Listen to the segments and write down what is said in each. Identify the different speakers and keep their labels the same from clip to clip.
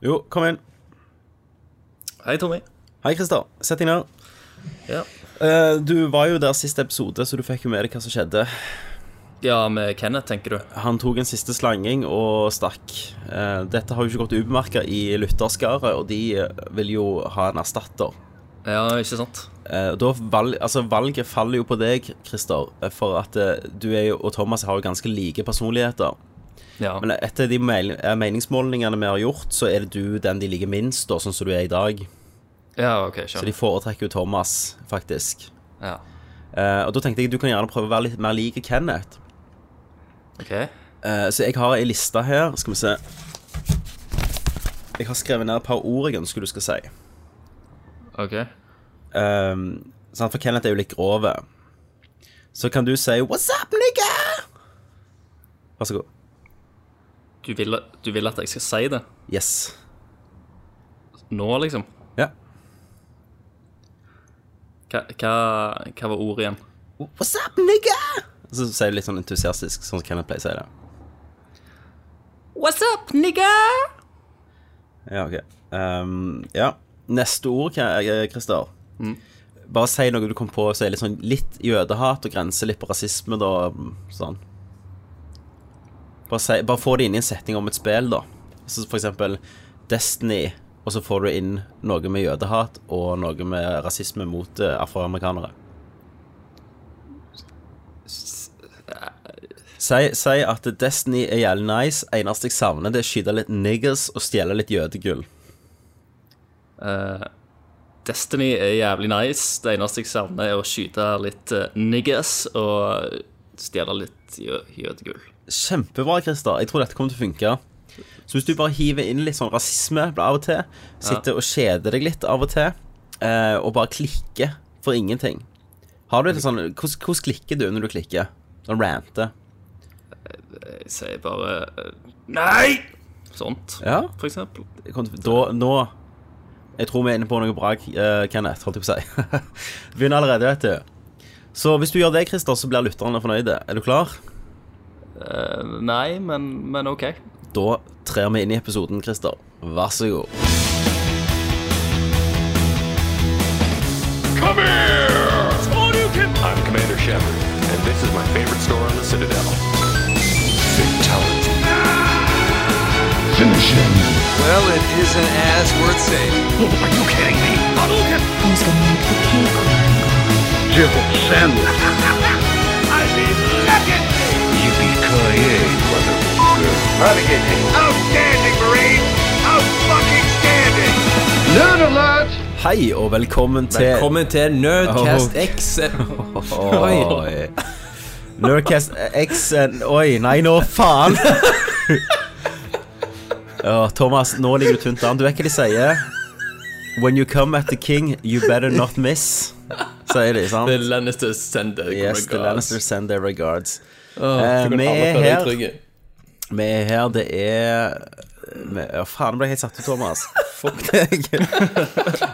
Speaker 1: Jo, kom inn.
Speaker 2: Hei, Tommy.
Speaker 1: Hei, Christer. Sett deg ned.
Speaker 2: Ja.
Speaker 1: Eh, du var jo der sist episode, så du fikk jo med deg hva som skjedde.
Speaker 2: ja, med Kenneth, tenker du?
Speaker 1: Han tok en siste slanging og stakk. Eh, dette har jo ikke gått ubemerka i lytterskare, og de eh, vil jo ha en erstatter.
Speaker 2: Ja, ikke sant?
Speaker 1: Eh, da valg, altså valget faller jo på deg, Christer, eh, for at eh, du er jo, og Thomas har jo ganske like personligheter.
Speaker 2: Ja.
Speaker 1: Men etter de meil- eh, meningsmålingene vi har gjort, så er det du den de liker minst, da, sånn som du er i dag.
Speaker 2: ja, ok,
Speaker 1: Så
Speaker 2: skjønner.
Speaker 1: de foretrekker jo Thomas, faktisk.
Speaker 2: Ja.
Speaker 1: Eh, og da tenkte jeg du kan gjerne prøve å være litt mer like Kenneth.
Speaker 2: Ok.
Speaker 1: Eh, så jeg har ei liste her. Skal vi se. Jeg har skrevet ned et par ord jeg ønsker du skal si.
Speaker 2: Ok.
Speaker 1: Ehm, sant, for Kenneth er jo litt grov. Så kan du si 'What's up, nigga?' Vær så god.
Speaker 2: Du vil, du vil at jeg skal si det
Speaker 1: Yes.
Speaker 2: nå, liksom?
Speaker 1: Ja.
Speaker 2: Hva, hva, hva var ordet igjen?
Speaker 1: What's up, nigga? Så sier jeg det litt sånn entusiastisk, sånn som Kenneth pleier å si det.
Speaker 2: What's up, nigga?
Speaker 1: Ja, ok. Ehm, ja. Neste ord, Ke- eh, Christer. Bare si noe du kom på som er litt sånn litt jødehat og grenser litt på rasisme, da. mm, Sånn. Bare, si, bare få det inn i en setning om et spill, da. Så for eksempel Destiny, og så får du inn noe med jødehat og noe med rasisme mot eh, afroamerikanere. Si, si at Destiny er jævlig nice. Eneste jeg savner, det er å skyte litt niggers og stjele litt jødegull.
Speaker 2: Eh, Destiny er jævlig nice. Det eneste jeg savner, er å skyte litt eh, niggas og stjele litt jø- jødegull.
Speaker 1: Kjempebra, Christer. Jeg tror dette kommer til å funke. Så hvis du bare hiver inn litt sånn rasisme av og til, sitter og kjeder deg litt av og til, eh, og bare klikker for ingenting Har du et sånn Hvordan hvordan klikker du når du klikker? Sånn ranter?
Speaker 2: Jeg sier bare eh, Nei! Sånt,
Speaker 1: Ja.
Speaker 2: for eksempel.
Speaker 1: jeg kommer til- Da, nå Jeg tror vi er inne på noe bra, eh, Kenneth, holdt jeg på å si. Det Begynner allerede, vet du. Så hvis du gjør det, Christer, så blir lytterne fornøyde. Er du klar?
Speaker 2: Eh, Nei, men, men OK.
Speaker 1: Da trer vi inn i episoden, Christer. Vær så god.
Speaker 3: Come here! I'm Commander Shepard, and this is my favorite store on the Citadel. Fatality.
Speaker 4: Well, it is an ass worth saving.
Speaker 3: Oh,
Speaker 5: Who's gonna make the cake line?
Speaker 3: Outstanding, Marine! Out-fucking-standing!
Speaker 1: Hei, og velkommen til
Speaker 6: Velkommen til Nerdcast
Speaker 1: Oh.
Speaker 6: X. Oi.
Speaker 1: Oi. Nerdcast X eh, Oi, nei, nå faen! Ja, Thomas, nå ligger du tynt an. Du vet hva de sier? When you come at the king, you better not miss. Sier de, sant?
Speaker 6: The Lannisters sender oh
Speaker 1: Yes, the Lannisters send their regards. Eh,
Speaker 6: Vi
Speaker 1: vi er
Speaker 6: er
Speaker 1: her.
Speaker 6: her.
Speaker 1: Vi er her, det er vi- Ja, faen, nå ble jeg helt satt ut, Thomas. Fuck deg.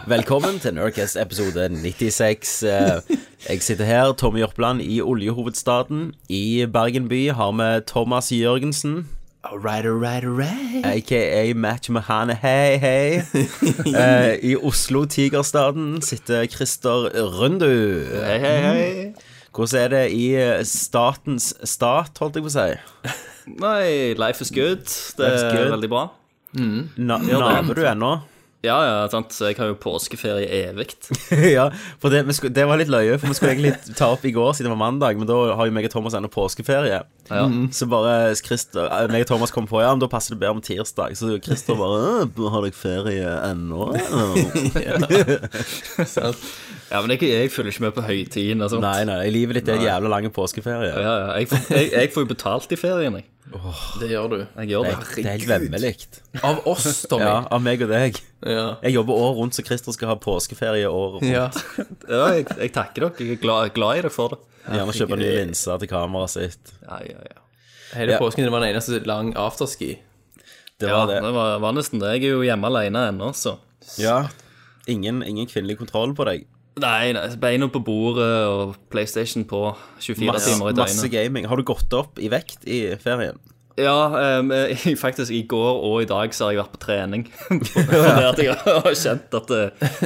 Speaker 1: Velkommen til Nurcast episode 96. Eh, Jeg sitter her, Tommy Jørpeland, i oljehovedstaden. I Bergen by har vi Thomas Jørgensen.
Speaker 6: Alright, alright, alright.
Speaker 1: Aka Match Mahane, hei, hei. Eh, I Oslo, Tigerstaden, sitter Christer Rundu.
Speaker 2: Hei, hei, hei.
Speaker 1: Hvordan er det i eh, statens stat, holdt jeg på å si?
Speaker 2: Mm. Nei, life is good. Det
Speaker 1: Life is
Speaker 2: er
Speaker 1: good.
Speaker 2: veldig bra.
Speaker 1: Na Naver du ennå?
Speaker 2: Ja, ja, sant. så Jeg har jo påskeferie evig.
Speaker 1: ja, for det, vi skulle, det var litt løye, for vi skulle egentlig ta opp i går siden det var mandag, men da har jo meg og Thomas ennå påskeferie. Mm. Så bare Christer, eh, meg og Thomas kom på, ja, men da passer det bedre om tirsdag. Så Christer bare, «Øh, har dere ferie ennå?
Speaker 2: Ja, men jeg, jeg følger ikke med på høytiden og sånt.
Speaker 1: nei, nei, livet ditt er en jævla lang påskeferie.
Speaker 2: Ja, ja, jeg, får- jeg, jeg får jo betalt i ferien, jeg.
Speaker 6: Det gjør du.
Speaker 2: Jeg gjør det.
Speaker 1: Det er helt vemmelikt.
Speaker 6: Av oss, Tommy.
Speaker 1: Ja, av meg og deg.
Speaker 6: Ja.
Speaker 1: Jeg jobber året rundt, så Christer skal ha påskeferie året rundt.
Speaker 6: Ja.
Speaker 2: Ja, jeg, jeg takker dere. Jeg er glad, glad i dere for det.
Speaker 1: Gjerne kjøpe nye linser til kameraet sitt.
Speaker 2: Ja, ja, ja.
Speaker 6: Hele
Speaker 1: Ja.
Speaker 6: påsken det var den eneste lang afterski.
Speaker 1: Det
Speaker 2: Ja,
Speaker 1: var
Speaker 2: det
Speaker 1: det.
Speaker 2: var, var nesten det. Jeg er jo hjemme alene ennå, så.
Speaker 1: Ja. Ingen, ingen kvinnelig kontroll på deg.
Speaker 2: Nei, nei, beina på bordet og PlayStation på 24
Speaker 1: Masse,
Speaker 2: timer i
Speaker 1: masse
Speaker 2: døgnet.
Speaker 1: gaming. Har du gått opp i vekt i ferien?
Speaker 2: Ja, em, eh, faktisk i går og i dag så har jeg vært på trening. Fordi at jeg har kjent at det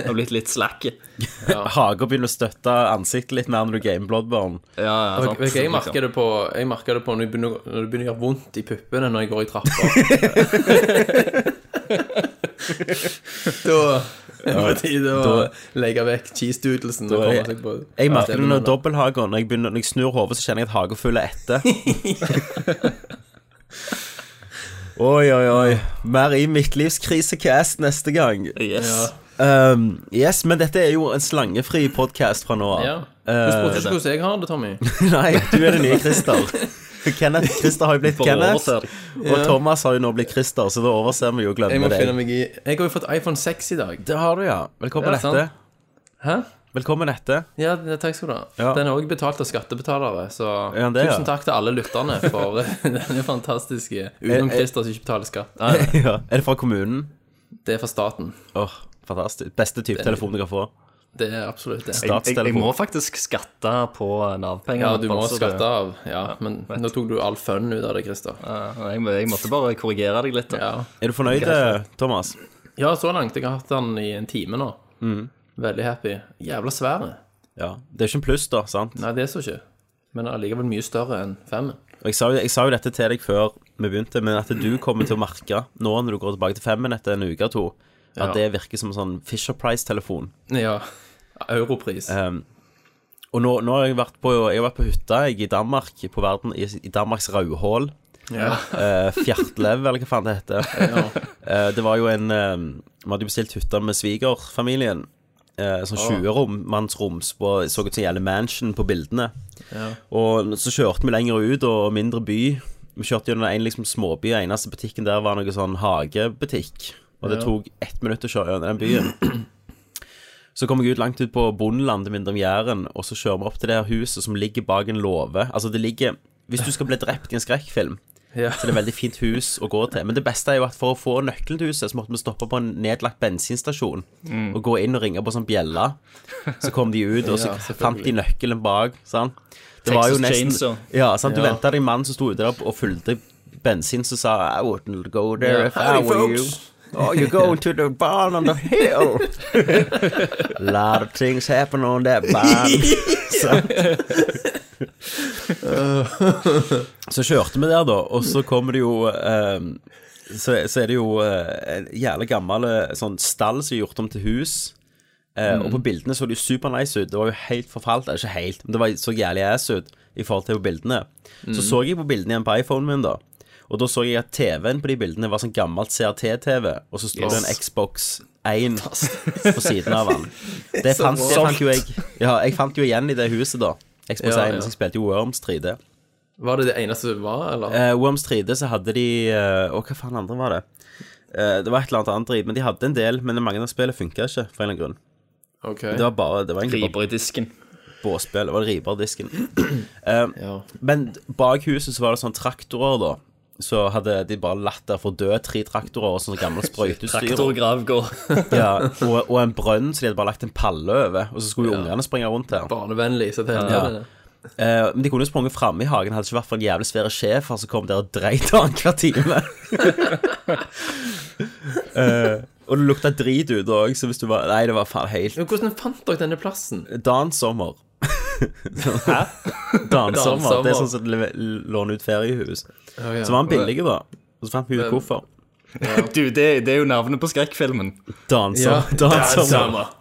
Speaker 2: har blitt litt slack.
Speaker 1: Hager begynner å støtte ansiktet litt mer når du gamer Bloodborne.
Speaker 2: Ja, ja, sant,
Speaker 6: Ok, jeg merker
Speaker 2: liksom.
Speaker 6: det på, jeg merker det på når, jeg begynner, når det begynner å gjøre vondt i puppene når jeg går i trappa. da er det på tide å
Speaker 1: Da-
Speaker 6: legge vekk cheese doodlesen. og komme seg på-
Speaker 1: Jeg merker det når
Speaker 6: stemmene.
Speaker 1: dobbelthager Når jeg, begynner, når jeg snur hodet, så kjenner jeg at hagen følger etter. oi, oi, oi. Mer i midtlivskrisecast neste gang.
Speaker 2: Yes.
Speaker 1: Um, yes, men dette er jo en slangefri podkast fra nå av.
Speaker 6: Ja. Du spurte ikke hvordan jeg har det, Tommy.
Speaker 1: Nei, du er den nye Christer. Kenneth, Christer har jo blitt
Speaker 2: For å
Speaker 1: Kenneth,
Speaker 2: overse det.
Speaker 1: og Thomas har jo nå blitt Christer, så da overser vi jo og
Speaker 6: Jeg må
Speaker 1: glemmer
Speaker 6: finne
Speaker 1: deg.
Speaker 6: meg i Jeg har jo fått iPhone 6 i dag.
Speaker 1: Det har du, ja. Velkommen
Speaker 6: Ja,
Speaker 1: etter.
Speaker 6: sant. Hæ?
Speaker 1: Velkommen etter.
Speaker 6: Ja, det- takk skal du ha.
Speaker 1: Ja.
Speaker 6: Den er også betalt av skattebetalere, så
Speaker 1: Ja, det, ja.
Speaker 6: tusen takk til alle lytterne for eh, denne fantastiske
Speaker 1: Jeg-
Speaker 6: Utenom
Speaker 1: jeg-
Speaker 6: Christer som ikke betaler skatt. Nei,
Speaker 1: ja. Er det fra kommunen?
Speaker 6: Det er fra staten.
Speaker 1: Åh, fantastisk. Beste type telefon du kan få.
Speaker 6: Det er absolutt det.
Speaker 2: Jeg, jeg, jeg
Speaker 1: Statstelefon.
Speaker 2: må faktisk skatte på Nav-penger.
Speaker 6: Ja, du må
Speaker 2: altså, det-
Speaker 6: skatte av. Ja, men
Speaker 2: vet.
Speaker 6: nå tok du all fun ut av det, Christer.
Speaker 2: Ja, Jeg, må- jeg måtte bare korrigere deg litt. da.
Speaker 6: Ja.
Speaker 1: Er du fornøyd, eh, Thomas?
Speaker 6: ja, så langt. Jeg har hatt den i en time nå.
Speaker 1: Mm.
Speaker 6: Veldig happy. Jævla svære.
Speaker 1: Ja. Det er ikke en pluss, da, sant?
Speaker 6: Nei, det er så ikke. Men allikevel mye større enn femmen.
Speaker 1: Og jeg sa, jo, jeg sa jo dette til deg før vi begynte, men at du kommer til å merke nå når du går tilbake til femmen etter en uke og to, at
Speaker 6: Ja.
Speaker 1: det virker som en sånn Fisher Price-telefon.
Speaker 6: Ja. Europris.
Speaker 1: Um, og nå, nå har jeg vært på, jeg har vært på hytta jeg, i Danmark, på verden, i, i Danmarks rauhål.
Speaker 6: Ja.
Speaker 1: Uh, Fjartlev, eller hva faen det heter. Eh, det var jo en eh, Vi hadde jo bestilt hytte med svigerfamilien. Eh, sånn 20-rom, mannsroms. på- Så ut som en jævla mansion på bildene. Og så kjørte vi lenger ut, og mindre by. Vi kjørte gjennom en liksom, småby, og eneste butikken der var noe sånn hagebutikk. Og det tok ett minutt å kjøre gjennom den byen. Så kom jeg ut langt ut på bondelandet mindre om Jæren, og så kjører vi opp til det her huset som ligger bak en låve. Altså, det ligger Hvis du skal bli drept i en skrekkfilm,
Speaker 6: Ja.
Speaker 1: så det er veldig fint hus å gå til. Men det beste er jo at for å få nøkkelen til huset, så måtte vi stoppe på en nedlagt bensinstasjon og gå inn og ringe på sånn bjelle. Så kom de ut, og så
Speaker 6: Mm. Ja, selvfølgelig.
Speaker 1: fant de nøkkelen bak. Sant? Det
Speaker 2: Texas Chainsaw.
Speaker 1: Ja, sant? Du
Speaker 6: Ja.
Speaker 1: venta deg en mann som sto ute der og fulgte bensin, som sa I wouldn't go there
Speaker 6: Ja,
Speaker 1: if I
Speaker 6: howdy,
Speaker 1: were you.
Speaker 6: folks.
Speaker 1: Oh, you're going to the barn on the hill. A lot of things happen on that barn. Sant? Så kjørte vi der, da, og så kommer det jo eh, så, så er det jo eh, en jævlig gammel eh, sånn stall som er gjort om til hus. Eh, Og
Speaker 6: Mm.
Speaker 1: på bildene så det jo supernice ut. Det var jo helt forfalt. Eller ikke helt, men det var, så jævlig ass ut i forhold til på bildene. Så
Speaker 6: Mm.
Speaker 1: så jeg på bildene igjen på iPhonen min, da. Og da så jeg at TV-en på de bildene var sånn gammelt CRT-TV, og så står det en Xbox 1 på siden av den. Det fant, det fant jo jeg Ja, jeg fant jo igjen i det huset, da. Xbox
Speaker 6: Ja,
Speaker 1: 1,
Speaker 6: ja.
Speaker 1: så jeg spilte jo Worms 3D.
Speaker 6: Var det det eneste det var, eller?
Speaker 1: Eh, Worms 3D så hadde de uh, hva faen andre var det? Eh, det var et eller annet annet drit, men de hadde en del. Men mange av spillene funka ikke, for en eller annen grunn.
Speaker 6: Ok.
Speaker 1: Det var bare, det var egentlig bare
Speaker 2: Riber i disken.
Speaker 1: båspill. Det var riberdisken. Eh,
Speaker 6: Ja.
Speaker 1: men bak huset så var det sånn traktorer, da. Så hadde de bare latt der for dø tre traktorer og sånn gammelt sprøyteutstyr.
Speaker 2: Traktor og grav går.
Speaker 1: ja, og, og en brønn, så de hadde bare lagt en palle over. Og så skulle jo ungene springe rundt der.
Speaker 6: Barnevennlig, så det
Speaker 1: Ja.
Speaker 6: heter det.
Speaker 1: Eh, men de kunne jo sprunget framme i hagen, hadde det ikke vært for en jævlig svære sjef her som kom der og dreit annenhver time. Eh, og det lukta drit ute òg, så hvis du var Nei, det var faen helt
Speaker 6: Men hvordan fant dere denne plassen?
Speaker 1: Dansommer. Hæ? Dansommer.
Speaker 6: Dansommer.
Speaker 1: Det er sånn som le- låner ut feriehus.
Speaker 6: ja.
Speaker 1: Så var han billig, da. Og så fant vi ut hvorfor.
Speaker 2: Du, det, det er jo navnet på skrekkfilmen.
Speaker 1: Dansom, dansommer.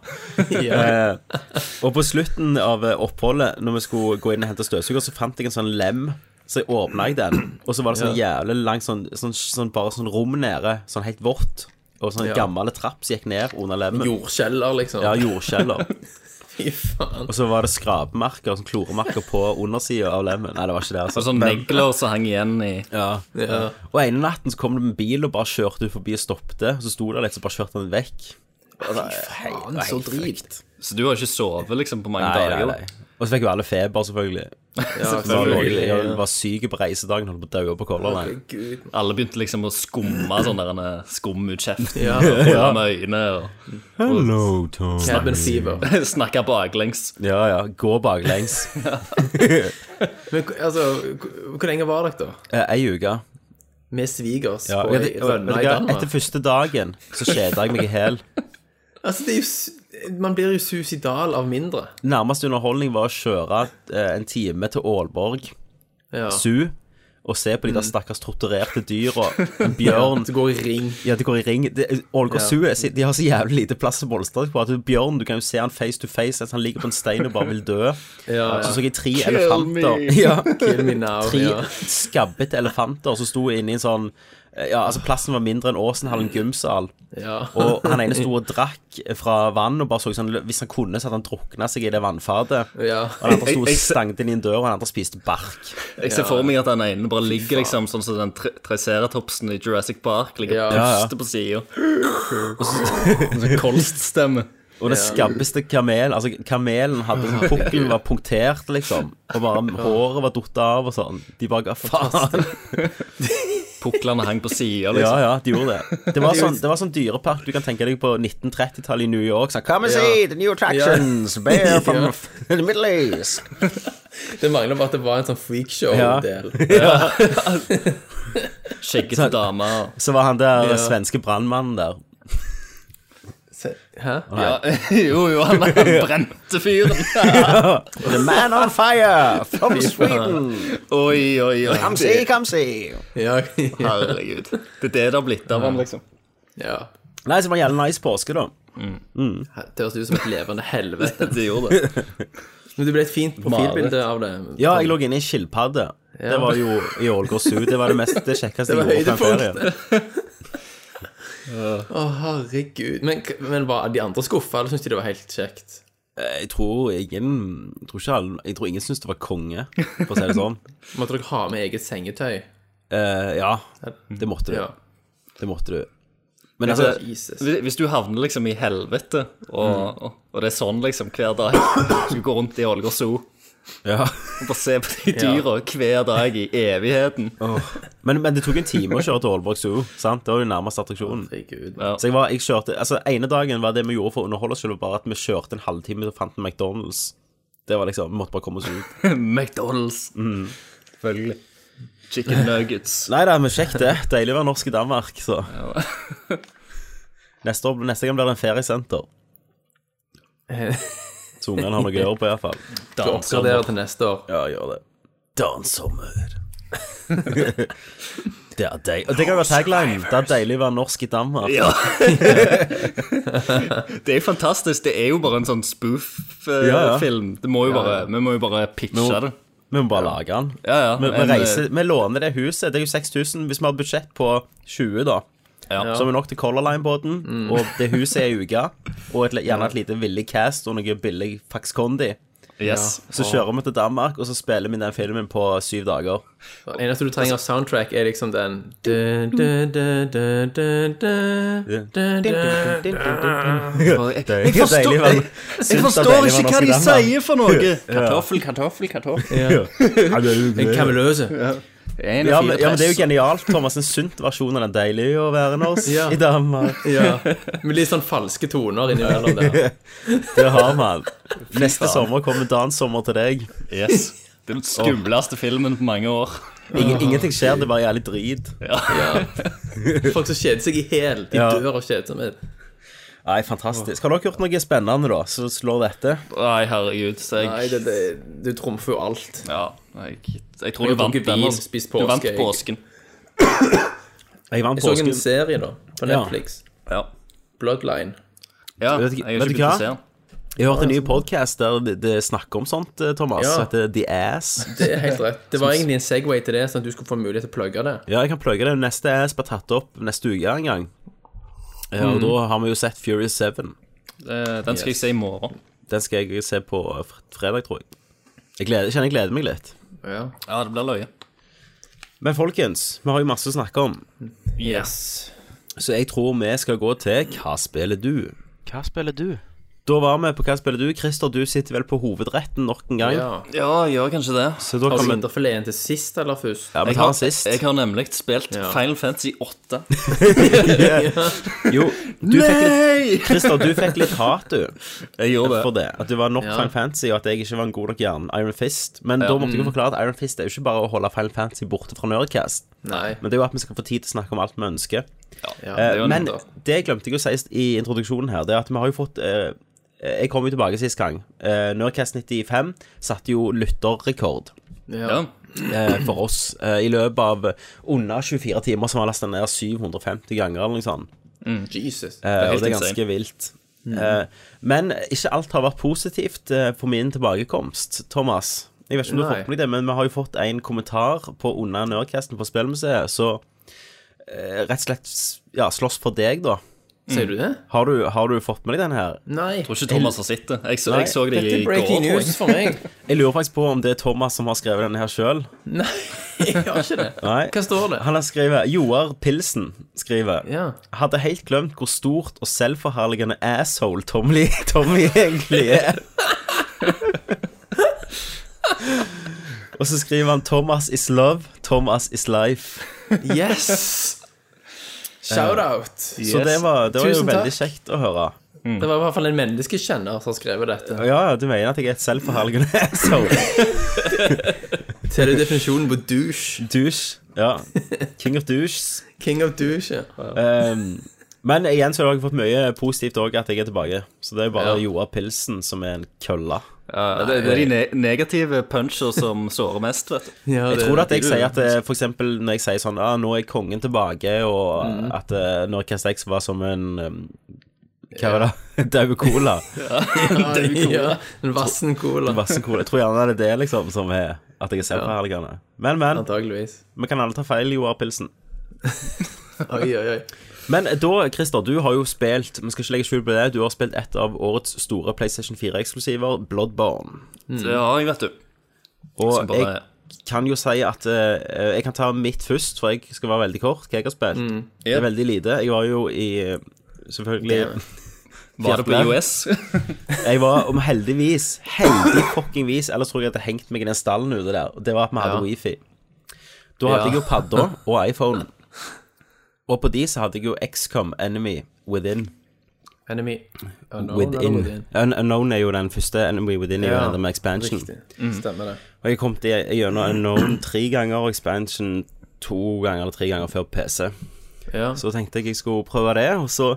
Speaker 6: ja.
Speaker 1: Eh, og på slutten av eh, oppholdet, når vi skulle gå inn og hente støvsuger, så fant jeg en sånn lem. Så jeg åpna jeg den, og så var det sånn jævlig langt sånn, sånn, sånn bare sånn rom nede, sånn helt vått. Og sånn
Speaker 6: Ja.
Speaker 1: gammel trapp som gikk ned under lemmen.
Speaker 6: Jordskjeller, liksom.
Speaker 1: Ja, jordskjeller.
Speaker 6: Fy faen.
Speaker 1: Og så var det skrapemerker, sånn kloremerker på undersida av lemmen. Nei, det var ikke det.
Speaker 2: Og
Speaker 1: Altså.
Speaker 2: sånn negler som hang igjen i
Speaker 1: Ja.
Speaker 6: Ja.
Speaker 1: Og ene natten så kom det en bil og bare kjørte ut forbi og stoppet. Og så sto det litt, så bare kjørte han vekk.
Speaker 6: Faen, så drit.
Speaker 2: Så du har ikke sovet liksom på mange
Speaker 1: Nei, nei,
Speaker 2: dager?
Speaker 1: nei. Og så fikk jo alle feber, selvfølgelig.
Speaker 6: Ja,
Speaker 1: Så
Speaker 2: Selvfølgelig.
Speaker 1: jeg, jeg var syk på reisedagen, holdt på å daue på Color Line.
Speaker 6: Gud.
Speaker 2: Alle begynte liksom å skumme sånn der en skum ut kjeften
Speaker 6: Ja.
Speaker 2: og holde med øynene og
Speaker 1: Hello, Tom.
Speaker 6: Cabin fever.
Speaker 2: snakke baklengs.
Speaker 1: Ja, ja. Gå baklengs.
Speaker 6: Men altså, hvor- hvor lenge var dere, da?
Speaker 1: Eh, Ei uke.
Speaker 6: med svigers
Speaker 1: Ja,
Speaker 6: på
Speaker 1: vet,
Speaker 6: ei
Speaker 1: du- vet,
Speaker 6: rønne
Speaker 1: du
Speaker 6: i
Speaker 1: hva,
Speaker 6: Danmark.
Speaker 1: etter første dagen så kjeda jeg meg i hæl.
Speaker 6: Altså, det er jo, su- man blir jo suicidal av mindre.
Speaker 1: Nærmeste underholdning var å kjøre eh, en time til Aalborg
Speaker 6: Ja.
Speaker 1: Zoo og se på de der stakkars torturerte dyra. En bjørn
Speaker 6: Det går i ring.
Speaker 1: Ja, de går i ring. Det- Ålgård
Speaker 6: Ja.
Speaker 1: Zoo er si- de har så jævlig lite plass å bolstre seg på. At Bjørn, du kan jo se han face to face at han ligger på en stein og bare vil dø.
Speaker 6: Ja,
Speaker 1: Så
Speaker 6: ja.
Speaker 1: så jeg tre elefanter. Ja,
Speaker 6: Kill me now.
Speaker 1: tre
Speaker 6: Ja.
Speaker 1: skabbete elefanter som sto inne i en sånn Ja, altså plassen var mindre enn Åsenhallen gymsal.
Speaker 6: Ja.
Speaker 1: Og han ene sto og drakk fra vann og bare så ut som han- hvis han kunne, så hadde han drukna seg i det vannfatet.
Speaker 6: ja.
Speaker 1: Og han andre sto og
Speaker 2: Jeg- jeg se-
Speaker 1: stanget inn i en dør, og han andre spiste bark.
Speaker 2: Jeg ser for meg at den ene bare ligger liksom sånn som den tre- triceratopsen i Jurassic Park. Ligger
Speaker 6: Ja.
Speaker 2: og
Speaker 1: Ja, ja.
Speaker 2: puster på sida. Sånn kolststemme.
Speaker 1: Og det skabbeste kamel Altså, kamelen hadde sånn pukkelen var punktert, liksom. Og bare håret var datt av og sånn. De bare ga faen.
Speaker 2: Puklene hang på
Speaker 1: Ja,
Speaker 2: sida, liksom.
Speaker 1: ja, de gjorde det. Det var sånn, det var sånn dyrepark du kan tenke deg på 1930-tallet i New York. Sånn, Come and see the new attractions, bear from the Middle East.
Speaker 6: Det mangler bare at det var en sånn freakshow-del.
Speaker 2: Skjeggete damer.
Speaker 1: Så var han der
Speaker 6: Ja.
Speaker 1: svenske brannmannen der.
Speaker 6: Se- Hæ?
Speaker 2: Ja. Jo, jo, han han brente fyren.
Speaker 1: The man on fire from Sweden.
Speaker 2: Oi, oi, oi.
Speaker 1: Come see, come see.
Speaker 6: Ja.
Speaker 2: Herregud. Det er det det har blitt av ham, liksom.
Speaker 6: ja.
Speaker 1: Nei, så det var en jævlig nice påske, da.
Speaker 6: Det høres ut som et levende helvete.
Speaker 2: Det gjorde det.
Speaker 6: Men det ble et fint profilbilde av det.
Speaker 1: Ja, jeg lå inne i en skilpadde. Det var jo i Ålgård Zoo. Det var det mest det kjekkeste
Speaker 6: Det var
Speaker 1: jeg gjorde på en
Speaker 6: høydepunktet.
Speaker 1: ferie.
Speaker 6: Å, herregud. Men, men var de andre skuffa, eller syntes de det var helt kjekt?
Speaker 1: Eh, Jeg tror ingen jeg tror, ikke alle, jeg tror ingen syntes det var konge, for å si det sånn.
Speaker 6: Måtte dere ha med eget sengetøy?
Speaker 1: Eh, ja, det måtte du.
Speaker 6: Ja.
Speaker 1: Det måtte du. Men altså,
Speaker 2: Altså,
Speaker 6: Jesus.
Speaker 2: hvis- hvis du havner liksom i helvete,
Speaker 1: Mm.
Speaker 2: og, og det er sånn liksom hver dag Du skal gå rundt i Ålgård Zoo og
Speaker 1: ja.
Speaker 2: bare se på de dyra hver dag i evigheten.
Speaker 1: men, men det tok en time å kjøre til Aalborg Zoo. sant? Det var jo nærmeste attraksjonen.
Speaker 6: Herregud.
Speaker 2: Ja.
Speaker 1: Så jeg var, jeg kjørte, altså ene dagen var det vi gjorde for å underholde oss selv, bare at vi kjørte en halvtime og fant en McDonald's. Det var liksom, vi måtte bare komme oss ut.
Speaker 2: McDonald's.
Speaker 1: Mm.
Speaker 2: Selvfølgelig. Chicken nuggets.
Speaker 1: Nei da, men kjekt det. Deilig å være norsk i Danmark, så. neste, år, neste gang blir det en feriesenter. Så ungene har noe å gjøre på, iallfall.
Speaker 6: Oppgradere til neste år.
Speaker 1: Ja, gjør det. Dansommer. det er deilig. Og det kan være tagline. Det er deilig å være norsk i Danmark.
Speaker 2: Ja. det er fantastisk. Det er jo bare en sånn spoof-film.
Speaker 1: Ja, ja.
Speaker 2: Det må jo bare, Vi må jo bare pitche det.
Speaker 1: Vi må bare lage den.
Speaker 2: Ja, ja.
Speaker 1: Vi, vi,
Speaker 2: men, eh,
Speaker 1: reiser, vi låner det huset. Det er jo 6000. Hvis vi har budsjett på 20, da,
Speaker 2: Ja. Mm.
Speaker 1: så har vi nok til Color Line-båten. Og det huset er ei uke. Og et, gjerne et lite villig cast og noe billig Fax Condi.
Speaker 2: eh, Yes.
Speaker 1: Så kjører vi til Danmark, og så spiller vi den filmen på syv dager.
Speaker 6: Det eneste du trenger av soundtrack, er liksom den dun, dun, dun, dun, dun, dun, dun, dun.
Speaker 2: Jeg,
Speaker 1: jeg forstår- deilig, men- jeg- forstår ikke hva de sier
Speaker 2: for noe!
Speaker 7: Kartoffel, kartoffel, kartoffel.
Speaker 6: En kameløse.
Speaker 1: Ja, men, ja, men det er jo genialt. Thomas, en sunt versjon av den deilige å være norsk
Speaker 6: Ja.
Speaker 1: i Danmark.
Speaker 6: Ja. Med litt sånn falske toner innimellom der.
Speaker 1: Det har man. Neste sommer kommer Dansommer til deg.
Speaker 2: Yes. Det er den skumleste filmen på mange år.
Speaker 1: Ingen, ingenting skjer, det er bare jævlig drit.
Speaker 6: Folk som kjeder seg i hæl. De
Speaker 1: Ja.
Speaker 6: dør av kjedsomhet.
Speaker 1: Nei, fantastisk. Har dere gjort noe spennende, da, som slår dette?
Speaker 2: Nei, herregud. Så jeg,
Speaker 6: Nei, det, det, du trumfer jo alt.
Speaker 2: ja, jeg, jeg tror
Speaker 6: Jeg
Speaker 2: du vant
Speaker 6: tok
Speaker 2: den.
Speaker 6: vin,
Speaker 2: altså.
Speaker 6: spist
Speaker 2: Du vant
Speaker 6: påske, jeg-
Speaker 2: påsken.
Speaker 1: Jeg vant
Speaker 6: Jeg så
Speaker 1: påsken.
Speaker 6: en serie, da, på
Speaker 1: Ja.
Speaker 6: Netflix.
Speaker 2: Ja.
Speaker 6: Bloodline.
Speaker 2: ja
Speaker 1: Vet
Speaker 2: jeg
Speaker 1: du-
Speaker 2: har
Speaker 1: vet
Speaker 2: ikke
Speaker 1: du
Speaker 2: begynt
Speaker 1: hva?
Speaker 2: å se den.
Speaker 1: Jeg har hørt en ny podkast der det, det snakker om sånt, eh, Thomas.
Speaker 6: Ja.
Speaker 1: som Heter The Ass.
Speaker 6: Det er helt rett. Det var egentlig en Segway til det, sånn at du skulle få mulighet til å plugge det.
Speaker 1: Ja, jeg kan plugge det. Neste ass blir tatt opp neste uke en gang. Ja, og da har vi jo sett Fury 7.
Speaker 2: Eh, Den skal jeg se i morgen.
Speaker 1: Den skal jeg se på fr- fredag, tror jeg. Jeg gleder, jeg kjenner jeg gleder meg litt.
Speaker 6: Ja.
Speaker 2: Ja, det blir løye.
Speaker 1: Men folkens, vi har jo masse å snakke om.
Speaker 2: Yes.
Speaker 1: Så jeg tror vi skal gå til Hva spiller du? Hva spiller du? Da var vi på Hva spiller du? Christer, du sitter vel på hovedretten nok en gang.
Speaker 6: ja.
Speaker 2: Ja, gjør kanskje det.
Speaker 1: Så da
Speaker 6: Har
Speaker 1: kan
Speaker 6: du
Speaker 1: vi
Speaker 6: vinterfileten til sist, eller først?
Speaker 1: Ja, vi
Speaker 2: Jeg
Speaker 1: tar
Speaker 2: har,
Speaker 1: den sist.
Speaker 2: jeg har nemlig spilt
Speaker 6: Ja.
Speaker 2: Final Fantasy 8.
Speaker 1: Jo, du fikk litt Christer, du fikk litt hat, du,
Speaker 2: Jeg gjorde
Speaker 1: for
Speaker 2: det.
Speaker 1: det. At du var nok Final Fantasy, og at jeg ikke var
Speaker 2: Mm.
Speaker 1: en god nok jern Iron Fist. Men da måtte jeg jo forklare at Iron Fist er jo ikke bare å holde Final Fantasy borte fra Nerdcast.
Speaker 6: Nei.
Speaker 1: Men det er jo at vi skal få tid til å snakke om alt vi ønsker.
Speaker 6: Ja,
Speaker 1: Eh,
Speaker 6: det var
Speaker 1: Men
Speaker 6: nettopp.
Speaker 1: det glemte jeg å si i introduksjonen her, det er at vi har jo fått eh, Jeg kom jo tilbake sist gang. Eh, Nerdcast 95 satte jo lytterrekord
Speaker 6: Ja.
Speaker 2: Ja.
Speaker 1: eh, for oss eh, i løpet av under 24 timer, som har lastet ned 750 ganger eller noe sånt.
Speaker 6: Jesus.
Speaker 1: Eh, og
Speaker 2: helt
Speaker 1: det er
Speaker 2: insane.
Speaker 1: ganske vilt. Eh, men ikke alt har vært positivt eh, for min tilbakekomst, Thomas. Jeg vet ikke om du har
Speaker 6: Nei.
Speaker 1: fått med deg det, men vi har jo fått en kommentar på under Nerdcasten på Spillmuseet, så eh, rett og slett ja, slåss for deg, da.
Speaker 6: Ser du det?
Speaker 1: Har du, har du fått med deg den her?
Speaker 6: Nei.
Speaker 2: Tror ikke Thomas har sett det. Jeg så,
Speaker 1: Nei,
Speaker 2: jeg så det
Speaker 6: Dette
Speaker 2: i
Speaker 6: er
Speaker 2: går.
Speaker 6: breaking
Speaker 2: tror jeg.
Speaker 6: news for meg.
Speaker 1: Jeg lurer faktisk på om det er Thomas som har skrevet denne her sjøl.
Speaker 6: Nei, jeg har ikke det. Hva står det?
Speaker 1: Han har skrevet Joar Pilsen skriver
Speaker 6: Ja.
Speaker 1: Hadde helt glemt hvor stort og selvforherligende asshole Tommy, Tommy egentlig er. og så skriver han 'Thomas is love, Thomas is life'.
Speaker 6: Yes! Shout-out.
Speaker 1: Så det var, det var jo
Speaker 6: Tusen
Speaker 1: veldig
Speaker 6: takk.
Speaker 1: kjekt å høre.
Speaker 6: Det var i hvert fall en menneskekjenner som skrev dette.
Speaker 1: Ja, ja, du mener at jeg er et selvforherligende asshole?
Speaker 6: Ser du definisjonen på douche?
Speaker 1: Douche. Ja. King of douches.
Speaker 6: King of douche. ja.
Speaker 1: Ehm, men igjen så har jeg fått mye positivt òg, at jeg er tilbake. Så det er jo bare
Speaker 6: Ja.
Speaker 1: Joar Pilsen som er en kølle.
Speaker 2: Ja, det, det er de ne negative puncher som sårer mest, vet du.
Speaker 6: Ja,
Speaker 1: Jeg tror at jeg sier at eh, for eksempel når jeg sier sånn ah, 'Nå er kongen tilbake', og at eh, når Cast X var som en um, Hva var det? Daue cola.
Speaker 6: Ja, en vassen cola.
Speaker 1: Vassen cola. Jeg tror gjerne det er det liksom som er at jeg er selvforherligende. Men, men.
Speaker 6: Antageligvis.
Speaker 1: Vi kan alle ta feil, Joar Pilsen.
Speaker 6: Oi, oi, oi.
Speaker 1: Men eh, da, Christer, du har jo spilt Vi skal ikke legge skjul på det. Du har spilt et av årets store PlayStation 4-eksklusiver, Bloodborne.
Speaker 6: Mm.
Speaker 2: Det har jeg, vet du.
Speaker 1: Og
Speaker 2: Som bare,
Speaker 1: jeg kan jo si at eh, Jeg kan ta mitt først, for jeg skal være veldig kort. Hva jeg har spilt.
Speaker 6: Mm.
Speaker 1: Det er veldig lite. Jeg var jo i eh, Selvfølgelig
Speaker 2: var det på
Speaker 1: Fjerde.
Speaker 2: IOS?
Speaker 1: Jeg var om heldigvis Heldig fucking vis Ellers tror jeg jeg hadde hengt meg i den stallen ute der Og det var at vi hadde
Speaker 6: Ja.
Speaker 1: wifi Da hadde
Speaker 6: Ja.
Speaker 1: jeg jo padda og iPhone Og på de så hadde jeg jo XCOM Enemy Within
Speaker 6: Enemy. Unknown,
Speaker 1: Within
Speaker 6: eller within?
Speaker 1: Un Unknown er jo den første Enemy Within er jo
Speaker 6: Ja,
Speaker 1: den der med expansion
Speaker 6: Riktig. Mm. Stemmer det.
Speaker 1: Og jeg kom til gjennom Unknown tre ganger Og expansion to ganger eller tre ganger før PC
Speaker 6: Ja.
Speaker 1: Så tenkte jeg jeg skulle prøve det, og så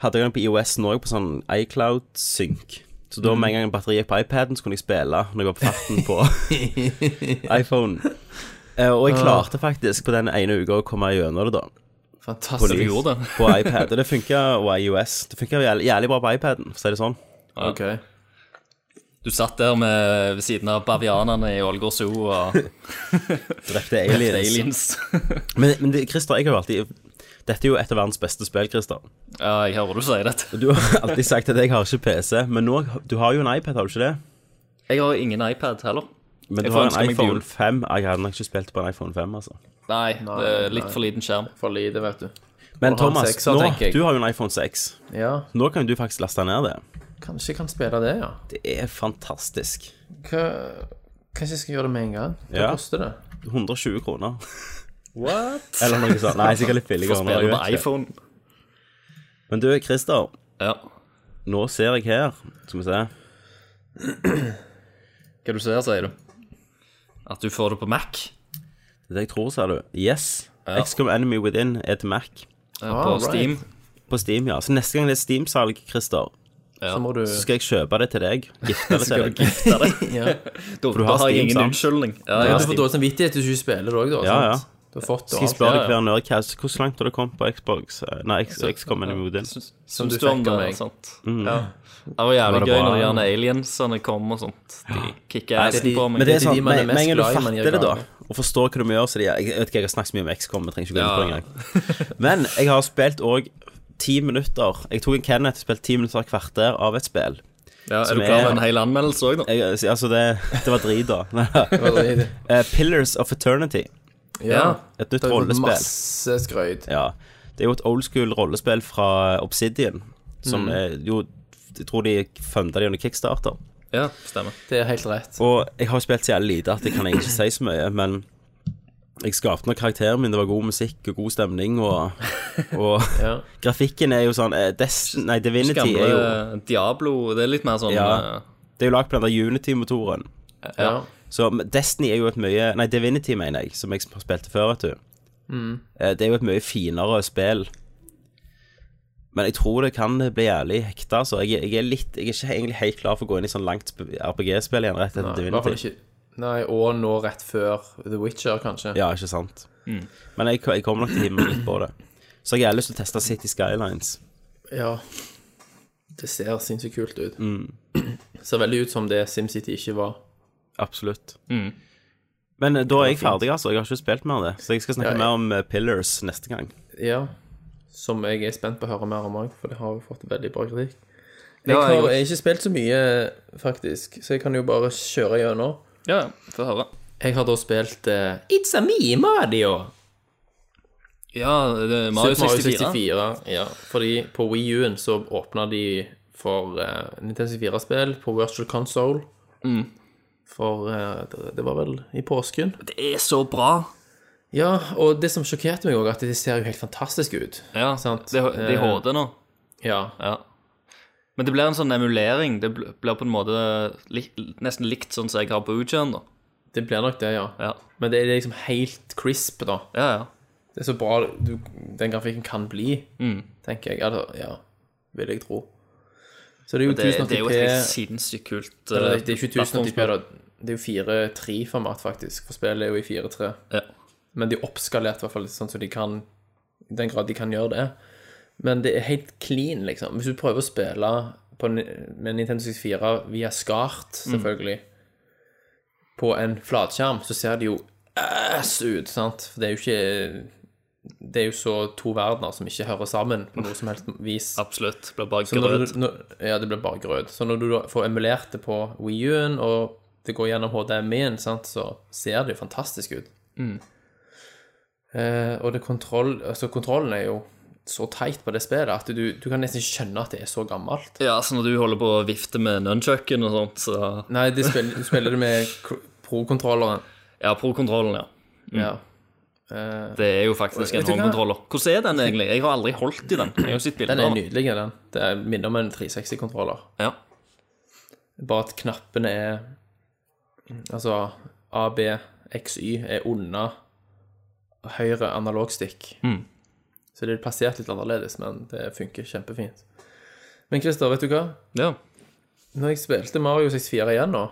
Speaker 1: hadde jeg den på iOS nå på sånn iCloud Sync. Så da med en gang batteriet gikk på iPaden, så kunne jeg spille når jeg var på farten på iPhone. Eh, Og jeg klarte faktisk på den ene uka å komme gjennom det, da.
Speaker 2: Så
Speaker 6: Fantastisk.
Speaker 2: du gjorde det?
Speaker 1: På iPad. Og det funka og iOS. Det funka jævlig, jævlig bra på iPaden, for å si det sånn.
Speaker 6: Ok.
Speaker 2: Du satt der med, ved siden av bavianene i Ålgård Zoo og
Speaker 1: Drepte aliens.
Speaker 2: aliens.
Speaker 1: Men, men det, Christer, jeg har jo alltid Dette er jo et av verdens beste spill, Christer.
Speaker 2: Ja, jeg hører du sier dette.
Speaker 1: Og du har alltid sagt at jeg har ikke PC, men nå, du har jo en iPad, har du ikke det?
Speaker 2: Jeg har ingen iPad heller.
Speaker 1: Men du
Speaker 2: Jeg får
Speaker 1: har
Speaker 2: ønske
Speaker 1: en
Speaker 2: meg til jul.
Speaker 1: iPhone 5. Jeg hadde nok ikke spilt på en iPhone 5, altså.
Speaker 2: Nei, det er litt for liten skjerm.
Speaker 6: For lite, vet du.
Speaker 1: Men
Speaker 6: ha en
Speaker 1: Thomas,
Speaker 6: sekser,
Speaker 1: nå,
Speaker 6: tenker jeg.
Speaker 1: du har jo en iPhone 6.
Speaker 6: Ja.
Speaker 1: Nå kan jo du faktisk laste ned det.
Speaker 6: Kanskje jeg kan spille det, ja.
Speaker 1: Det er fantastisk.
Speaker 6: Hva... Kanskje jeg skal gjøre det med en gang? Hva
Speaker 1: Ja.
Speaker 6: koster det?
Speaker 1: 120 kroner.
Speaker 2: What?
Speaker 1: Eller noe sånt. Nei, sikkert litt
Speaker 2: For
Speaker 1: billigere.
Speaker 2: å
Speaker 1: nå, jeg
Speaker 2: spille med
Speaker 1: vet ikke.
Speaker 2: iPhone.
Speaker 1: Men du, Christer,
Speaker 2: Ja.
Speaker 1: nå ser jeg her Skal vi se.
Speaker 2: Hva du ser, sier du? At du får det på Mac.
Speaker 1: Det er det jeg tror, sa du. Yes. XCOM Enemy Within er til Mac.
Speaker 2: eh,
Speaker 1: Ah,
Speaker 2: På
Speaker 6: Alright.
Speaker 2: Steam.
Speaker 1: På Steam, ja. Så neste gang det er Steam-salg, Christer,
Speaker 6: Så må du
Speaker 1: så skal jeg kjøpe det til deg. Gifte det til
Speaker 2: Skal du
Speaker 1: deg.
Speaker 2: gifte deg?
Speaker 6: Ja.
Speaker 2: Da,
Speaker 1: du
Speaker 2: da
Speaker 1: har
Speaker 2: har jeg
Speaker 1: Steam,
Speaker 2: ingen
Speaker 1: sant?
Speaker 2: unnskyldning. Ja,
Speaker 6: Ja,
Speaker 2: ja.
Speaker 6: du får dårlig samvittighet hvis du ikke spiller det òg, da.
Speaker 1: Ja,
Speaker 6: sant? Du har fått
Speaker 1: Skal jeg
Speaker 6: det og alt.
Speaker 1: spørre
Speaker 2: Ja,
Speaker 1: deg hver Nerdcast hvor langt har du kommet på Xbox? Eh, Nei, XCOM Enemy Within.
Speaker 2: Syns
Speaker 6: Som
Speaker 2: syns
Speaker 6: du
Speaker 2: du om
Speaker 6: fikk av
Speaker 2: det?
Speaker 6: meg.
Speaker 2: Sant?
Speaker 1: Mm.
Speaker 2: Ja. Det var jævlig
Speaker 1: Var det
Speaker 2: gøy
Speaker 1: bra,
Speaker 2: når de
Speaker 1: eller?
Speaker 2: gjerne aliensene kom og sånt. De kicker assen
Speaker 6: de-
Speaker 2: på
Speaker 1: Men
Speaker 2: meg.
Speaker 1: det
Speaker 6: Det
Speaker 1: er
Speaker 6: er til
Speaker 1: sånn,
Speaker 6: de man er
Speaker 1: men men
Speaker 6: mest
Speaker 1: en gang du
Speaker 6: glad i, man gir
Speaker 1: fatter det, da,
Speaker 6: gave.
Speaker 1: og forstår hva du gjør så de, jeg, jeg vet ikke, jeg har snakket så mye om XCOM, vi trenger ikke gå inn på det
Speaker 2: Ja.
Speaker 1: engang. Men jeg har spilt òg ti minutter. Jeg tok en Kenneth og spilte ti minutter og kvarter av et spill.
Speaker 2: Ja, er
Speaker 1: som
Speaker 2: du klar
Speaker 1: er-
Speaker 2: over en hel anmeldelse òg, da?
Speaker 1: Jeg, altså, det, det var drit, da. Nei, da.
Speaker 6: Veldig-
Speaker 1: Eh, Pillars of Eternity.
Speaker 6: Ja.
Speaker 1: Et nytt
Speaker 6: Det har fått
Speaker 1: rollespill.
Speaker 6: masse skrøyt.
Speaker 1: Ja. Det er jo et old school rollespill fra Obsidian, som
Speaker 6: Mm.
Speaker 1: eh, jo Jeg tror de funda det under kickstarter.
Speaker 2: Ja, stemmer.
Speaker 6: Det er helt rett.
Speaker 1: Og jeg har spilt så jævlig lite at jeg kan egentlig ikke si så mye, men jeg skapte nok karakteren min. Det var god musikk og god stemning, og, og
Speaker 6: Ja.
Speaker 1: grafikken er jo sånn eh, Destin, Nei, Divinity
Speaker 2: Gamle
Speaker 1: er jo
Speaker 2: Diablo Det er litt mer sånn
Speaker 1: Ja.
Speaker 2: ja.
Speaker 1: Det er jo lagd på den der Unity-motoren.
Speaker 6: Ja.
Speaker 1: Så Destiny er jo et mye Nei, Divinity, mener jeg, som jeg har spilt før, vet du. Eh, Det er jo et mye finere spill. Men jeg tror det kan bli jævlig hekta, så jeg, jeg er litt Jeg er ikke egentlig helt klar for å gå inn i sånn langt RPG-spill igjen rett etter
Speaker 6: I hvert fall
Speaker 1: Divinity.
Speaker 6: ikke Nei, og nå rett før The Witcher, kanskje.
Speaker 1: Ja, ikke sant.
Speaker 6: Mm.
Speaker 1: Men jeg, jeg kommer nok til å hive meg litt på det. Så jeg har lyst til å teste City Skylines.
Speaker 6: Ja. Det ser sinnssykt kult ut. Ser veldig ut som det SimCity ikke var.
Speaker 1: Absolutt.
Speaker 6: Mm.
Speaker 1: Men eh, da er jeg ferdig, altså. Jeg har ikke spilt mer av det. Så jeg skal snakke
Speaker 6: Ja, ja.
Speaker 1: mer om eh, Pillars neste gang.
Speaker 6: Ja. Som jeg er spent på å høre mer om òg, for det har jo fått veldig bra kritikk. Jeg
Speaker 2: Ja,
Speaker 6: har
Speaker 2: jeg-
Speaker 6: jeg har ikke spilt så mye, faktisk, så jeg kan jo bare kjøre gjennom.
Speaker 2: Ja, få høre.
Speaker 6: Jeg har da spilt eh, It's a me, Mario!
Speaker 2: Ja, det er Mario
Speaker 6: Super Mario
Speaker 2: 64.
Speaker 6: 64. Ja, fordi på Wii U-en så åpna de for eh, Nintendo 64-spill på Virtual Console. For eh, det- det var vel i påsken.
Speaker 2: Det er så bra.
Speaker 6: Ja, og det som sjokkerte meg òg, at de ser jo helt fantastiske ut.
Speaker 2: Ja,
Speaker 6: Sant. Eh.
Speaker 2: Det, det er HD nå.
Speaker 6: Ja.
Speaker 2: Ja. Men det blir en sånn emulering. Det bl- blir på en måte lik, nesten likt sånn som jeg har på Ujan. da.
Speaker 6: Det blir nok det, ja.
Speaker 2: Ja,
Speaker 6: Men det er liksom helt crisp, da.
Speaker 2: ja. ja.
Speaker 6: Det er så bra du, den grafikken kan bli,
Speaker 2: Mm.
Speaker 6: tenker jeg. Eller, ja, vil jeg tro. Så det er jo
Speaker 2: Det, det er jo
Speaker 6: 1080p
Speaker 2: et helt sinnssykt kult
Speaker 6: Eller,
Speaker 2: eh,
Speaker 6: det, det er ikke 1080p, da. Det er jo 4.3-format, faktisk. For spillet er jo i 4.3.
Speaker 2: Ja.
Speaker 6: Men de er oppskalert, i hvert fall, sånn som de kan I den grad de kan gjøre det. Men det er helt clean, liksom. Hvis du prøver å spille på, ni- med Nintendo 64 via SCART, selvfølgelig, på en flatskjerm, så ser det jo ass ut, sant? For det er jo ikke Det er jo så to verdener som ikke hører sammen på noe som helst vis.
Speaker 2: Absolutt. Blir bare
Speaker 6: Så når
Speaker 2: grøt.
Speaker 6: du, når, ja, det blir bare grøt. Så når du da får emulert det på Wii U-en, og det går gjennom HDMI-en, sant, så ser det jo fantastisk ut.
Speaker 2: Mm.
Speaker 6: Eh, og det kontroll, altså kontrollen er jo så teit på det spillet at du, du kan nesten ikke skjønne at det er så gammelt.
Speaker 2: Ja, så når du holder på å vifte med nunchucken og sånt, så
Speaker 6: Nei, det spiller, du spiller det med k- pro-kontrolleren.
Speaker 2: Ja, pro-kontrollen, ja.
Speaker 6: Ja.
Speaker 2: Det er jo faktisk en
Speaker 6: Vet du hva?
Speaker 2: håndkontroller. Hvordan er den egentlig? Jeg har aldri holdt i den. Jeg har jo sett bilder
Speaker 6: Den er
Speaker 2: av den.
Speaker 6: nydelig, den. Det er- minner om en 360-kontroller.
Speaker 2: Ja.
Speaker 6: Bare at knappene er Altså A, B, X, Y er unna høyre analogstikk. Så det er plassert litt annerledes, men det funker kjempefint. Men Christer, vet du hva?
Speaker 2: ja.
Speaker 6: Når jeg spilte Mario 64 igjen nå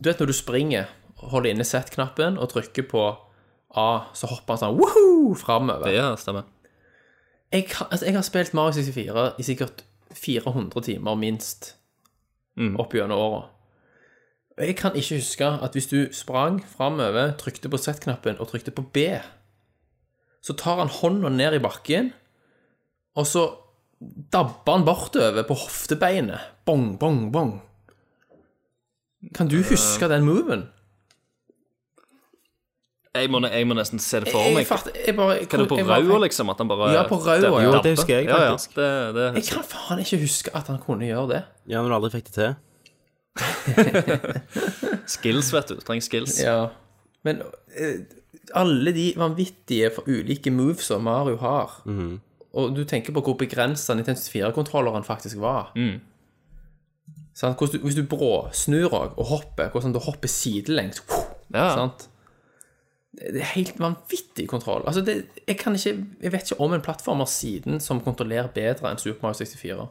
Speaker 6: Du vet når du springer, holder inne Z-knappen og trykker på A, så hopper han sånn woohoo framover.
Speaker 2: Ja, stemmer.
Speaker 6: Jeg, har- altså, jeg har spilt Mario 64 i sikkert 400 timer minst
Speaker 2: Mm.
Speaker 6: opp gjennom åra. Og jeg kan ikke huske at hvis du sprang framover, trykte på Z-knappen og trykte på B, så tar han hånda ned i bakken, og så dabber han bortover på hoftebeinet. Bong, bong, bong. Kan du huske den moven?
Speaker 2: Jeg må, jeg må nesten se det for
Speaker 6: Jeg,
Speaker 2: meg.
Speaker 6: jeg, fart- jeg bare
Speaker 2: Kan det på
Speaker 6: jeg bare-
Speaker 2: raua, liksom? At han bare
Speaker 6: Ja, på raua, ja.
Speaker 1: Jo, det husker jeg
Speaker 2: Ja, ja.
Speaker 1: faktisk.
Speaker 2: Det, det,
Speaker 6: Jeg kan faen ikke huske at han kunne gjøre det.
Speaker 1: Ja, men du aldri fikk det til.
Speaker 2: skills, vet du. Du trenger skills.
Speaker 6: Ja. Men eh, alle de vanvittige for ulike moves som Mario har, og du tenker på hvor begrensa Nintendo 4-kontrolleren faktisk var sant? Hvordan du, Hvis du bråsnur og, og hopper, hvordan du hopper sidelengs
Speaker 2: Ja.
Speaker 6: sant? Det det er helt vanvittig kontroll. Altså det, jeg, kan ikke, jeg vet ikke om en plattformer siden som kontrollerer bedre enn Super Mario 64.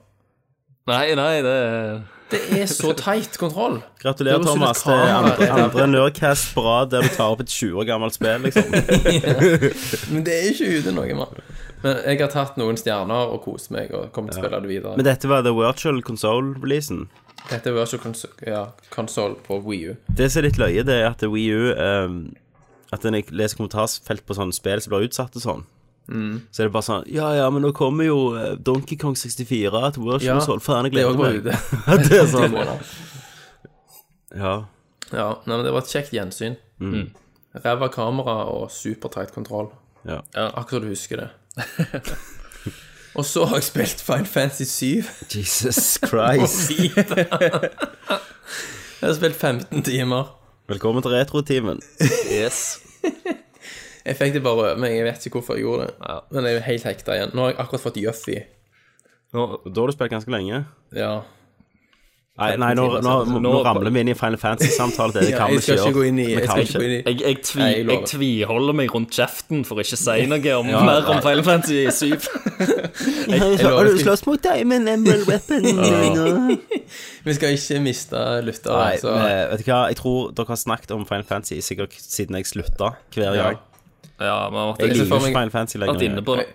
Speaker 2: Nei, nei, det
Speaker 6: Det er så teit kontroll.
Speaker 1: Gratulerer,
Speaker 6: Det var
Speaker 1: Thomas. Det
Speaker 6: sånn et
Speaker 1: er andre,
Speaker 6: kamera.
Speaker 1: andre Nerdcast på rad der du tar opp et 20 år gammelt spill, liksom.
Speaker 6: Men det er ikke ute noe, mann. Men jeg har tatt noen stjerner og kost meg og kommer til å spille det videre.
Speaker 1: Men dette var The Virtual Console-releasen.
Speaker 6: Dette er Virtual Console, ja, console på Wii U.
Speaker 1: Det som er litt løye, det er at Wii U ehm, At når jeg leser kommentarsfelt på sånne spill som blir utsatt og sånn,
Speaker 6: Mm.
Speaker 1: så er det bare sånn Ja, ja, men nå kommer jo eh, Donkey Kong 64 til Virtual
Speaker 6: Ja,
Speaker 1: Console. Faen, jeg
Speaker 6: Det
Speaker 1: gleder
Speaker 6: òg var
Speaker 1: meg.
Speaker 6: ute.
Speaker 1: det er sånn. Ja.
Speaker 6: Ja, nei, men det var et kjekt gjensyn.
Speaker 1: Mm.
Speaker 6: Ræva kamera og supertight kontroll.
Speaker 1: ja.
Speaker 6: Akkurat som du husker det. og så har jeg spilt Fine Fancy 7.
Speaker 1: Jesus Christ.
Speaker 6: Jeg har spilt 15 timer.
Speaker 1: Velkommen til retrotimen.
Speaker 2: Yes.
Speaker 6: Jeg fikk det bare over meg, jeg vet ikke hvorfor jeg gjorde det. Men jeg er helt hekta igjen. Nå har jeg akkurat fått Juffy.
Speaker 1: Og Da har du spilt ganske lenge.
Speaker 6: Ja.
Speaker 1: Nei, nei nå, nå, nå, nå ramler vi inn i Final Fantasy-samtale. Det, det
Speaker 6: altså. Ja,
Speaker 1: kan
Speaker 6: jeg
Speaker 1: vi
Speaker 6: skal
Speaker 1: ikke
Speaker 6: ikke gå
Speaker 1: gjøre.
Speaker 6: inn i
Speaker 1: Vi
Speaker 6: Jeg
Speaker 1: kan
Speaker 6: skal ikke
Speaker 1: ikke.
Speaker 6: gå inn i
Speaker 2: Jeg, jeg, tvi,
Speaker 6: Nei, jeg lover.
Speaker 2: jeg tviholder meg rundt kjeften for å ikke si noe om, mer om Final Fantasy 7.
Speaker 1: Har du slåss mot Diamond Emerald Weapon?
Speaker 6: Vi skal ikke miste lyttere.
Speaker 1: Nei,
Speaker 6: så-
Speaker 1: men, vet du hva, jeg tror dere har snakket om Final Fantasy sikkert siden jeg slutta hver
Speaker 6: Ja.
Speaker 1: gang.
Speaker 2: Ja, vi har vært
Speaker 1: Jeg
Speaker 6: ser
Speaker 1: liker ikke
Speaker 6: for meg
Speaker 1: Final Fantasy
Speaker 2: litt inne
Speaker 1: lenger.
Speaker 2: på det.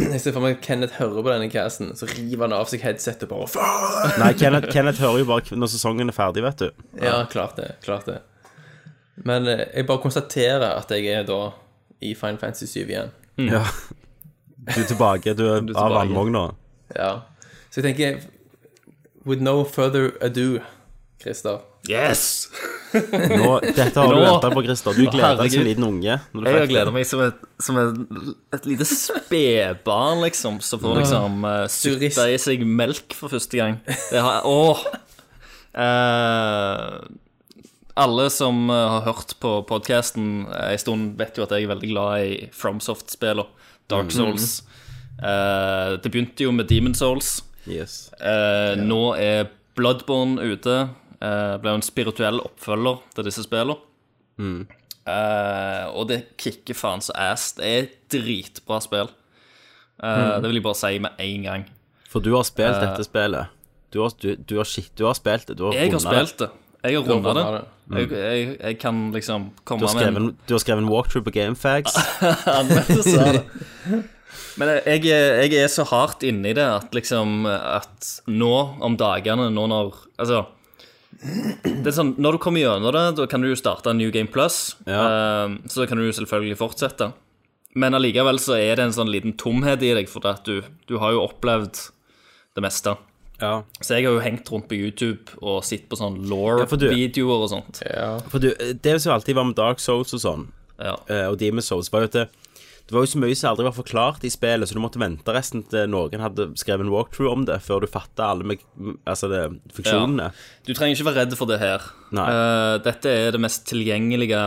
Speaker 6: Jeg ser for meg at Kenneth hører på denne casten, så river han av seg headsetet og bare faen!
Speaker 1: Nei, Kenneth, Kenneth hører jo bare når sesongen er ferdig, vet du.
Speaker 6: Ja, klart det. Klart det. Men eh, jeg bare konstaterer at jeg er da i Final Fantasy 7 igjen.
Speaker 1: Ja. Du er tilbake. Du er av
Speaker 2: tilbake.
Speaker 1: vannvogna.
Speaker 6: Ja. Så jeg tenker With no further ado, Christer.
Speaker 2: Yes!
Speaker 1: Nå- Dette har du
Speaker 2: Nå-
Speaker 1: venta på, Christer. Du gleder deg som en
Speaker 2: Herregud.
Speaker 1: liten unge. Når du
Speaker 2: Jeg har
Speaker 1: fikk det.
Speaker 2: gleda meg som et, som et, et lite spedbarn, liksom, som får liksom uh,
Speaker 6: Turist.
Speaker 2: sutte i seg melk for første gang. Det har jeg Åh! Eh, alle som eh, har hørt på podkasten en stund, vet jo at jeg er veldig glad i FromSoft-spillene.
Speaker 1: Mm.
Speaker 2: Dark Souls. Eh, det begynte jo med Demon Souls.
Speaker 1: Yes.
Speaker 2: Eh, Nå er Bloodborne ute. Eh, ble jo en spirituell oppfølger til disse spillene. Eh, og det kicker faen så ass. Det er et dritbra spill. Eh, Det vil jeg bare si med en gang.
Speaker 1: For du har spilt dette spillet. Du har, du, du har, shit, du har spilt det. Du har
Speaker 2: Jeg har
Speaker 1: rundet
Speaker 2: spilt det. Jeg har runda det.
Speaker 6: rundet det.
Speaker 2: Jeg, jeg, jeg kan liksom
Speaker 1: Du
Speaker 2: komme
Speaker 1: har,
Speaker 2: med
Speaker 1: skrevet,
Speaker 2: en
Speaker 1: en- du har skrevet en walkthrough på Gamefags.
Speaker 2: anmeldelse av det. Men jeg, jeg er så hardt inni det at liksom At nå om dagene, nå når Altså det er sånn, Når du kommer gjennom det, da kan du jo starte en New Game Plus.
Speaker 1: Ja.
Speaker 2: eh, så da kan du jo selvfølgelig fortsette. Men allikevel så er det en sånn liten tomhet i deg, for at du, du har jo opplevd det meste.
Speaker 1: Ja.
Speaker 2: Så jeg har jo hengt rundt på YouTube og sett på sånn
Speaker 1: Ja, for du-
Speaker 2: law-videoer og sånt.
Speaker 1: For du, det som alltid var med Dark Souls og sånn,
Speaker 2: Ja.
Speaker 1: eh, og Demon's Souls, var jo at det, det var jo så mye som aldri var forklart i spillet, så du måtte vente resten til noen hadde skrevet en walkthrough om det, før du fatta alle me altså det, funksjonene.
Speaker 2: Du trenger ikke være redd for det her.
Speaker 1: Nei.
Speaker 2: Eh, dette er det mest tilgjengelige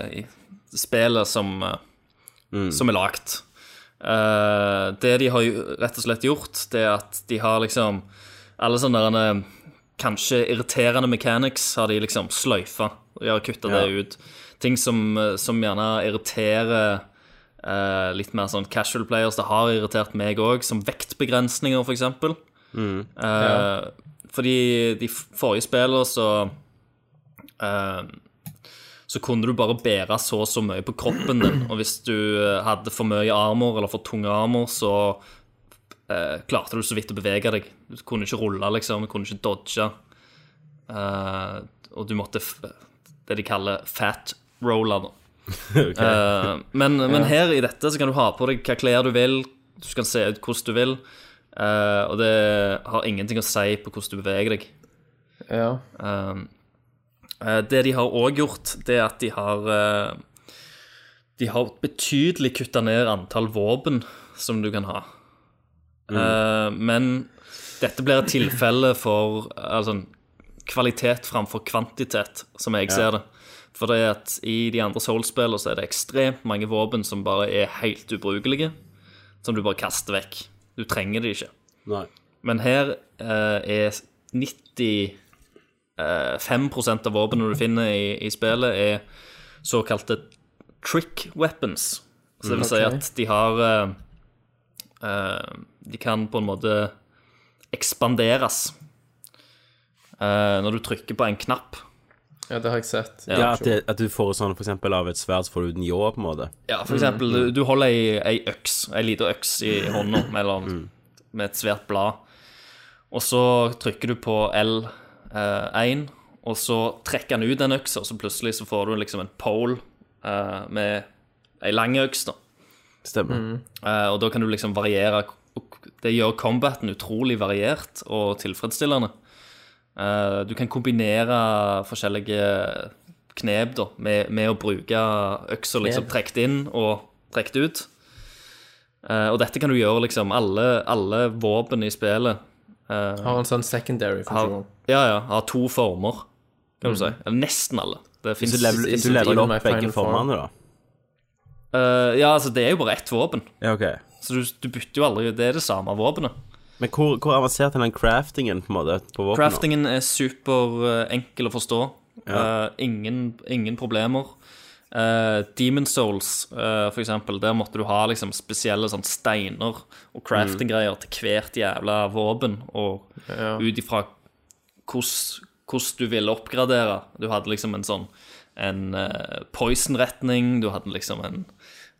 Speaker 2: Souls-spelet som, eh,
Speaker 1: Mm.
Speaker 2: som er lagt. Eh, det de har jo rett og slett gjort, det er at de har liksom Alle sånne der, eh, kanskje irriterende mechanics har de liksom sløyfa. De har kutta
Speaker 1: Ja.
Speaker 2: det ut. Ting som, eh, som gjerne irriterer eh, litt mer sånn casual players. Det har irritert meg òg, som vektbegrensninger, for eksempel. Eh, Fordi de f- forrige spillene så eh, Så kunne du bare bære så og så mye på kroppen din. Og hvis du eh, hadde for mye armer eller for tung armer, så eh, klarte du så vidt å bevege deg. Du kunne ikke rulle, liksom. Du kunne ikke dodge. Eh, og du måtte f det de kaller fat roller, da. Eh, men, men her i dette så kan du ha på deg hva klær du vil, du kan se ut hvordan du vil, eh, og det har ingenting å si på hvordan du beveger deg.
Speaker 6: Ja.
Speaker 2: Eh, Det de har òg gjort, det er at de har eh, De har betydelig kutta ned antall våpen som du kan ha. Eh, Men dette blir et tilfelle for altså, kvalitet framfor kvantitet, som jeg ser det. For det er at i de andre Soul-spillene så er det ekstremt mange våpen som bare er helt ubrukelige. Som du bare kaster vekk. Du trenger de ikke.
Speaker 1: Nei.
Speaker 2: Men her eh, er 95 av våpnene du finner i, i spillet, er såkalte trick weapons. Så det vil si
Speaker 6: Ok.
Speaker 2: at de har eh, eh, De kan på en måte ekspanderes. Eh, når du trykker på en knapp.
Speaker 6: ja, det har jeg sett.
Speaker 1: Ja, at, det, at du får sånn for eksempel av et sverd, så får du den ljå, på en måte.
Speaker 2: Ja, for eksempel, du, du holder ei, ei øks, ei lita øks i hånda mellom, med et svært blad, og så trykker du på L1, og så trekker han ut den øksa, og så plutselig så får du liksom en pole eh, med ei lang øks, da.
Speaker 1: Stemmer.
Speaker 6: Mm.
Speaker 2: Eh, og da kan du liksom variere Det gjør combaten utrolig variert og tilfredsstillende. Eh, du kan kombinere forskjellige knep da, med, med å bruke øksa liksom trukket inn og trukket ut. Eh, og dette kan du gjøre liksom alle, alle våpen i spillet eh,
Speaker 6: Har en sånn secondary
Speaker 2: har,
Speaker 6: funksjon.
Speaker 2: ja, ja, har to former, kan du si. Eller nesten alle. Det
Speaker 1: Så
Speaker 2: finnes,
Speaker 1: level,
Speaker 2: finnes-
Speaker 1: Mm. du leveler
Speaker 6: my
Speaker 1: opp begge
Speaker 6: final form.
Speaker 1: formene, da?
Speaker 2: Eh, ja, altså, det er jo bare ett våpen.
Speaker 1: Ja, ok.
Speaker 2: Så du, du bytter jo aldri Det er det samme våpenet.
Speaker 1: Men hvor, hvor avansert er den craftingen på en måte på våpenet?
Speaker 2: Craftingen er superenkel å forstå.
Speaker 1: Ja.
Speaker 2: Eh, ingen, ingen problemer. Eh, Demon Souls, eh, for eksempel, der måtte du ha liksom, spesielle sånn, steiner og crafting-greier til hvert jævla våpen, og ut ifra hvordan hvordan du ville oppgradere. Du hadde liksom en sånn en eh, poison-retning, du hadde liksom en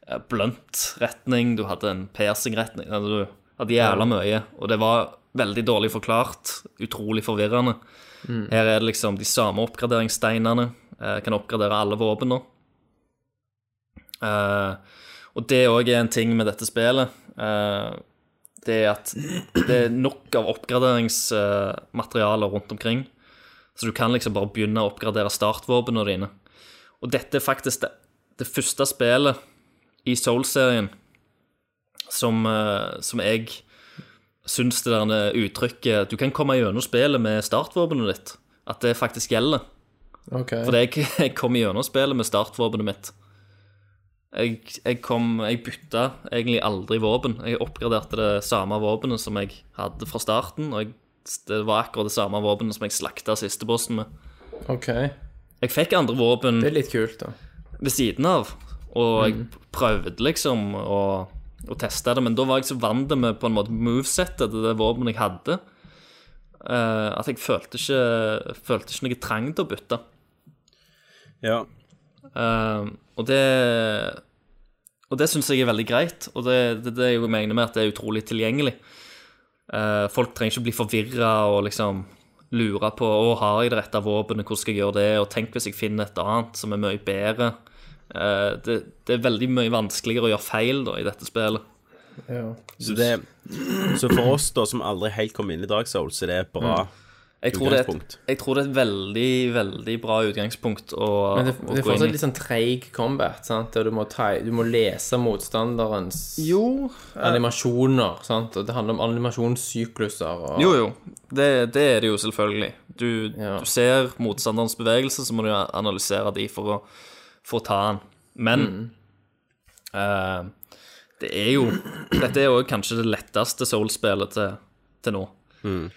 Speaker 2: eh, blunt-retning, du hadde en piercing-retning altså, Du hadde jævla mye, og det var veldig dårlig forklart. Utrolig forvirrende. Her er det liksom de samme oppgraderingssteinene. eh, Kan oppgradere alle våpen nå. Eh, og det òg er en ting med dette spillet. eh, det er at det er nok av oppgraderingsmaterialer rundt omkring. Så du kan liksom bare begynne å oppgradere startvåpnene dine. Og dette er faktisk det, det første spillet i Soul-serien som, eh, som jeg syns det der uttrykket Du kan komme gjennom spillet med startvåpenet ditt. At det faktisk gjelder.
Speaker 6: Ok.
Speaker 2: For jeg, jeg kom gjennom spillet med startvåpenet mitt. Jeg, jeg kom Jeg bytta egentlig aldri våpen. Jeg oppgraderte det samme våpenet som jeg hadde fra starten, og jeg, det var akkurat det samme våpenet som jeg slakta siste bossen med.
Speaker 6: ok.
Speaker 2: Jeg fikk andre våpen
Speaker 6: Det er litt kult, da.
Speaker 2: ved siden av, og jeg prøvde liksom å, å teste det, men da var jeg så vant det med på en måte movesettet til det våpenet jeg hadde, eh, at jeg følte ikke, følte ikke noe trang til å bytte.
Speaker 1: Ja.
Speaker 2: Eh, og det Og det syns jeg er veldig greit, og det er det, det jeg mener med at det er utrolig tilgjengelig. Eh, folk trenger ikke bli forvirra og liksom lure på å har jeg det rette våpenet, hvordan skal jeg gjøre det, og tenk hvis jeg finner et annet som er mye bedre. Eh, det, det er veldig mye vanskeligere å gjøre feil da i dette spillet.
Speaker 6: Ja.
Speaker 1: Så, det, så for oss da, som aldri helt kom inn i Dark Souls, så det er
Speaker 6: Mm.
Speaker 1: bra.
Speaker 2: Jeg tror, det er et,
Speaker 1: Utgangspunkt.
Speaker 2: jeg tror det er et veldig, veldig bra utgangspunkt å,
Speaker 6: Men det,
Speaker 2: å
Speaker 6: det er
Speaker 2: gå inn
Speaker 6: fortsatt
Speaker 2: i.
Speaker 6: litt sånn treig combat, sant? og du må, ta, du må lese motstanderens
Speaker 2: Jo, eh.
Speaker 6: animasjoner. sant? Og det handler om animasjonssykluser og
Speaker 2: Jo, jo. Det, det er det jo selvfølgelig. Du,
Speaker 6: Ja.
Speaker 2: du ser motstanderens bevegelse, så må du analysere de for å, for å ta den. Men
Speaker 6: Mm.
Speaker 2: eh, det er jo Dette er jo kanskje det letteste Soul-spillet til, til nå.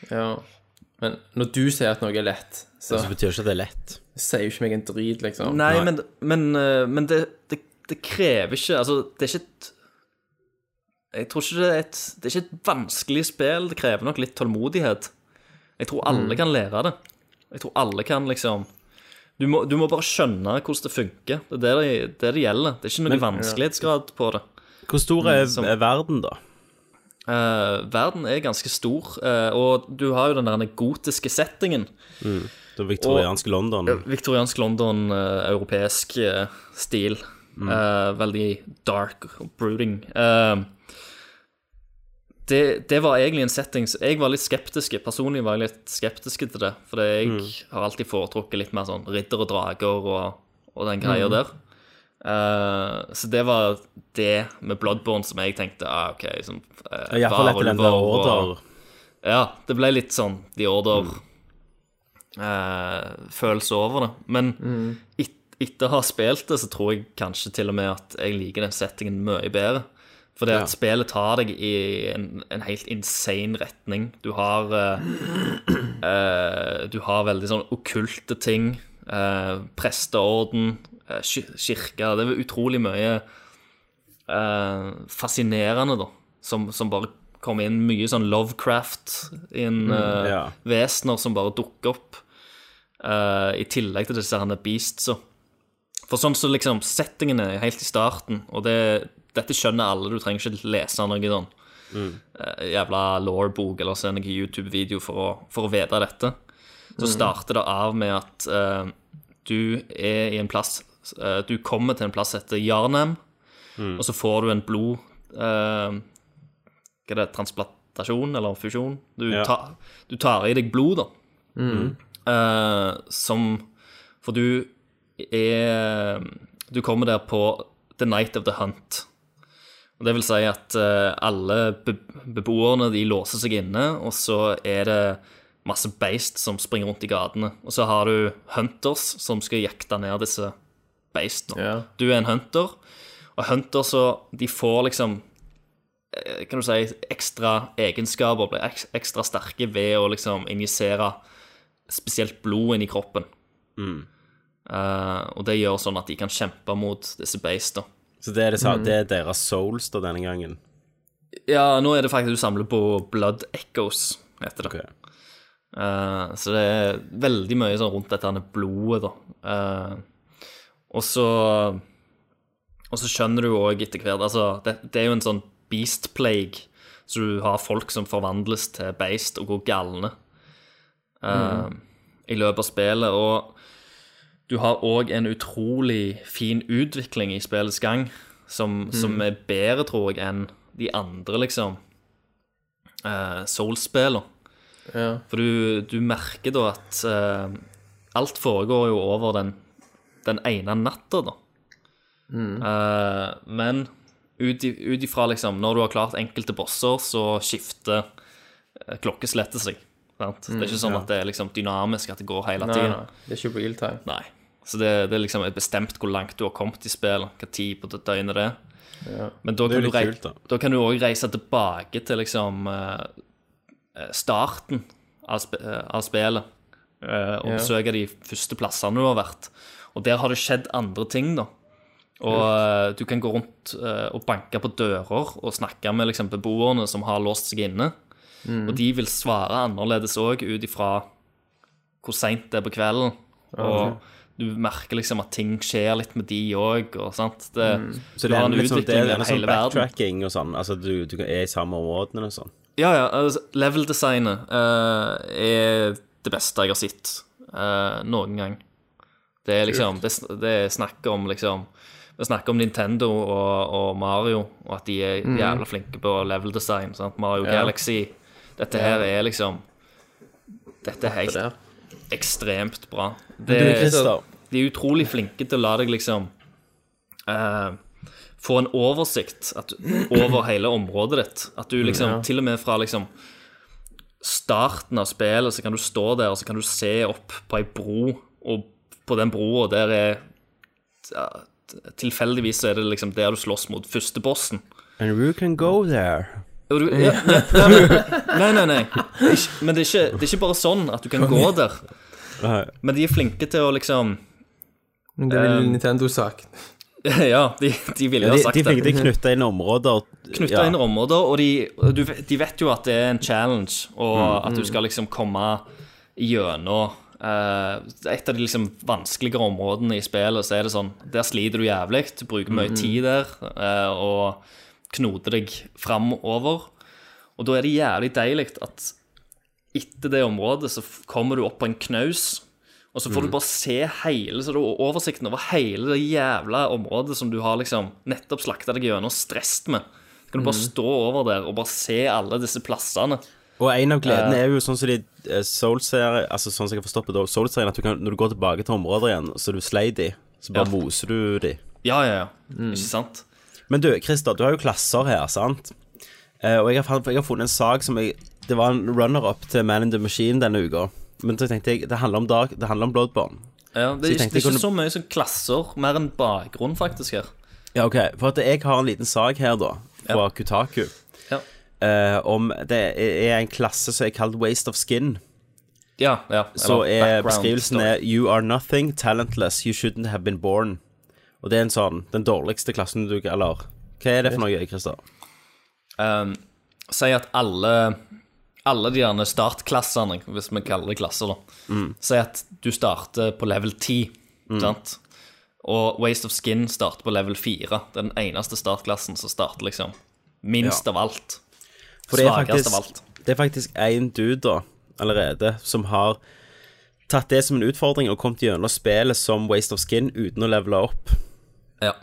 Speaker 6: Ja. Men når du sier at noe er lett, så
Speaker 2: Altså,
Speaker 1: Så betyr ikke at det er lett.
Speaker 6: sier jo ikke meg en drit, liksom.
Speaker 2: Nei, men, men, eh, men det, det, det krever ikke Altså, det er ikke et Jeg tror ikke det er et Det er ikke et vanskelig spill. Det krever nok litt tålmodighet. Jeg tror alle kan lære det. Jeg tror alle kan liksom du må, du må bare skjønne hvordan det funker. Det er det det, det, det gjelder. Det er ikke noen vanskelighetsgrad på det.
Speaker 1: Hvor stor
Speaker 6: Mm,
Speaker 1: er,
Speaker 2: som-
Speaker 1: er verden, da?
Speaker 2: Eh, verden er ganske stor, eh, og du har jo den der gotiske settingen.
Speaker 1: Det viktorianske London?
Speaker 2: Viktoriansk London, eh, europeisk eh, stil.
Speaker 1: Mm.
Speaker 2: Eh, veldig dark og brooding. Eh, det, det var egentlig en setting så Jeg var litt skeptisk personlig var jeg litt skeptisk til det. For jeg
Speaker 1: Mm.
Speaker 2: har alltid foretrukket litt mer sånn ridder og drager og, og den
Speaker 1: Mm.
Speaker 2: greia der. Eh, så det var det med Bloodborne som jeg tenkte ah, OK sånn, eh,
Speaker 1: Iallfall etter den der
Speaker 2: varulver og-
Speaker 1: order.
Speaker 2: ja, det ble litt sånn The Order-følelse over det. Men et, etter å ha spilt det, så tror jeg kanskje til og med at jeg liker den settingen mye bedre. Fordi at spillet tar deg i en, en helt insane retning. Du har eh, eh, Du har veldig sånn okkulte ting. eh, presteorden, eh, ki- kirke Det er utrolig mye eh, fascinerende, da. Som, som bare kommer inn mye sånn Lovecraft inn eh,
Speaker 1: ja.
Speaker 2: vesener som bare dukker opp. eh, I tillegg til disse herne beastsa. For sånn så liksom settingen er helt i starten, og det, dette skjønner alle, du trenger ikke lese noe sånn eh, jævla law-bok eller se noen YouTube-video for å, for å vite dette. Så starter det av med at eh, du er i en plass eh, Du kommer til en plass etter Jarnem, og så får du en blod eh, Hva er det? Transplantasjon eller fusjon? Du,
Speaker 1: Ja.
Speaker 2: tar, du tar i deg blod, da. Eh, som For du er Du kommer der på The Night of the Hunt. Og Det vil si at eh, alle be beboerne de låser seg inne, og så er det masse beist som springer rundt i gatene. Og så har du hunters som skal jakte ned disse beistene.
Speaker 6: Ja.
Speaker 2: Du er en hunter, og hunter så de får liksom eh, kan du si, ekstra egenskaper blir eks- ekstra sterke ved å liksom injisere spesielt blod inn i kroppen. Eh, og det gjør sånn at de kan kjempe mot disse beist, da.
Speaker 1: Så det er, det, sa- det er deres souls da denne gangen.
Speaker 2: Ja, nå er det faktisk du samler på Blood Echoes, heter det.
Speaker 1: Ok.
Speaker 2: Eh, så det er veldig mye sånn rundt dette her med blodet, da. Eh, og så Og så skjønner du jo òg etter hvert Altså, det, det er jo en sånn beast plague, så du har folk som forvandles til beist og går galne eh, i løpet av spillet. Og du har òg en utrolig fin utvikling i spillets gang, som,
Speaker 6: Mm.
Speaker 2: som er bedre, tror jeg, enn de andre, liksom, uh, Souls-spillene. For du, du merker da at eh, alt foregår jo over den, den ene natta, da.
Speaker 6: Mm.
Speaker 2: Eh, men ut i- ut ifra liksom, når du har klart enkelte bosser, så skifter eh, klokkeslettet seg. Sant? det er ikke sånn at det er liksom dynamisk, at det går hele
Speaker 6: Mm, Nei,
Speaker 2: tiden.
Speaker 6: nei, det er ikke real time.
Speaker 2: Nei. Så det, det er liksom bestemt hvor langt du har kommet i spillet, hva tid på døgnet det er. Men da
Speaker 1: er jo
Speaker 2: kan, du
Speaker 1: litt
Speaker 2: rei
Speaker 1: kult, da.
Speaker 2: da. kan du òg reise tilbake til liksom eh, eh, starten av, sp eh, av spillet. eh, og besøke de første plassene du har vært. Og der har det skjedd andre ting, da. Og eh, du kan gå rundt eh, og banke på dører og snakke med liksom, beboerne som har låst seg inne. Og de vil svare annerledes òg, ut ifra hvor seint det er på kvelden. Og du merker liksom at ting skjer litt med de òg, og sant. Det,
Speaker 1: Mm. Så
Speaker 2: du
Speaker 1: det
Speaker 2: har
Speaker 1: er
Speaker 2: en
Speaker 1: litt sånn, det
Speaker 2: utvikling
Speaker 1: er
Speaker 2: gjennom
Speaker 1: gjerne sånn
Speaker 2: hele verden.
Speaker 1: backtracking og sånn. Altså du, du er i samme områdene og sånn.
Speaker 2: Ja, ja. Altså, Level-designet eh, er det beste jeg har sett eh, noen gang. Det er liksom Det, sn- det er snakk om liksom Vi snakker om Nintendo og, og Mario, og at de er jævla flinke på level-design. sant? Mario Galaxy. Dette her er liksom Dette er helt
Speaker 6: der.
Speaker 2: ekstremt bra.
Speaker 1: Du,
Speaker 2: Det,
Speaker 1: Christer,
Speaker 2: de er utrolig flinke til å la deg liksom eh, få en oversikt at, over hele området ditt. At du liksom, til og med fra liksom starten av spillet, så kan du stå der og så kan du se opp på ei bro, og på den broa der er ja, Tilfeldigvis så er det liksom der du slåss mot første bossen.
Speaker 1: And you can go there.
Speaker 2: Og du, ja, ja, nei, men- nei, nei, nei. Ikk- men det er, ikke, det er ikke bare sånn at du kan gå der. Men de er flinke til å liksom
Speaker 6: Det
Speaker 2: Eh,
Speaker 6: ville Nintendo sagt.
Speaker 2: Ja, de, de ville
Speaker 1: De,
Speaker 2: ha
Speaker 1: de
Speaker 2: sagt
Speaker 1: fikk
Speaker 2: det.
Speaker 1: de knytta inn områder.
Speaker 2: knytta inn områder, og de, du, vet- de vet jo at det er en challenge, og at du skal liksom komme gjennom eh, Et av de liksom vanskeligere områdene i spillet, så er det sånn Der sliter du jævlig, du bruker mye tid der, eh, og knoter deg framover. Og da er det jævlig deilig at etter det området så f- kommer du opp på en knaus. Og så får
Speaker 1: Mm.
Speaker 2: du bare se hele, så du har oversikten over hele det jævla området som du har liksom nettopp slakta deg gjennom og stresset med. Så kan du
Speaker 1: Mm.
Speaker 2: bare stå over der og bare se alle disse plassene.
Speaker 1: Og en av gledene er jo sånn som de eh, Souls-serien Altså sånn som jeg har forstått det, da, Souls-serien at du kan, når du går tilbake til områder igjen, så du sleit i, så bare
Speaker 2: Ja.
Speaker 1: moser du de.
Speaker 2: Ja, ja, ja.
Speaker 1: Mm.
Speaker 2: Ikke sant?
Speaker 1: Men du, Christer, du har jo klasser her, sant? Eh, og jeg har, fant- jeg har funnet en sak som jeg Det var en runner-up til Man in the Machine denne uka. Men så tenkte jeg det handler om Dark, det handler om Bloodborne.
Speaker 2: Ja, det,
Speaker 1: jeg tenkte
Speaker 2: er ikke, det er
Speaker 1: jeg
Speaker 2: ikke så mye som klasser, mer enn bakgrunn faktisk her.
Speaker 1: Ja, ok, For at jeg har en liten sak her, da, fra
Speaker 2: Ja.
Speaker 1: Kutaku,
Speaker 2: Ja,
Speaker 1: eh, om det er en klasse som er kalt Waste of Skin.
Speaker 2: ja. ja.
Speaker 1: Så
Speaker 2: eller
Speaker 1: er
Speaker 2: background
Speaker 1: beskrivelsen
Speaker 2: story.
Speaker 1: er You are nothing, talentless, you shouldn't have been born. Og det er en sånn Den dårligste klassen du Eller hva er det for noe, Christer?
Speaker 2: Ehm, Si at alle Alle de gjerne startklassene, hvis vi kaller det klasser, da.
Speaker 1: Mm.
Speaker 2: Si at du starter på level 10, sant? Og Waste of Skin starter på level 4. Det er den eneste startklassen som starter liksom minst av alt.
Speaker 1: For det er
Speaker 2: Svakest av
Speaker 1: faktisk
Speaker 2: alt.
Speaker 1: Det er faktisk én dude da allerede som har tatt det som en utfordring og kommet gjennom spillet som Waste of Skin uten å levele opp.
Speaker 2: Ja.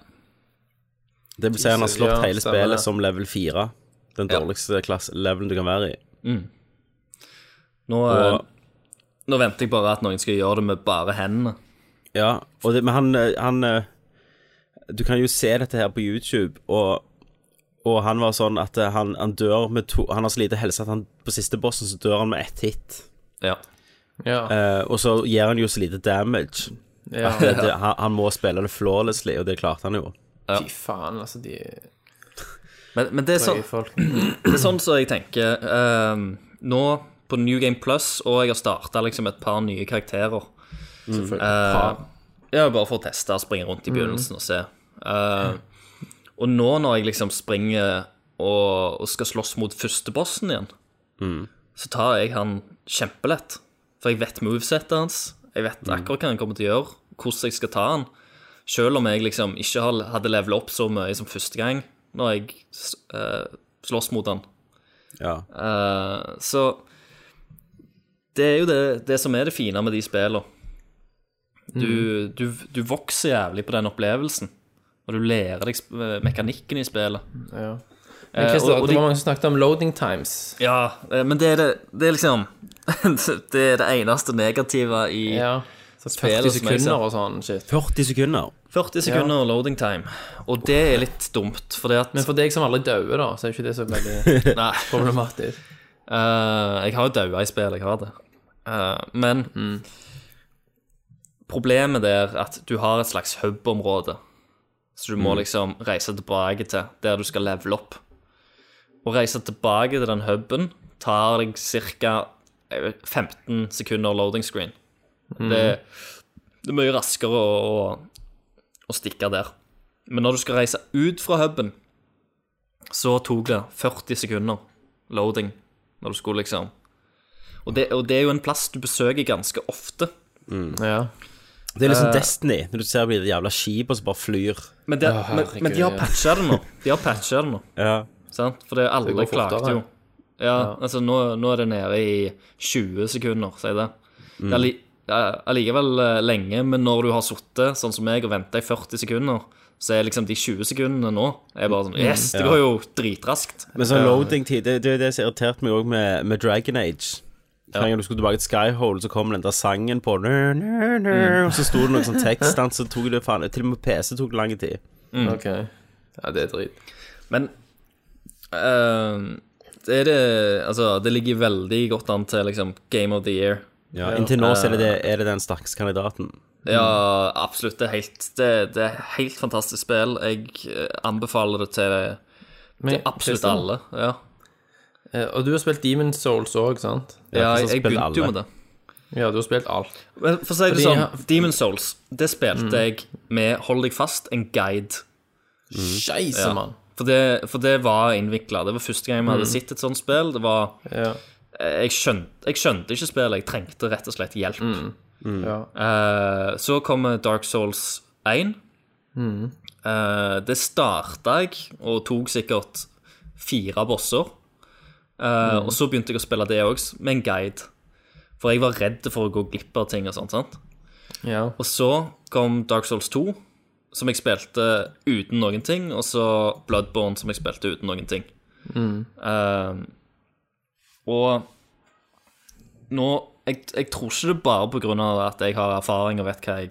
Speaker 1: Det vil si han har
Speaker 6: Jesus,
Speaker 1: slått
Speaker 6: ja,
Speaker 1: hele
Speaker 6: stemmer det.
Speaker 1: spillet som level 4. Den
Speaker 2: Ja.
Speaker 1: dårligste klasse, levelen du kan være i.
Speaker 2: Nå, eh,
Speaker 1: Og,
Speaker 2: nå venter jeg bare at noen skal gjøre det med bare hendene.
Speaker 1: ja, og det, men han, eh, han eh, Du kan jo se dette her på YouTube, og, og han var sånn at eh, han, han dør med to Han har så lite helse at han på siste bossen så dør han med ett hit.
Speaker 2: Ja.
Speaker 6: Ja.
Speaker 1: Eh, og så gjør han jo så lite damage.
Speaker 6: ja.
Speaker 1: Det, det, han, han må spille det flawlessly, og det klarte han jo.
Speaker 6: Fy faen, altså, de
Speaker 2: Men, men det, er sånn,
Speaker 6: folk.
Speaker 2: det er sånn som jeg tenker ehm, Nå på New Game Plus, og jeg har starta liksom et par nye karakterer. Eh, ja, bare for å teste, springe rundt i begynnelsen og se. Eh, og nå når jeg liksom springer og, og skal slåss mot førstebossen igjen, så tar jeg han kjempelett. For jeg vet movesettet hans. Jeg vet akkurat hva han kommer til å gjøre, hvordan jeg skal ta han. Selv om jeg liksom ikke har- hadde levelet opp så mye som første gang når jeg s- eh, slåss mot han.
Speaker 1: Ja.
Speaker 2: Eh, så det er jo det, det som er det fine med de spillene. Du,
Speaker 6: Mm.
Speaker 2: du, du vokser jævlig på den opplevelsen, og du lærer deg sp- eh, mekanikken i spillet.
Speaker 6: Ja.
Speaker 2: Eh,
Speaker 6: Men Christer,
Speaker 2: og- og
Speaker 6: det
Speaker 2: de-
Speaker 6: var mange som snakket om loading times.
Speaker 2: Ja, eh, men det er, det, det er liksom Det er det eneste negative i
Speaker 6: Ja. Så
Speaker 2: Spillet
Speaker 6: 40
Speaker 2: som jeg ser.
Speaker 6: sekunder og sånn shit.
Speaker 1: 40 sekunder.
Speaker 2: 40 sekunder loading time, og det er litt dumt, fordi at
Speaker 6: Men for deg som aldri dauer, da, så er jo ikke det så veldig
Speaker 2: Nei.
Speaker 6: problematisk.
Speaker 2: Eh, jeg har jo daua i spill, jeg har det. Eh, men problemet der at du har et slags hub-område, så du må liksom reise tilbake til der du skal levele opp. Å reise tilbake til den huben tar deg ca. 15 sekunder loading screen. Det, det er mye raskere å, å, å stikke der. Men når du skal reise ut fra huben, så tok det 40 sekunder loading når du skulle liksom og det, og det er jo en plass du besøker ganske ofte.
Speaker 6: Ja.
Speaker 1: Det er liksom Destiny, når du ser på de jævla skipene som bare flyr.
Speaker 2: Men, det,
Speaker 6: Å,
Speaker 2: men, men de har
Speaker 6: herregud, ja.
Speaker 2: patcha det nå. De har patcha det nå,
Speaker 1: Ja.
Speaker 2: sant? For det er alle
Speaker 6: Det går
Speaker 2: klagde
Speaker 6: fortere.
Speaker 2: jo. Ja, altså nå, nå er det nede i 20 sekunder, sier det.
Speaker 6: Mm.
Speaker 2: Det er li, ja, allikevel eh, lenge, men når du har sittet sånn som meg og venta i 40 sekunder, så er liksom de 20 sekundene nå er bare
Speaker 6: Mm.
Speaker 2: sånn Yes, det
Speaker 1: Ja.
Speaker 2: går jo dritraskt.
Speaker 1: Men sånn loading-tid Det det er det som irriterte meg òg med, med Dragon Age. Hver gang du skulle tilbake til Skyhole, så kom den der sangen på nø, nø, nø, Og så sto det noe sånn tekst, sant, så tok det faen Til og med PC tok lang tid.
Speaker 6: Ok. Ja, det er drit.
Speaker 2: Men eh, det er det Altså, det ligger veldig godt an til liksom Game of the Year.
Speaker 1: Ja, Eh. inntil nå så er det, det, er det den stakkars kandidaten.
Speaker 2: Ja, absolutt. Det er helt, det, det er helt fantastisk spill. Jeg eh, anbefaler det til,
Speaker 6: Men,
Speaker 2: til absolutt alle. Ja,
Speaker 6: Eh, Og du har spilt Demon's Souls òg, sant?
Speaker 1: ikke
Speaker 2: ja jeg,
Speaker 1: sånn
Speaker 2: jeg
Speaker 1: spill
Speaker 2: begynte jo
Speaker 1: alle.
Speaker 2: med det.
Speaker 6: Ja, du har spilt alt.
Speaker 2: Men For å si det
Speaker 6: Fordi-
Speaker 2: sånn, Demon Souls, det spilte jeg med Hold deg fast, en guide.
Speaker 6: Mm. Scheisse,
Speaker 2: Ja.
Speaker 6: mann.
Speaker 2: For det, for det var innvikla. Det var første gang vi hadde sett et sånt spill. Det var,
Speaker 6: Ja.
Speaker 2: eh, jeg, skjønte, jeg skjønte ikke spillet. Jeg trengte rett og slett hjelp.
Speaker 6: ja.
Speaker 2: Eh, Så kommer Dark Souls 1. Eh, det starta jeg, og tok sikkert fire bosser. Eh, Og så begynte jeg å spille det òg, med en guide. For jeg var redd for å gå glipp av ting og sånt. sant?
Speaker 6: ja.
Speaker 2: Og så kom Dark Souls 2, som jeg spilte uten noen ting, og så Bloodborne, som jeg spilte uten noen ting. Eh, og nå jeg, jeg tror ikke det er bare på grunn av at jeg har erfaring og vet hva jeg,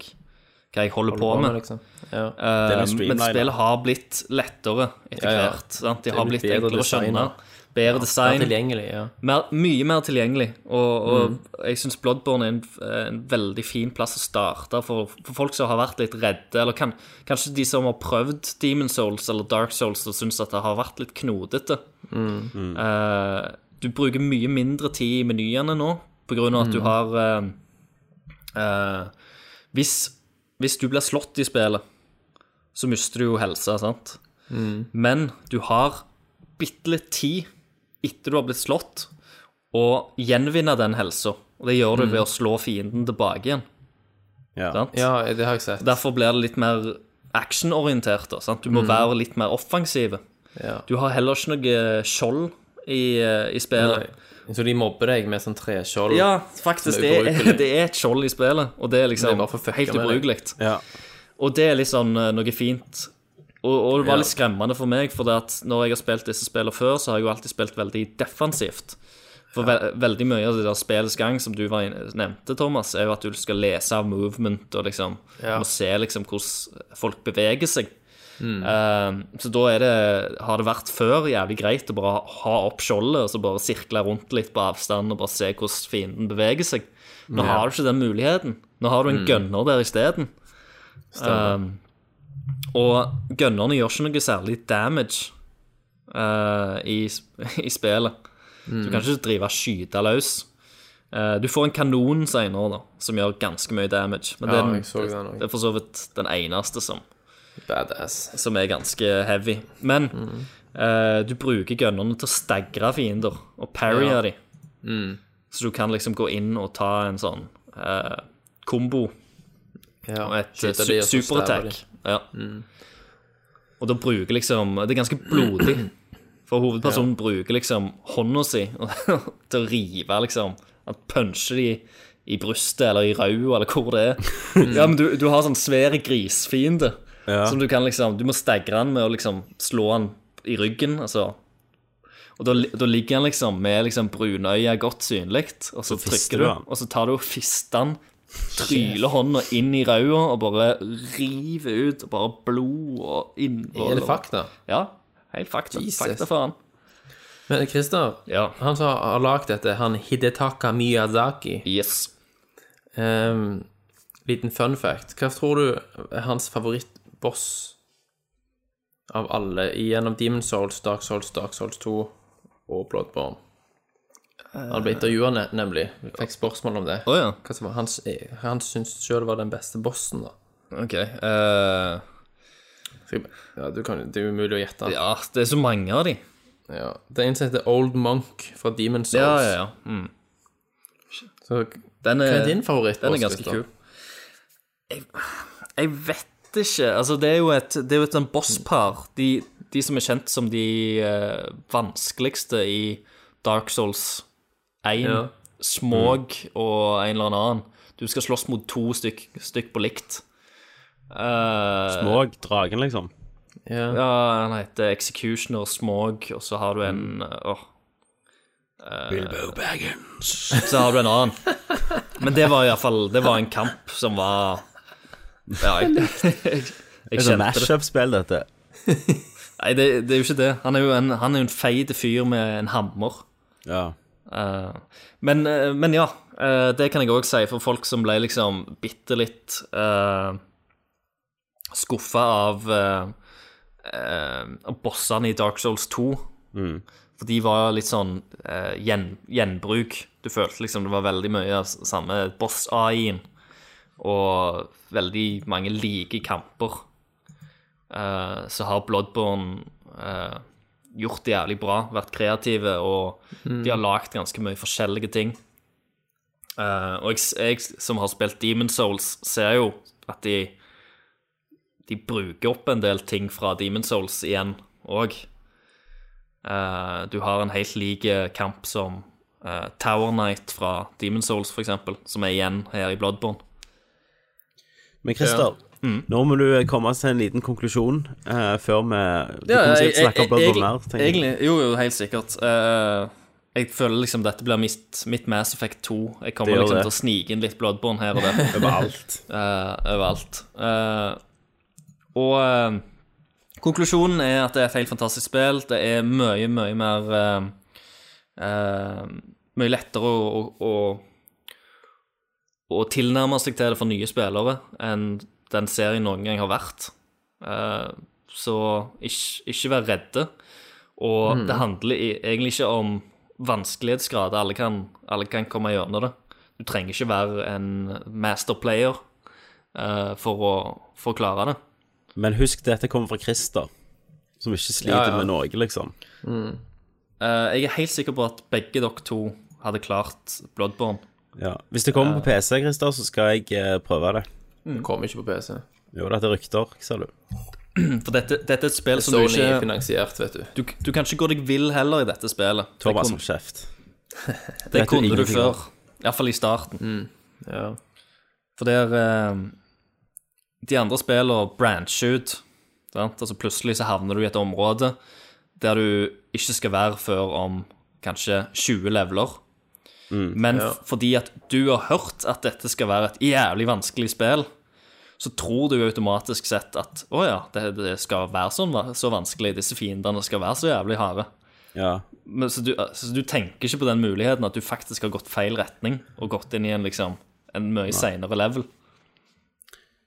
Speaker 2: hva jeg holder, på med.
Speaker 6: liksom. Ja.
Speaker 1: er
Speaker 2: Eh,
Speaker 1: litt
Speaker 2: men
Speaker 1: streamlined,
Speaker 2: spillet har blitt lettere etter
Speaker 6: Ja, ja.
Speaker 2: hvert. Sant? De har
Speaker 6: er blitt
Speaker 2: blitt
Speaker 6: bedre
Speaker 2: enklere å
Speaker 6: design,
Speaker 2: skjønne.
Speaker 6: da.
Speaker 2: Bedre
Speaker 6: Det er
Speaker 2: design.
Speaker 6: tilgjengelig, ja.
Speaker 2: Mer, mye mer tilgjengelig. Og, og jeg syns Bloodborne er en, en veldig fin plass å starte for, for folk som har vært litt redde, eller kan, kanskje de som har prøvd Demon Souls eller Dark Souls og syns at det har vært litt knodete. Eh, du bruker mye mindre tid i menyene nå pga. at du har eh, eh, hvis, hvis du blir slått i spillet, så mister du jo helse, sant? Men du har bitte litt tid etter du har blitt slått, og gjenvinne den helsa. Og det gjør du ved å slå fienden tilbake igjen.
Speaker 1: Ja.
Speaker 2: Sant?
Speaker 6: Ja, det har jeg sett.
Speaker 2: Derfor blir det litt mer actionorientert. da, sant? Du må være litt mer offensiv.
Speaker 6: Ja.
Speaker 2: Du har heller ikke noe eh, skjold i, eh, i spillet.
Speaker 6: Så de mobber deg med sånn treskjold?
Speaker 2: Ja, faktisk.
Speaker 6: Som
Speaker 2: Det
Speaker 6: er
Speaker 2: er,
Speaker 6: ubrukelig.
Speaker 2: det er et skjold i spillet, og det er
Speaker 6: Det
Speaker 2: liksom
Speaker 6: er bare for å fucke
Speaker 2: helt
Speaker 6: med deg.
Speaker 2: ubrukelig.
Speaker 1: Ja.
Speaker 2: Og det er litt sånn eh, noe fint. Og, og det var
Speaker 6: Ja.
Speaker 2: litt skremmende for meg, for det at når jeg har spilt disse spillene før, så har jeg jo alltid spilt veldig defensivt. For ve veldig mye av det der spillets gang, som du var inne- nevnte, Thomas, er jo at du skal lese av movement og liksom
Speaker 6: Ja.
Speaker 2: må se liksom hvordan folk beveger seg. Eh, så da er det, har det vært før jævlig greit å bare ha opp skjoldet og så bare sirkle rundt litt på avstand og bare se hvordan fienden beveger seg. Nå har du ikke den muligheten. Nå har
Speaker 6: Mm.
Speaker 2: du en gunner der Ehm, isteden. Um, og gunnerne gjør ikke noe særlig damage. eh, i, i spillet. Så du
Speaker 6: Mm.
Speaker 2: kan ikke drive og skyte løs. Eh, du får en kanon senere, da, som gjør ganske mye damage. Men
Speaker 6: Ja,
Speaker 2: det,
Speaker 6: jeg så
Speaker 2: er
Speaker 6: den også.
Speaker 2: det er for så vidt den eneste som
Speaker 6: Badass.
Speaker 2: som er ganske heavy. Men eh, du bruker gunnerne til å stagre fiender og parrye de. Så du kan liksom gå inn og ta en sånn eh, kombo
Speaker 6: Ja,
Speaker 2: og et eh,
Speaker 6: skyter
Speaker 2: su
Speaker 6: de, og eh, så stabber de. Mm.
Speaker 2: superattack. Ja. Og da bruker liksom Det er ganske blodig. For hovedpersonen bruker liksom hånda si til å rive, liksom. Han puncher de i brystet eller i rauet eller hvor det er.
Speaker 6: Mm.
Speaker 2: Ja, men du, du har sånn svær grisfiende som du kan liksom Du må stagre han med å liksom slå han i ryggen, altså. Og da, da ligger han liksom med liksom brunøya godt synlig, og så,
Speaker 1: fister
Speaker 2: trykker
Speaker 1: du
Speaker 2: du,
Speaker 1: han.
Speaker 2: og så tar du og fister han tryler hånda inn i rauda og bare river ut og bare blod og innvoll.
Speaker 6: Er det fakta?
Speaker 2: Ja. Helt fakta.
Speaker 6: Jesus.
Speaker 2: Fakta for han.
Speaker 6: Men Christer,
Speaker 2: Ja.
Speaker 6: han som har lagd dette, han Hidetaka Miyazaki
Speaker 2: Yes.
Speaker 6: Ehm, Liten fun fact. Hva tror du er hans favorittboss av alle gjennom Demon Souls, Dark Souls, Dark Souls 2 og Bloodborne? Han
Speaker 2: Eh.
Speaker 6: ble intervjua, nemlig. Fikk spørsmål om det.
Speaker 2: Å ja.
Speaker 6: Hva som var hans, han syntes sjøl var den beste bossen, da.
Speaker 2: OK. eh,
Speaker 6: Skal jeg- Ja, du kan, det er jo umulig å gjette. Ja.
Speaker 2: ja, det er så mange av de.
Speaker 6: Det er en som heter Old Monk fra Demon Souls.
Speaker 2: Ja, ja, ja. Mm.
Speaker 6: Så
Speaker 2: Den
Speaker 6: hva er din favorittboss?
Speaker 2: Den er ganske
Speaker 6: Christer?
Speaker 2: kul. Jeg, jeg vet ikke. Altså, det er jo et, det er jo et sånn bosspar. De, de som er kjent som de eh, vanskeligste i Dark Souls 1.
Speaker 6: Ja.
Speaker 2: Smog og en eller annen. Du skal slåss mot to stykk, stykk på likt. Eh,
Speaker 1: Måg, dragen, liksom.
Speaker 6: Ja.
Speaker 2: ja, han heter Executioner Smog, og så har du en åh,
Speaker 1: Bilbo Baggins.
Speaker 2: Så har du en annen. Men det var iallfall Det var en kamp som var Ja, jeg, jeg,
Speaker 1: Det
Speaker 2: jeg
Speaker 1: er sånn
Speaker 2: kjente det.
Speaker 1: mash-up-spill, dette.
Speaker 2: Nei, det, det er jo ikke det. Han er jo en, han er jo en feit fyr med en hammer.
Speaker 1: Ja.
Speaker 2: Eh, men, eh, men ja, eh, det kan jeg òg si for folk som ble liksom bitte litt uh, skuffa av eh, eh, av bossene i Dark Souls 2. For de var litt sånn eh, gjen, gjenbruk. Du følte liksom det var veldig mye av s- samme boss-AI-en. Og veldig mange like kamper. Eh, så har Bloodborne eh, gjort det jævlig bra, vært kreative, og de har lagd ganske mye forskjellige ting. Eh, og jeg, jeg som har spilt Demon Souls, ser jo at de De bruker opp en del ting fra Demon Souls igjen òg. du har en helt lik kamp som eh, Tower Knight fra Demon Souls, f.eks., som er igjen her i Bloodborne.
Speaker 1: Men Christer, nå må du eh, komme oss til en liten konklusjon eh, før vi Du
Speaker 2: Ja,
Speaker 1: kommer sikkert til
Speaker 2: jeg-
Speaker 1: å snakke om
Speaker 2: jeg-
Speaker 1: Bloodborne mer, tenker jeg.
Speaker 2: Egentlig, jo, jo, helt sikkert. Eh, jeg føler liksom dette blir mitt, mitt Mass Effect 2. Jeg kommer
Speaker 1: Det gjør
Speaker 2: liksom
Speaker 1: det.
Speaker 2: til å snike inn litt Bloodborne her og der.
Speaker 1: Overalt.
Speaker 2: eh, overalt. Eh, og eh, konklusjonen er at det er et helt fantastisk spill. Det er mye, mye mer eh, eh, Mye lettere å, å, å, å tilnærme seg til det for nye spillere enn den serien noen gang har vært. Eh, så ikke, ikke vær redde. Og det handler i- egentlig ikke om vanskelighetsgrad. Alle kan, alle kan komme gjennom det. Du trenger ikke være en masterplayer eh, for, å, for å klare det.
Speaker 1: Men husk, dette kommer fra Christer, som ikke sliter
Speaker 6: Ja, ja.
Speaker 1: med noe, liksom.
Speaker 2: Eh, jeg er helt sikker på at begge dere to hadde klart Bloodborne.
Speaker 1: Ja. Hvis det kommer på PC, Christer, så skal jeg eh, prøve det.
Speaker 6: Den Kommer ikke på PC.
Speaker 1: Jo, dette er rykter, sa du.
Speaker 2: For dette, dette er et spill som du
Speaker 6: Sony er
Speaker 2: ikke
Speaker 6: finansiert, vet du.
Speaker 2: du, du kan ikke gå deg vill heller i dette spillet. Det,
Speaker 1: Thomas
Speaker 2: kun-
Speaker 1: som kjeft.
Speaker 2: det
Speaker 1: vet du
Speaker 2: kunne du
Speaker 1: ingenting om.
Speaker 2: før. Iallfall i starten.
Speaker 6: Ja.
Speaker 2: For der eh, De andre spiller branch ut. Sant? Altså plutselig så havner du i et område der du ikke skal være før om kanskje 20 leveler. Men f- fordi at du har hørt at dette skal være et jævlig vanskelig spill, så tror du automatisk sett at å ja, det, det skal være sånn, va- så vanskelig, disse fiendene skal være så jævlig harde.
Speaker 1: Ja.
Speaker 2: Men, så, du, så du tenker ikke på den muligheten at du faktisk har gått feil retning og gått inn i en, liksom, en mye seinere level.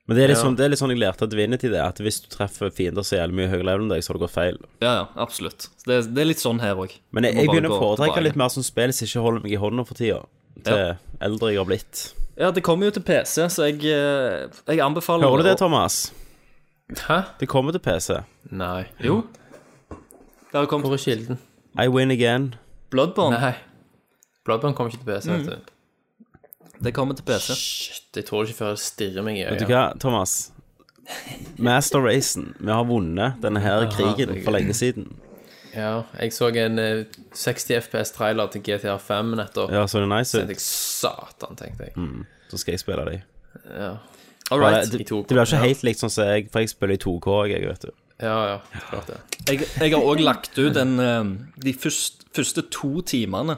Speaker 1: Men det er litt sånn, det er litt sånn jeg lærte av Divinity, det, at hvis du treffer fiender så jævlig mye høyere level enn deg, så har det gått feil.
Speaker 2: Ja, ja, absolutt. Så Det, det er litt sånn her òg.
Speaker 1: Men jeg, jeg begynner å foretrekke litt mer sånn spill som ikke holder meg i hånda for tida. Til eldre jeg har blitt.
Speaker 2: Ja, det kommer jo til PC, så jeg, eh, jeg anbefaler
Speaker 1: Hører du det, Thomas?
Speaker 6: Hæ?
Speaker 1: Det kommer til PC.
Speaker 6: Nei.
Speaker 2: Jo. Det har kommet
Speaker 6: Hvor er kilden?
Speaker 1: I win again.
Speaker 2: Bloodborne.
Speaker 6: Nei. Bloodborne kommer ikke til PC, vet du.
Speaker 2: Det kommer til PC.
Speaker 6: Shit, jeg tror det ikke før jeg stirrer meg i
Speaker 1: Vet du
Speaker 6: øynene.
Speaker 1: hva, Thomas? Master Racen, vi har vunnet denne her krigen for lenge siden.
Speaker 6: Ja, jeg så en eh, 60 FPS-trailer til GTA 5 nettopp.
Speaker 1: Ja, så det er nice
Speaker 6: Så tenkte
Speaker 1: ut.
Speaker 6: jeg, Satan, tenkte jeg.
Speaker 1: Så skal jeg spille de.
Speaker 6: Ja.
Speaker 2: All
Speaker 1: Ja,
Speaker 2: right.
Speaker 1: det, det
Speaker 6: i 2K,
Speaker 1: blir ikke
Speaker 6: ja.
Speaker 1: helt likt sånn som jeg, for jeg spiller i 2K, jeg, vet du.
Speaker 6: ja, ja, klart det.
Speaker 2: Jeg, jeg har òg lagt ut en, eh, de først, første to timene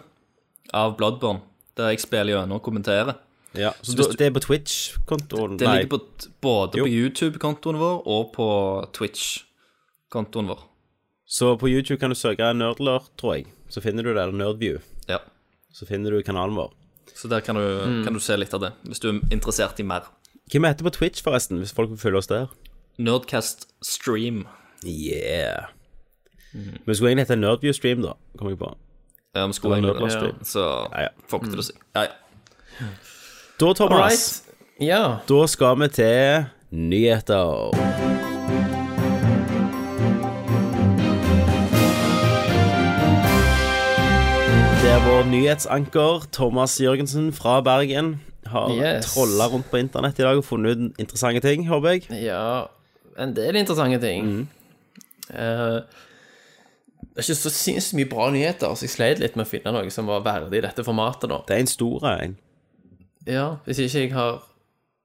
Speaker 2: av Bloodborne, der jeg spiller gjennom og kommenterer.
Speaker 1: Ja, så
Speaker 2: hvis
Speaker 1: da- det er på Twitch-kontoen?
Speaker 2: Det
Speaker 1: Nei,
Speaker 2: ligger på, t- både
Speaker 1: Jo.
Speaker 2: på YouTube-kontoen vår og på Twitch-kontoen vår.
Speaker 1: så på YouTube kan du søke Nerdler, tror jeg. Så finner du det, eller Nerdview.
Speaker 2: Ja.
Speaker 1: Så finner du kanalen vår.
Speaker 2: Så der kan du, kan du se litt av det, hvis du er interessert i mer.
Speaker 1: Hvem heter på Twitch, forresten, hvis folk vil følge oss der?
Speaker 2: Nerdcast Stream.
Speaker 1: Yeah. Men skulle egentlig hete Nerdview Stream, da, kom jeg på.
Speaker 2: Ja, vi skulle
Speaker 1: Det var
Speaker 2: egentlig
Speaker 1: Nerdcast
Speaker 2: det. Så
Speaker 1: ja.
Speaker 2: får ikke til å si. Ja, ja.
Speaker 1: Da, Thomas,
Speaker 6: Ja.
Speaker 1: da skal vi til nyheter. Det er vår nyhetsanker Thomas Jørgensen fra Bergen. Har
Speaker 6: Yes.
Speaker 1: trolla rundt på internett i dag og funnet ut interessante ting, håper jeg.
Speaker 6: Ja, en del interessante ting.
Speaker 1: Mm.
Speaker 6: Eh, det er ikke så sinnssykt mye bra nyheter, så jeg sleit litt med å finne noe som var verdig i dette formatet, da.
Speaker 1: Det er en stor en.
Speaker 6: Ja, hvis ikke jeg har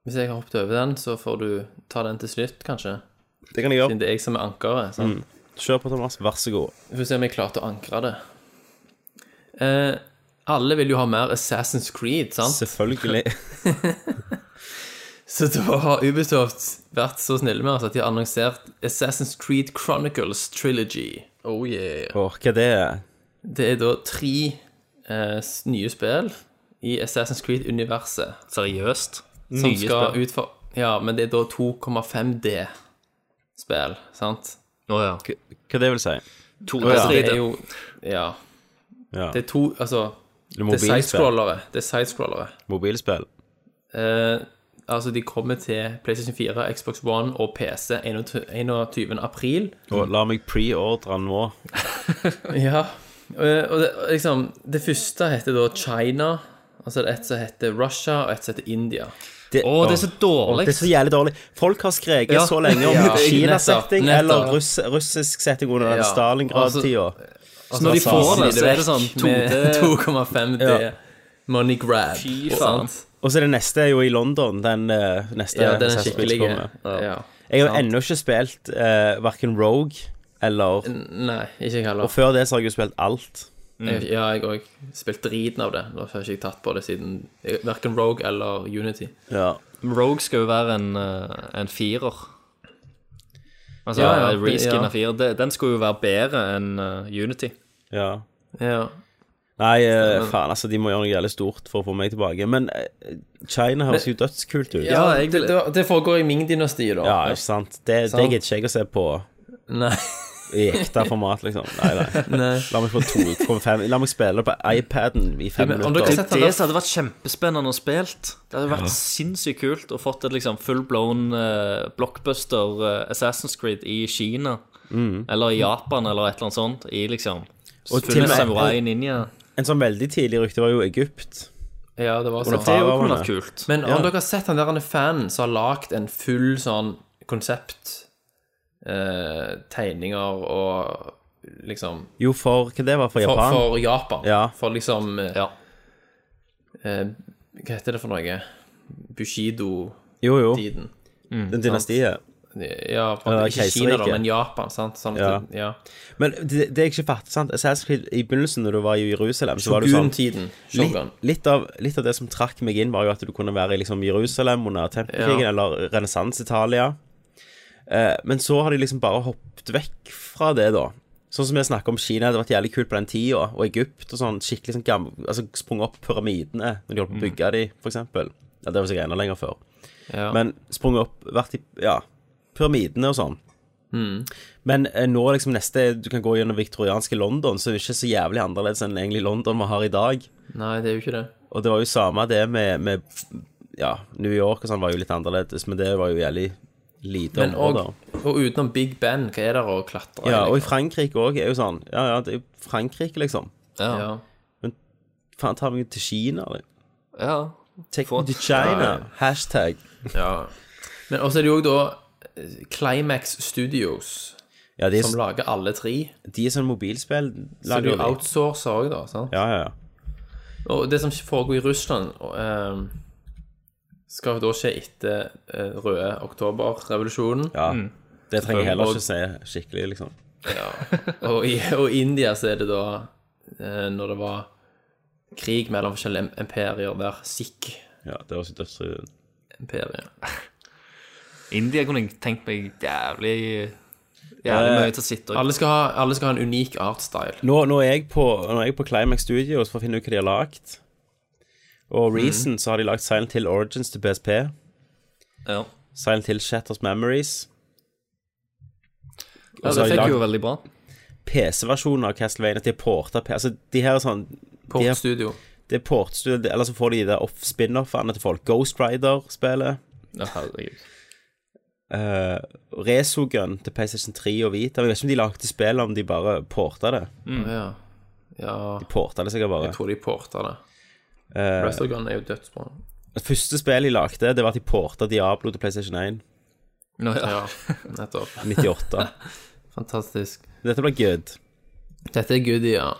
Speaker 6: Hvis jeg har hoppet over den, så får du ta den til slutt, kanskje.
Speaker 1: Det kan jeg
Speaker 6: Siden
Speaker 1: gjøre.
Speaker 6: det er jeg som er ankeret. sant?
Speaker 1: Kjør på, Thomas. Vær så god.
Speaker 6: Vi får se om jeg klarte å ankre det. Eh, alle vil jo ha mer Assassin's Creed, sant?
Speaker 1: Selvfølgelig.
Speaker 6: Så da har Ubisoft vært så snille med oss at de har annonsert Assassin's Creed Chronicles Trilogy. Oh yeah.
Speaker 1: Åh, hva det er
Speaker 6: Det er da tre eh, s- nye spill i Assassin's Creed-universet
Speaker 2: Seriøst.
Speaker 6: som skal ut for Ja, men det er da 2,5D-spill, sant?
Speaker 2: Å ja.
Speaker 1: Hva det vil si?
Speaker 6: Altså, det er
Speaker 2: 2D3D.
Speaker 6: jo Ja.
Speaker 1: Ja.
Speaker 6: Det er to Altså,
Speaker 1: Eller
Speaker 6: det er
Speaker 1: mobilspill.
Speaker 6: sidescrollere. Det er sidescrollere.
Speaker 1: Mobilspill.
Speaker 6: Eh, altså, de kommer til PlayStation 4, Xbox One og PC 21. april.
Speaker 1: Og la meg preordre nå.
Speaker 6: Ja. eh, Og det, liksom, det første heter da China. Altså det er et som heter Russia, og et som heter India.
Speaker 1: Det,
Speaker 2: Å, det er så dårlig.
Speaker 1: Det er så jævlig dårlig. Folk har skreket
Speaker 2: Ja.
Speaker 1: så lenge om
Speaker 6: Ja.
Speaker 1: Kina-setting
Speaker 6: Nettopp, nettopp.
Speaker 1: eller russ, russisk setting under den
Speaker 6: Ja.
Speaker 1: Stalingrad-tida.
Speaker 6: Altså,
Speaker 2: når de får det, så er det sånn
Speaker 6: med
Speaker 2: 2D.
Speaker 6: 2,5D
Speaker 1: Ja.
Speaker 6: money grab.
Speaker 2: Fy
Speaker 6: og
Speaker 2: faen.
Speaker 6: sånt.
Speaker 1: Og så er det neste er jo i London. Den eh, neste
Speaker 6: Ja, den er
Speaker 1: Assassin's Creed
Speaker 6: skikkelig
Speaker 1: som kommer.
Speaker 6: ja.
Speaker 1: Jeg har ennå ikke spilt uh, verken Rogue eller
Speaker 6: Nei, ikke jeg
Speaker 1: Og
Speaker 6: heller.
Speaker 1: før det så har jeg jo spilt alt.
Speaker 6: Jeg, ja, jeg har også spilt driten av det. Nå har jeg ikke tatt på det siden verken Rogue eller Unity.
Speaker 1: Ja.
Speaker 2: Rogue skal jo være en, eh, en firer. Altså
Speaker 6: Ja, ja,
Speaker 2: en reskin
Speaker 6: ja.
Speaker 2: av firer. Det- Den skulle jo være bedre enn eh, Unity.
Speaker 1: ja.
Speaker 6: Ja.
Speaker 1: Nei, eh, faen, altså, de må gjøre noe jævlig stort for å få meg tilbake. Men eh, China høres jo dødskult ut.
Speaker 2: Ja, jeg
Speaker 6: det,
Speaker 2: vil-
Speaker 6: det- det foregår i Ming-dynastiet, da.
Speaker 1: Ja, ikke sant? Det, det
Speaker 6: Sant.
Speaker 1: gidder ikke jeg å se på
Speaker 6: Nei.
Speaker 1: i ekte format, liksom. Nei, nei. La meg få 2,5 La meg spille på iPaden i fem
Speaker 6: Men om dere
Speaker 1: minutter.
Speaker 6: setter det-
Speaker 2: Det som hadde vært kjempespennende å spilt. Det hadde vært sinnssykt kult å fått et liksom full-blown eh, blockbuster eh, Assassin's Creed i Kina. Eller i Japan, eller et eller annet sånt. I liksom
Speaker 1: Mm. Og til
Speaker 2: full
Speaker 1: og med-
Speaker 2: samurai ninja.
Speaker 1: En sånn veldig tidlig rykte var jo Egypt.
Speaker 6: Ja, det var
Speaker 1: Under
Speaker 6: sånn.
Speaker 2: Det
Speaker 1: Ja,
Speaker 2: kunne
Speaker 1: men-
Speaker 2: vært kult.
Speaker 6: Men om dere har sett han der han er fan som har lagd en full sånn konsept eh, Tegninger og liksom
Speaker 1: Jo, for hva det var for
Speaker 6: For
Speaker 1: Japan?
Speaker 6: for Japan.
Speaker 1: Ja.
Speaker 6: For liksom eh,
Speaker 2: Ja.
Speaker 6: eh, Hva heter det for noe? Bushido-tiden.
Speaker 1: jo, jo. Den dynastiet.
Speaker 6: Ja, på en måte,
Speaker 1: Ja,
Speaker 6: ikke Kina, da,
Speaker 1: keiserriket.
Speaker 6: men Japan. sant? Sånn at, ja.
Speaker 1: Men det, det jeg ikke fatter, sant Assassin's Creed, I begynnelsen, når du var i Jerusalem, så var det jo sånn
Speaker 6: Shogun-tiden.
Speaker 1: litt,
Speaker 6: Shogun.
Speaker 1: litt, av, litt av det som trakk meg inn, var jo at du kunne være i liksom, Jerusalem under tempelkrigen,
Speaker 6: Ja.
Speaker 1: eller renessanse-Italia. Eh, men så har de liksom bare hoppet vekk fra det, da. Sånn som vi snakker om Kina, det har vært jævlig kult på den tida, og Egypt og sånn. Skikkelig sånn gamle Altså sprunget opp pyramidene når de holdt på å bygge de, for eksempel. Ja, det var sikkert enda lenger før.
Speaker 6: Ja.
Speaker 1: Men sprunget opp, vært i ja, pyramidene og sånn. Men eh, nå liksom neste er- Du kan gå gjennom viktorianske London, som ikke er så jævlig annerledes enn egentlig London vi har i dag.
Speaker 6: Nei, det er jo ikke det.
Speaker 1: Og det var jo samme det med, med Ja, New York og sånn var jo litt annerledes, men det var jo jævlig lite
Speaker 6: Men og,
Speaker 1: områder.
Speaker 6: og utenom Big Ben, hva er det å klatre
Speaker 1: Ja, og i
Speaker 6: liksom?
Speaker 1: Frankrike òg er jo sånn. Ja, ja, det er jo Frankrike, liksom.
Speaker 6: ja.
Speaker 1: Faen, tar vi til Kina, eller?
Speaker 2: Ja.
Speaker 1: Take me to China. Hashtag.
Speaker 6: Men også er det jo også da eh, Climax Studios,
Speaker 1: Ja, de er,
Speaker 6: som lager alle tre.
Speaker 1: de er sånn mobilspill.
Speaker 6: Så
Speaker 1: lager
Speaker 6: du
Speaker 1: de.
Speaker 6: outsourcer òg, da. sant?
Speaker 1: Ja, ja, ja.
Speaker 6: Og det som foregår i Russland, og, ehm, skal jo da skje etter eh, røde oktober-revolusjonen.
Speaker 1: ja. Det trenger jeg heller ikke se skikkelig, liksom.
Speaker 6: Og, i, og i India så er det da eh, når det var krig mellom forskjellige im- imperier der. Sikh-imperiet.
Speaker 1: Ja, det høres jo dødsfri ut.
Speaker 2: India kunne jeg tenkt meg jævlig Jævlig mye til å sitte og
Speaker 6: Alle skal, ha, alle skal ha en unik artstyle.
Speaker 1: Nå, nå, er jeg på, nå er jeg på Climax Studios for å finne ut hva de har lagd. Og Reason så har de lagd Silent Hill Origins til PSP.
Speaker 2: ja.
Speaker 1: Silent Hill Shatters Memories.
Speaker 2: ja,
Speaker 1: så
Speaker 2: Det
Speaker 1: har de
Speaker 2: fikk
Speaker 1: lagd-
Speaker 2: jo veldig bra.
Speaker 1: PC-versjonen av Castlevania. De har porta P- Altså, de her er sånn de har-
Speaker 6: Portstudio.
Speaker 1: Det er portstudio, eller så får de de der off- spin-offene til folk. Ghost Rider-spillet.
Speaker 2: Ja, herregud.
Speaker 1: Uh, Resogun til PlayStation 3 og Vita. Jeg vet ikke om de lagde spillet, om de bare porta det.
Speaker 6: Ja. ja.
Speaker 1: Porta det sikkert bare.
Speaker 6: Jeg tror de porter det.
Speaker 1: Eh,
Speaker 6: Restergun er jo dødsbra.
Speaker 1: det første spillet de lagde, det var at de porta Diablo til PlayStation 1.
Speaker 2: Nå, ja.
Speaker 6: Ja, nettopp.
Speaker 1: 98.
Speaker 6: Fantastisk.
Speaker 1: Dette blir good.
Speaker 6: Dette er goodie, ja.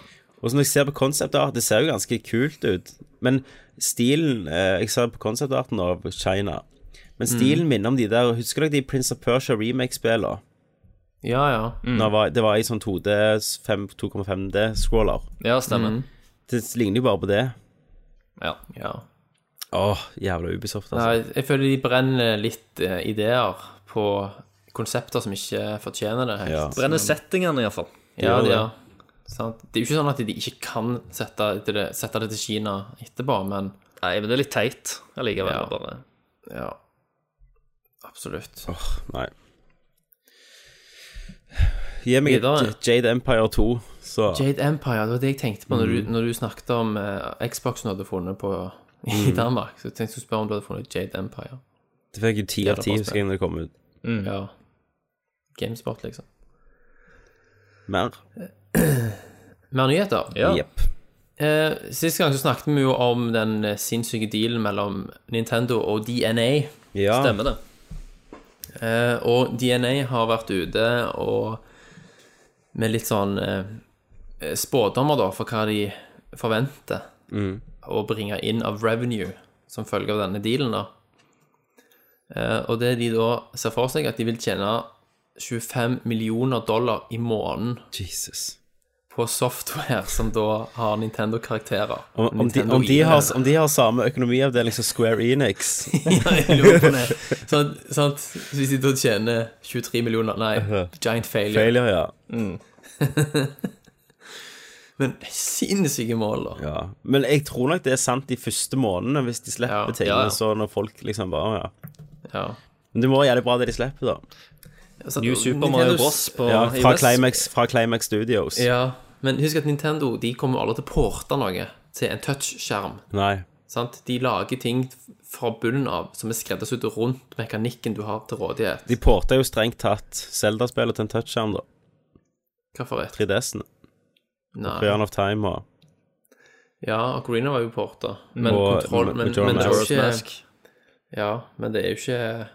Speaker 1: Og så når jeg ser på concept art, det ser jo ganske kult ut. Men stilen eh, Jeg ser på concept arten av China. Men stilen minner om de der Husker dere de Prince of Persia remake-spillene?
Speaker 6: Ja, ja.
Speaker 1: Når det var- Det var i sånn 2D, 5 2,5D-scroller.
Speaker 2: ja, stemmer.
Speaker 1: Det ligner jo bare på det.
Speaker 2: Ja.
Speaker 6: ja.
Speaker 1: Åh, jævla Ubisoft, altså.
Speaker 6: Nei, jeg føler de brenner litt eh, ideer på konsepter som ikke fortjener det
Speaker 1: Ja.
Speaker 6: helt.
Speaker 2: Brenner settingene, iallfall.
Speaker 6: Ja,
Speaker 1: gjør
Speaker 6: de,
Speaker 1: det.
Speaker 6: ja. Sant? Det er jo ikke sånn at de ikke kan sette til det, sette det til Kina etterpå, men
Speaker 2: Nei, men det er litt teit allikevel.
Speaker 6: Ja.
Speaker 2: Bare.
Speaker 6: ja. Absolutt.
Speaker 1: Nei. Gi meg et
Speaker 6: Videre.
Speaker 1: J- Jade Empire 2, så
Speaker 6: Jade Empire, Mm. det var det jeg tenkte på når du, når du snakket om eh, Xboxen du hadde funnet på i Danmark. Så jeg tenkte jeg skulle spørre om du hadde funnet Jade Empire.
Speaker 1: Det fikk jo 10
Speaker 6: Ja,
Speaker 1: av
Speaker 6: det
Speaker 1: 10
Speaker 6: var
Speaker 1: husker jeg når det kom ut.
Speaker 6: Ja. Gamesport, liksom.
Speaker 1: Mer?
Speaker 6: Mer nyheter?
Speaker 2: Ja.
Speaker 1: Jepp.
Speaker 6: Eh, Sist gang så snakket vi jo om den eh, sinnssyke dealen mellom Nintendo og DNA.
Speaker 1: Ja.
Speaker 2: Stemmer det.
Speaker 6: Eh, og DNA har vært ute og med litt sånn eh, spådommer da for hva de forventer
Speaker 1: Mm.
Speaker 6: å bringe inn av revenue som følge av denne dealen. da. Eh, og det de da ser for seg, at de vil tjene 25 millioner dollar i måneden
Speaker 1: Jesus.
Speaker 6: på software som da har Nintendo-karakterer.
Speaker 1: Om, om, de, om, de har, om de har samme økonomiavdeling som liksom Square Enix
Speaker 6: Ja, jeg lurer på det. Sånn, sant? Så Hvis de da tjener 23 millioner Nei, giant failure.
Speaker 1: Failure, ja.
Speaker 6: Men sinnssyke mål, da.
Speaker 1: ja. Men jeg tror nok det er sant de første månedene, hvis de slipper
Speaker 6: Ja,
Speaker 1: ting.
Speaker 2: ja, ja.
Speaker 1: og Så når folk liksom bare ja.
Speaker 6: Ja. Altså,
Speaker 1: Men det må være jævlig bra det de slipper, da.
Speaker 6: Så-
Speaker 2: New Super Mario
Speaker 6: Nintendos-
Speaker 2: Bros. på
Speaker 1: Ja, fra,
Speaker 2: iOS.
Speaker 1: Climax, fra Climax Studios.
Speaker 6: Ja, men husk at Nintendo de kommer aldri til å porte noe til en touchskjerm.
Speaker 1: Nei.
Speaker 6: sant? De lager ting fra bunnen av som er skreddersydd rundt mekanikken du har til rådighet.
Speaker 1: De porta jo strengt tatt Zelda-spillet til en touchskjerm, da.
Speaker 6: Hva for et?
Speaker 1: 3DS-en.
Speaker 6: Nei.
Speaker 1: Rearn of Time og
Speaker 6: Ja, Ocarina var jo porta.
Speaker 2: Mm.
Speaker 6: Men
Speaker 1: Og
Speaker 6: kontroll Men,
Speaker 1: Majora's
Speaker 6: men det er jo
Speaker 2: Majora's
Speaker 6: ikke Ja, men det er jo ikke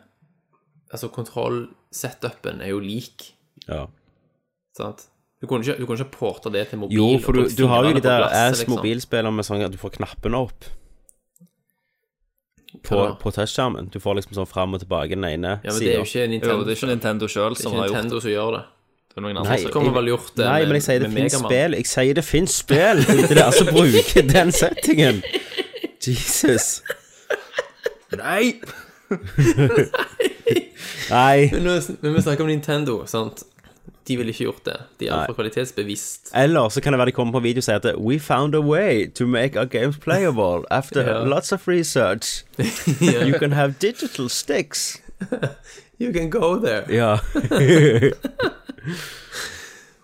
Speaker 6: Altså, kontroll-setupen er jo lik.
Speaker 1: ja.
Speaker 6: Sant? Du kunne ikke, du kunne ikke porta det til mobil.
Speaker 1: Jo,
Speaker 6: og
Speaker 1: for du,
Speaker 6: brukt
Speaker 1: du har jo
Speaker 6: fingrene
Speaker 1: de
Speaker 6: på
Speaker 1: der
Speaker 6: glasset,
Speaker 1: ass
Speaker 6: liksom.
Speaker 1: mobilspiller med sånn at du får knappene opp på,
Speaker 6: Ja.
Speaker 1: på touchskjermen. Du får liksom sånn fram og tilbake den ene
Speaker 6: Ja, men det er
Speaker 1: sida.
Speaker 6: jo ikke
Speaker 2: Jo,
Speaker 6: Nintendo,
Speaker 2: det er ikke Nintendo sjøl som har gjort det.
Speaker 6: Nintendo som gjør det.
Speaker 2: Det er noen
Speaker 1: Nei,
Speaker 2: andre som-
Speaker 6: Så kommer vel gjort det
Speaker 1: Nei,
Speaker 6: med-
Speaker 1: men jeg sier det
Speaker 6: med
Speaker 1: finnes
Speaker 6: Mega Man.
Speaker 1: spill. Jeg sier det finnes spill! Det er der som bruker den settingen. Jesus.
Speaker 6: Nei!
Speaker 1: Nei.
Speaker 6: Men når- når vi snakker om Nintendo, sant De ville ikke gjort det. De er altfor kvalitetsbevisst.
Speaker 1: Eller så kan det være de kommer på en video og sier at We found a way to make our games playable after
Speaker 6: Ja.
Speaker 1: lots of research. You can have digital sticks.
Speaker 6: You can go there.
Speaker 1: Ja.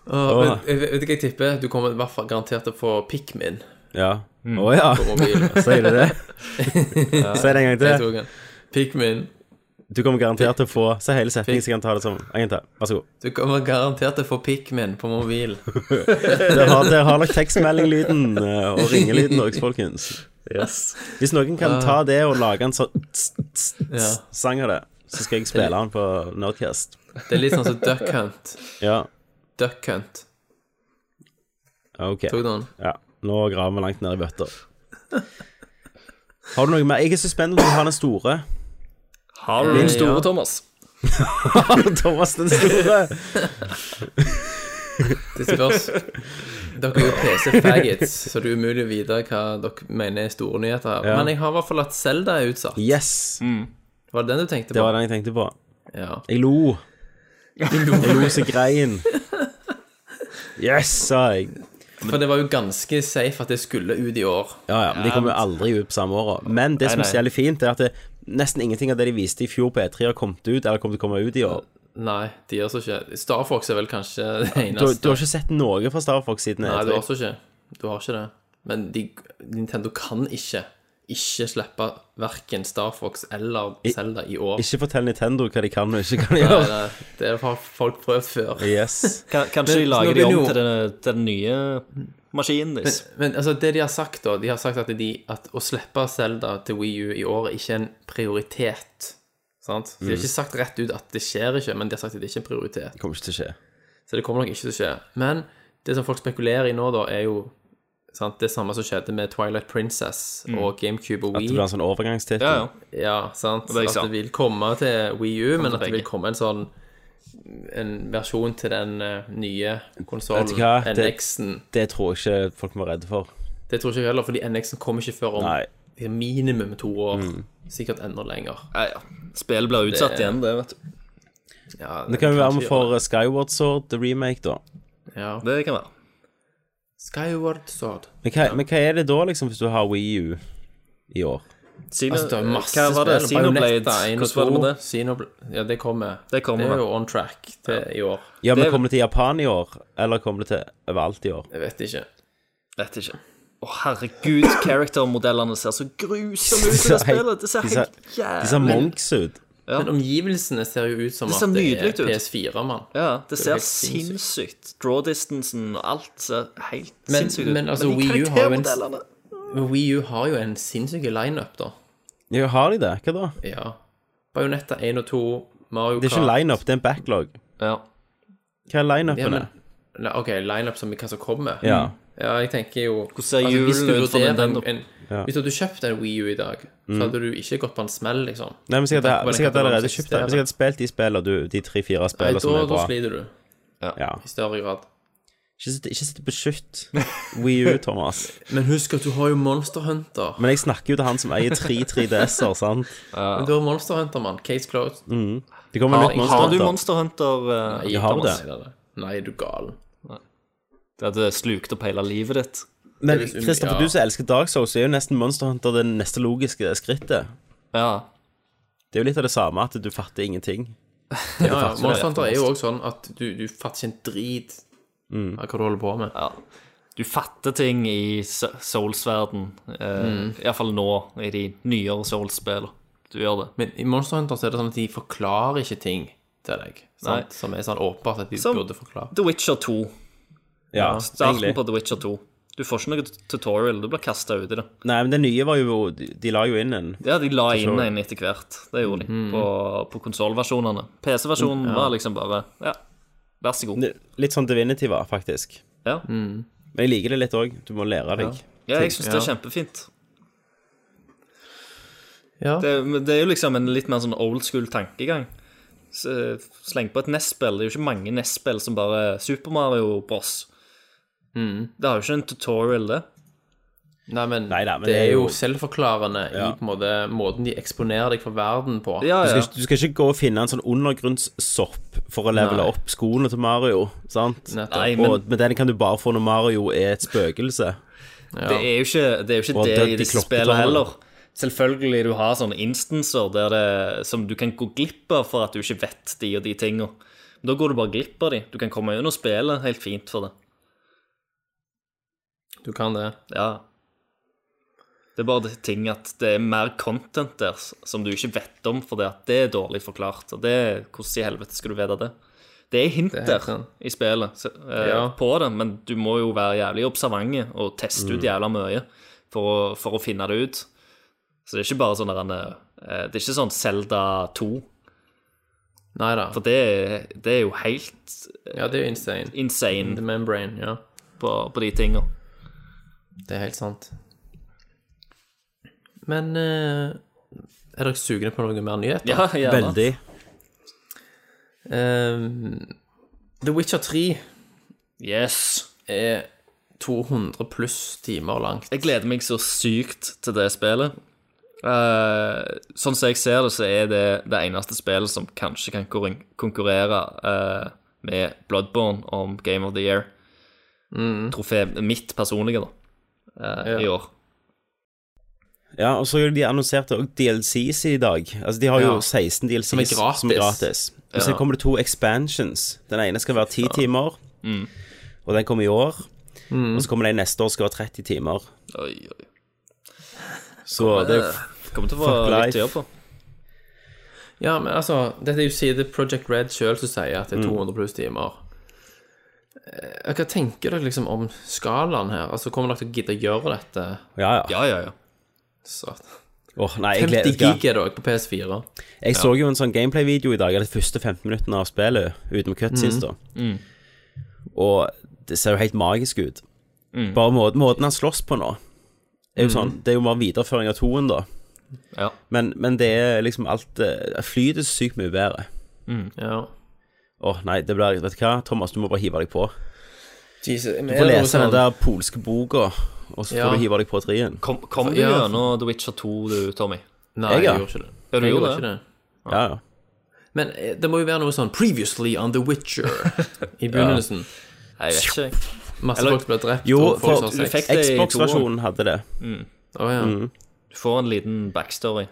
Speaker 6: Åh, men jeg vet- vet du hva jeg tipper? Du kommer i hvert fall garantert til å få Pikmin
Speaker 1: ja. Å ja.
Speaker 6: på mobilen.
Speaker 1: Sier du det? Si det en gang
Speaker 6: Jeg
Speaker 1: til.
Speaker 6: tok den. Pikmin.
Speaker 1: Du kommer garantert til å få Se hele setningen, så jeg kan ta det som En gang til. Vær så god.
Speaker 6: Du kommer garantert til å få Pikmin på mobil.
Speaker 1: Dere har, dere har lagt tekstmeldinglyden eh, og ringelyden også, folkens.
Speaker 6: Yes.
Speaker 1: Hvis noen kan ta det og lage en sånn tss, tss,
Speaker 6: Ah. Ja.
Speaker 1: tss, sang av det, så skal jeg spille den på Nerdcast.
Speaker 6: Det er litt sånn som Duck Hunt.
Speaker 1: Ja,
Speaker 6: Duck Hunt.
Speaker 1: ok.
Speaker 6: Tok du den?
Speaker 1: Ja, nå graver vi langt ned i bøtter. Har du noe mer? Jeg er så spent om du har den store.
Speaker 2: Har du den store,
Speaker 6: Ja.
Speaker 2: Thomas?
Speaker 1: Thomas den store.
Speaker 6: Det spørs. Dere er jo PC-faggots, så det er umulig å vite hva dere mener er store nyheter. her
Speaker 1: Ja.
Speaker 6: Men jeg har i hvert fall at Zelda er utsatt.
Speaker 1: Yes,
Speaker 6: Var det den du tenkte på?
Speaker 1: det var den jeg tenkte på.
Speaker 6: Ja.
Speaker 1: Jeg lo. Jeg lo så grein. Yes, sa jeg.
Speaker 6: For det var jo ganske safe at det skulle ut i år.
Speaker 1: Ja, ja, men de kommer jo aldri ut på samme året. Men det som er
Speaker 2: Nei, nei.
Speaker 1: så jævlig fint, er at det, nesten ingenting av det de viste i fjor på E3 har kommet ut, eller kommer til å komme ut i år.
Speaker 6: Nei, de gjør så ikke Star Fox er vel kanskje det
Speaker 1: Du,
Speaker 6: eneste.
Speaker 1: du har ikke sett noe fra Star Fox siden
Speaker 6: Nei, du
Speaker 1: E3?
Speaker 6: har så ikke. Du har ikke det. Men de, Nintendo kan ikke ikke slippe verken Star Fox eller Zelda i år.
Speaker 1: Ikke fortell Nintendo hva de kan og ikke kan
Speaker 6: Nei,
Speaker 1: gjøre.
Speaker 6: nei, det har folk prøvd før.
Speaker 1: Yes.
Speaker 2: Kan- Kanskje de
Speaker 6: Men
Speaker 2: lager
Speaker 6: når
Speaker 2: de
Speaker 6: vi
Speaker 2: om
Speaker 6: nå-
Speaker 2: til den, til den nye maskinen deres.
Speaker 6: Men altså, det de har sagt, da De har sagt at, de, at å slippe Zelda til Wii U i år er ikke en prioritet. Sant? Så De
Speaker 1: Mm.
Speaker 6: har ikke sagt rett ut at det skjer ikke, men de har sagt at det ikke er en prioritet.
Speaker 1: Det kommer ikke til å skje.
Speaker 6: Så det kommer nok ikke til å skje. Men det som folk spekulerer i nå, da, er jo sant, det samme som skjedde med Twilight Princess og GameCube og
Speaker 1: At det
Speaker 6: Wii.
Speaker 1: blir en sånn overgangstittel.
Speaker 2: Ja, ja.
Speaker 6: Ja, sant.
Speaker 2: det jeg
Speaker 6: At
Speaker 2: sa.
Speaker 6: det vil komme til Wii U, men at
Speaker 2: begge.
Speaker 6: det vil komme en sånn en versjon til den eh, nye konsollen,
Speaker 1: Vet du hva? Det-
Speaker 6: NX-en.
Speaker 1: Det tror jeg ikke folk må være redde for.
Speaker 6: Det tror ikke jeg heller, fordi NX-en kommer ikke før om
Speaker 1: Nei.
Speaker 6: minimum to år. Sikkert enda lenger.
Speaker 2: Mm. Ja, ja. Spillet blir utsatt igjen, det, vet du.
Speaker 6: Ja,
Speaker 1: Det kan jo være med
Speaker 6: kanskje
Speaker 1: for eh, Skyward Sword, the remake, da.
Speaker 6: gjøre det. ja.
Speaker 2: Det kan være.
Speaker 6: Skyward Sword.
Speaker 1: Men hva, men hva er det da, liksom, hvis du har Wii U i år?
Speaker 2: Sino,
Speaker 6: Altså, det er jo masse
Speaker 2: Eh, hva var det?
Speaker 6: spill.
Speaker 2: Xenoblade.
Speaker 6: Bayonetta 1 og
Speaker 2: Hvordan var det med
Speaker 6: 2.
Speaker 2: det?
Speaker 6: Xenoblade- Ja, det kommer.
Speaker 2: Det kommer.
Speaker 6: Det er jo on track til i år.
Speaker 1: Ja,
Speaker 2: Det
Speaker 1: men
Speaker 2: er-
Speaker 1: kommer det til Japan i år? Eller kommer det til overalt i år?
Speaker 6: Jeg vet ikke.
Speaker 2: Vet ikke. Å, herregud, character-modellene ser så grusomme ut i det spillet. Det ser
Speaker 1: De ser-
Speaker 2: helt
Speaker 1: De ser
Speaker 2: jævlig
Speaker 1: monks ut.
Speaker 6: Men omgivelsene ser jo ut som
Speaker 2: Det ser
Speaker 6: at det
Speaker 2: nydelig
Speaker 6: er
Speaker 2: ut.
Speaker 6: PS4, mann.
Speaker 2: Ja, det ser
Speaker 6: helt sinnssykt.
Speaker 2: sinnssykt. Draw distancen og alt ser helt
Speaker 6: Men-
Speaker 2: sinnssykt ut.
Speaker 6: men altså,
Speaker 2: de
Speaker 6: Wii U har jo en-
Speaker 2: karaktermodellene-
Speaker 6: Men Wii U har jo en sinnssyk lineup, da.
Speaker 1: Ja, har de det? Hva da?
Speaker 6: Ja. Bajonetta 1 og 2, Mario
Speaker 1: Det er ikke lineup, det er en backlog.
Speaker 2: Ja.
Speaker 1: Hva er
Speaker 6: Ja,
Speaker 1: lineupen?
Speaker 6: men, Nei, OK, lineup som i hva som kommer.
Speaker 1: Ja.
Speaker 6: Ja, jeg tenker jo altså,
Speaker 2: ser julen
Speaker 6: hvis du
Speaker 2: ut for
Speaker 6: vurderer
Speaker 2: Nintendo?
Speaker 6: en, en, Hvis du hadde kjøpt en Wii U i dag, så hadde du ikke gått på en smell, liksom.
Speaker 1: Mm. Nei, men sikkert,
Speaker 6: Jeg tenker på den
Speaker 1: sikkert, sikkert allerede
Speaker 6: katalogen
Speaker 1: kjøpt
Speaker 6: som
Speaker 1: det. Hvis jeg hadde spilt de spillene, du, de tre-fire
Speaker 6: Nei,
Speaker 1: spillene som
Speaker 6: da,
Speaker 1: er
Speaker 6: da
Speaker 1: bra
Speaker 6: sliter du,
Speaker 1: ja.
Speaker 6: i større grad.
Speaker 1: Ikke sitt- Ikke sitt på skytt. Wii U, Thomas.
Speaker 6: Men husk at du har jo Monster Hunter.
Speaker 1: Men jeg snakker jo til han som eier tre 3DS-er, sant?
Speaker 6: Men Du har Monster Hunter, mann. Case closed.
Speaker 1: Det kommer nytt
Speaker 6: jeg-
Speaker 1: Monster
Speaker 2: Har du
Speaker 1: Hunter.
Speaker 2: Monster Hunter? eh,
Speaker 6: Nei,
Speaker 1: Mm, jeg har
Speaker 6: Thomas,
Speaker 1: det.
Speaker 6: nei, nei, nei. Nei, er du gal.
Speaker 2: Det hadde slukt opp hele livet ditt.
Speaker 1: Men
Speaker 6: Det er liksom-
Speaker 1: Christopher,
Speaker 6: ja.
Speaker 1: du som elsker Dark Souls, så er jo nesten Monster Hunter det neste logiske skrittet.
Speaker 2: Ja.
Speaker 1: Det er jo litt av det samme, at du fatter ingenting.
Speaker 6: Ja, ja.
Speaker 2: faktisk det.
Speaker 6: Monster Hunter er jo også sånn at du, du fatter ikke en drit
Speaker 1: Mm.
Speaker 6: av hva du holder på med.
Speaker 2: ja. Du fatter ting i S- Souls-verden. Eh, Iallfall nå, i de nyere Souls-spillene. Du gjør det.
Speaker 6: Men i Monster Hunter så er det sånn at de forklarer ikke ting til deg.
Speaker 2: Nei.
Speaker 6: Sant? Som er sånn åpenbart at de
Speaker 2: Som-
Speaker 6: burde forklare.
Speaker 2: The Witcher 2.
Speaker 1: Ja,
Speaker 2: Starten
Speaker 1: egentlig.
Speaker 2: på The Witcher 2. Du får ikke noe tutorial, du blir kasta ut i det.
Speaker 1: Nei, men det nye var jo De de la jo inn en
Speaker 2: Ja, de la inn en etter hvert. Det gjorde de på, på konsollversjonene. PC-versjonen var liksom bare Ja, vær så god.
Speaker 1: Litt sånn Divinitiva, faktisk.
Speaker 2: Ja,
Speaker 1: Men jeg liker det litt òg. Du må lære deg.
Speaker 2: ja jeg syns det er kjempefint.
Speaker 6: Ja.
Speaker 2: Det, men det er jo liksom en litt mer sånn old school tankegang. Så, Sleng på et NES-spill. Det er jo ikke mange NES-spill som bare Super Mario Bros. Det har jo ikke en tutorial, det.
Speaker 6: Nei, men,
Speaker 1: Neida, men
Speaker 6: det er jo
Speaker 1: jo-
Speaker 6: selvforklarende i
Speaker 1: Ja.
Speaker 6: på en måte måten de eksponerer deg for verden på.
Speaker 2: Ja,
Speaker 1: Du skal,
Speaker 2: ja.
Speaker 1: ikke- du skal ikke gå og finne en sånn undergrunnssopp for å levele
Speaker 6: Nei.
Speaker 1: opp skoene til Mario, sant?
Speaker 6: Nettopp.
Speaker 2: Nei, men
Speaker 1: Og med den kan du bare få når Mario er et spøkelse.
Speaker 2: det er jo ikke det, er jo
Speaker 1: Og
Speaker 2: ikke det
Speaker 1: dødd i
Speaker 2: i disse
Speaker 1: klokketårnet.
Speaker 2: spillene heller. Selvfølgelig du har sånne instanser der det, som du kan gå glipp av for at du ikke vet de og de tinga. Da går du bare glipp av de. Du kan komme gjennom spillet helt fint for det.
Speaker 6: Du kan det.
Speaker 2: Ja. Det er bare det ting at det er mer content der s- som du ikke vet om, fordi at det er dårlig forklart. Og det, hvordan i helvete skal du vite det? Det er hint
Speaker 6: helt
Speaker 2: der
Speaker 6: sant.
Speaker 2: i spillet så, eh,
Speaker 6: Ja.
Speaker 2: på det, men du må jo være jævlig observant og teste ut jævla mye for å, for å finne det ut. Så det er ikke bare sånn der en, eh, Det er ikke sånn Selda 2,
Speaker 6: Nei da.
Speaker 2: for det, er- det er jo helt
Speaker 6: Ja, det er jo insane. The
Speaker 2: insane
Speaker 6: membrane, ja.
Speaker 2: på, på de tinga.
Speaker 6: Det er helt sant. Men eh, er dere sugne på noe mer nyheter?
Speaker 2: Ja, gjerne.
Speaker 1: Veldig.
Speaker 6: Eh, The Witcher 3
Speaker 2: Yes.
Speaker 6: er 200 pluss timer langt.
Speaker 2: Jeg gleder meg så sykt til det spillet. Eh, sånn som jeg ser det, så er det det eneste spillet som kanskje kan konkurren- konkurrere eh, med Bloodborne om Game of the Year. Trofé mitt personlige, da, eh, i år.
Speaker 1: Ja, og så har de annonsert også DLCs i dag. Altså, de har jo
Speaker 6: Ja.
Speaker 1: 16 DLCs som
Speaker 6: er gratis.
Speaker 1: gratis. Og så
Speaker 2: Ja.
Speaker 1: kommer det to expansions. Den ene skal være 10 timer, og den kommer i år. Og så kommer den neste år skal være 30 timer.
Speaker 2: Oi, oi.
Speaker 1: Så det er jo
Speaker 2: Eh, Kommer til å
Speaker 1: Fuck
Speaker 2: få litt
Speaker 1: life.
Speaker 2: å gjøre på.
Speaker 6: Ja, men altså, dette er jo side Project Red sjøl som sier at det er 200 pluss timer. Eh, Hva tenker dere liksom om skalaen her? Altså, Kommer dere til å gidde å gjøre dette?
Speaker 1: Ja, ja.
Speaker 2: Ja, ja, ja.
Speaker 6: Så,
Speaker 1: Åh, nei, jeg
Speaker 6: 50
Speaker 1: gleder meg.
Speaker 6: gig er det også på PS4.
Speaker 1: Jeg så jo en sånn gameplay-video i dag, eller de første 15 minuttene av spillet, utenom cutscenes, da. Og det ser jo helt magisk ut. Bare måten, måten han slåss på nå, er jo sånn Det er jo bare videreføring av toen, da.
Speaker 2: Ja.
Speaker 1: Men, men det er liksom alt eh, Flyet er så sykt mye bedre.
Speaker 6: Ja.
Speaker 1: Åh, nei, det blir Vet du hva, Thomas, du må bare hive deg på.
Speaker 6: Jesus,
Speaker 1: Du får lese den der polske boka, og så
Speaker 6: sånn- Ja.
Speaker 1: får du hive deg på trien.
Speaker 2: Kom, kom du
Speaker 6: Ja.
Speaker 2: gjennom The Witcher 2, du, Tommy?
Speaker 6: Nei,
Speaker 1: Jeg,
Speaker 6: jeg,
Speaker 1: ja.
Speaker 6: gjorde ikke det.
Speaker 2: Ja, du
Speaker 6: Jeg
Speaker 2: gjorde det.
Speaker 6: ikke det.
Speaker 1: Ja, ja.
Speaker 6: Men eh, det må jo være noe sånn 'Previously on The Witcher' i begynnelsen.
Speaker 2: Nei, jeg vet ikke. jeg.
Speaker 6: Masse
Speaker 2: Eller-
Speaker 6: folk ble drept.
Speaker 1: Jo,
Speaker 6: og folk
Speaker 1: for-
Speaker 6: som har
Speaker 2: Du fikk
Speaker 6: sex.
Speaker 2: det i toeren.
Speaker 1: Xbox-versjonen hadde det.
Speaker 6: Å, ja.
Speaker 2: Du får en liten backstory.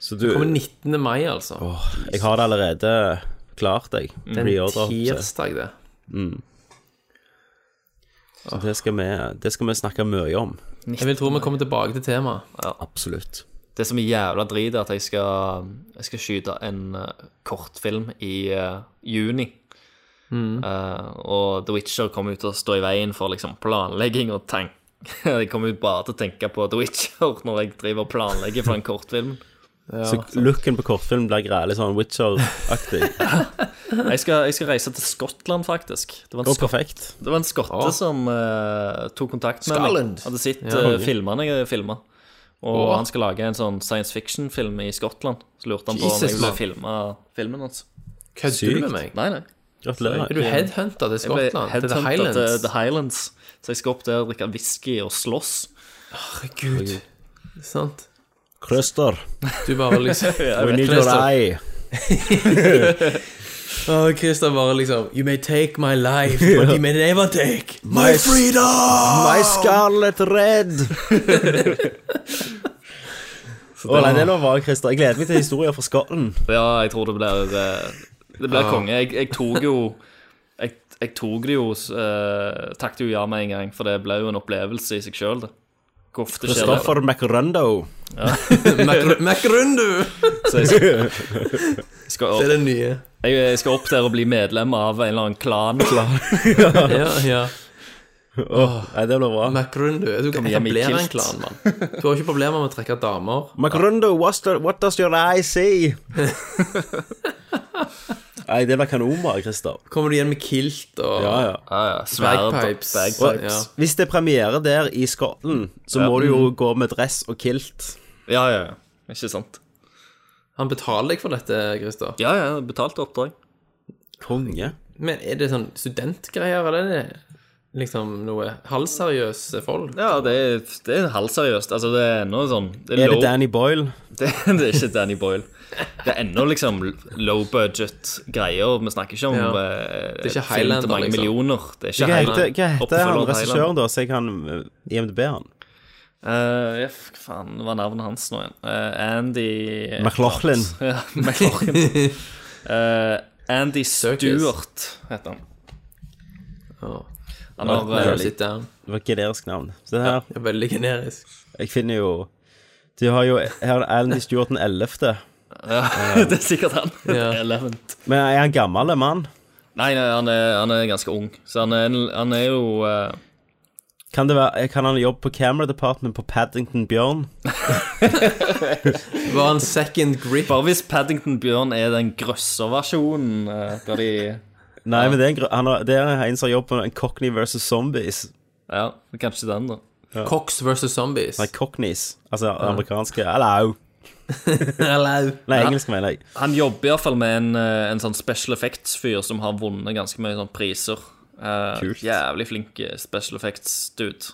Speaker 1: Så du
Speaker 6: Kommer 19. mai, altså.
Speaker 1: Jeg har det allerede klart, jeg.
Speaker 6: det er en
Speaker 1: Preorder, så-
Speaker 6: tirsdag, det.
Speaker 1: Så det skal, vi, det skal vi snakke mye om.
Speaker 6: Jeg vil tro vi kommer tilbake til temaet.
Speaker 1: Absolutt.
Speaker 2: Det som er jævla drit, er at jeg skal, jeg skal skyte en eh, kortfilm i eh, juni.
Speaker 6: Mm.
Speaker 2: Eh, og The Witcher kommer ut til å stå i veien for liksom, planlegging og tank. Jeg kommer jo bare til å tenke på The Witcher når jeg driver og planlegger for en kortfilm.
Speaker 1: så looken på kortfilm blir grælig sånn Witcher-aktig.
Speaker 2: Jeg skal, jeg skal reise til Skottland, faktisk. Det var en,
Speaker 1: Og
Speaker 2: skot,
Speaker 1: perfekt.
Speaker 2: det var en skotte som eh, tok kontakt med
Speaker 6: Scotland.
Speaker 2: meg. Hadde sett eh,
Speaker 6: Ja.
Speaker 2: filmene jeg filma. Og han skal lage en sånn science fiction-film i Skottland. Så lurte han på om
Speaker 6: Jesus,
Speaker 2: jeg ville
Speaker 6: mann.
Speaker 2: filme filmen hans.
Speaker 6: Kødder du med meg?
Speaker 2: Nei, nei.
Speaker 1: Gratulerer.
Speaker 6: Er du headhunter til
Speaker 2: Jeg ble
Speaker 6: Skottland? Til The
Speaker 2: headhunta
Speaker 6: Highlands?
Speaker 2: til The Highlands. Så jeg skal opp der og drikke whisky og slåss.
Speaker 6: Herregud. Sant?
Speaker 1: Christer,
Speaker 6: Du bare liksom
Speaker 1: we need
Speaker 6: your
Speaker 1: your
Speaker 6: Christer.
Speaker 1: eye.
Speaker 6: Å, Christer bare liksom You may take my life, but you may never take my freedom!
Speaker 1: My scarlet red. Å nei, det lover jeg, Christer. Jeg gleder meg til historier fra Scotland.
Speaker 2: Ja, jeg tror det blir eh, Det blir konge. Jeg, jeg tok jo Jeg, jeg tok det jo uh, Takket jo ja med en gang, for det ble jo en opplevelse i seg sjøl, det. Hvor ofte skjer det?
Speaker 1: Christopher McRundo.
Speaker 6: Macr- Macrundu!
Speaker 2: Så jeg, skal, jeg, skal
Speaker 6: Det
Speaker 2: opp,
Speaker 6: er det nye.
Speaker 2: jeg, jeg skal opp der og bli medlem av en eller annen klan.
Speaker 6: Ja, ja.
Speaker 1: Nei, det blir bra.
Speaker 6: Macrundu. Du kan
Speaker 2: hjem i
Speaker 6: etablere en
Speaker 2: kilt.
Speaker 6: klan, mann. Du har ikke problemer med å trekke damer.
Speaker 1: McRundo, what's the, what does your eye see? Nei, det blir kanonbra, Christer.
Speaker 6: Kommer du igjen med kilt og
Speaker 1: Ja, ja.
Speaker 2: Ja, ja, sverd og
Speaker 6: bagpipes?
Speaker 2: bagpipes.
Speaker 6: Ja.
Speaker 1: Hvis det er premiere der i Skottland, så må du jo gå med dress og kilt.
Speaker 2: Ja, ja, ja. Ikke sant?
Speaker 6: Han betaler deg for dette, Christer.
Speaker 2: Ja, ja. Betalt oppdrag.
Speaker 1: Konge.
Speaker 6: Men er det sånn studentgreier, eller er det liksom noe halvseriøse folk.
Speaker 2: Ja, det er, det er halvseriøst. Altså, det er ennå sånn det
Speaker 1: Er det
Speaker 2: low-
Speaker 1: Danny Boyle?
Speaker 2: Det, det er ikke Danny Boyle. Det er ennå liksom low budget greier. Vi snakker ikke om
Speaker 6: Ja.
Speaker 2: eh,
Speaker 6: Det er ikke
Speaker 2: film
Speaker 6: Highlander,
Speaker 2: til mange
Speaker 6: liksom.
Speaker 2: millioner. Det er ikke
Speaker 1: Hva
Speaker 2: Highlander.
Speaker 1: heter, hva heter
Speaker 2: Oppfølger
Speaker 1: han
Speaker 2: til
Speaker 1: regissøren,
Speaker 2: Highlander.
Speaker 1: da, så jeg kan eh, IMDb han?
Speaker 2: Eh, ja, f- faen, hva er navnet hans nå igjen? Eh, Andy
Speaker 1: McLaughlin.
Speaker 2: Ja, McLaughlin. Eh, Andy Stewart heter han.
Speaker 6: Ja.
Speaker 2: Han har
Speaker 6: Nei,
Speaker 2: eh,
Speaker 6: sitt der.
Speaker 1: Det var et generisk navn. Så det her,
Speaker 6: Det er veldig generisk.
Speaker 1: jeg finner jo Du har jo Her er Alan D. Stewart den 11.
Speaker 2: Det er sikkert han.
Speaker 6: Ja.
Speaker 2: Eleventh.
Speaker 1: Men er han gammel, en mann?
Speaker 2: Nei, nei han, er, han er ganske ung, så han er, en- han er jo eh,
Speaker 1: Kan, det være, kan han jobbe på camera department på Paddington Bjørn?
Speaker 6: Var han second grip?
Speaker 2: Bare hvis Paddington Bjørn er den grøsserversjonen eh, der de
Speaker 1: Nei, men det er en, gr- han har, det er en som har jobbet med en Cockney versus Zombies.
Speaker 2: Ja, kanskje den, da.
Speaker 6: Cox versus zombies.
Speaker 1: Nei, Cockneys. Altså amerikanske Hello.
Speaker 6: Hello.
Speaker 1: Nei, engelsk, mener jeg.
Speaker 2: Han jobber iallfall med en, eh, en sånn special effects-fyr som har vunnet ganske mye sånn priser. Eh,
Speaker 1: Kult.
Speaker 2: Jævlig flink eh, special effects-dude.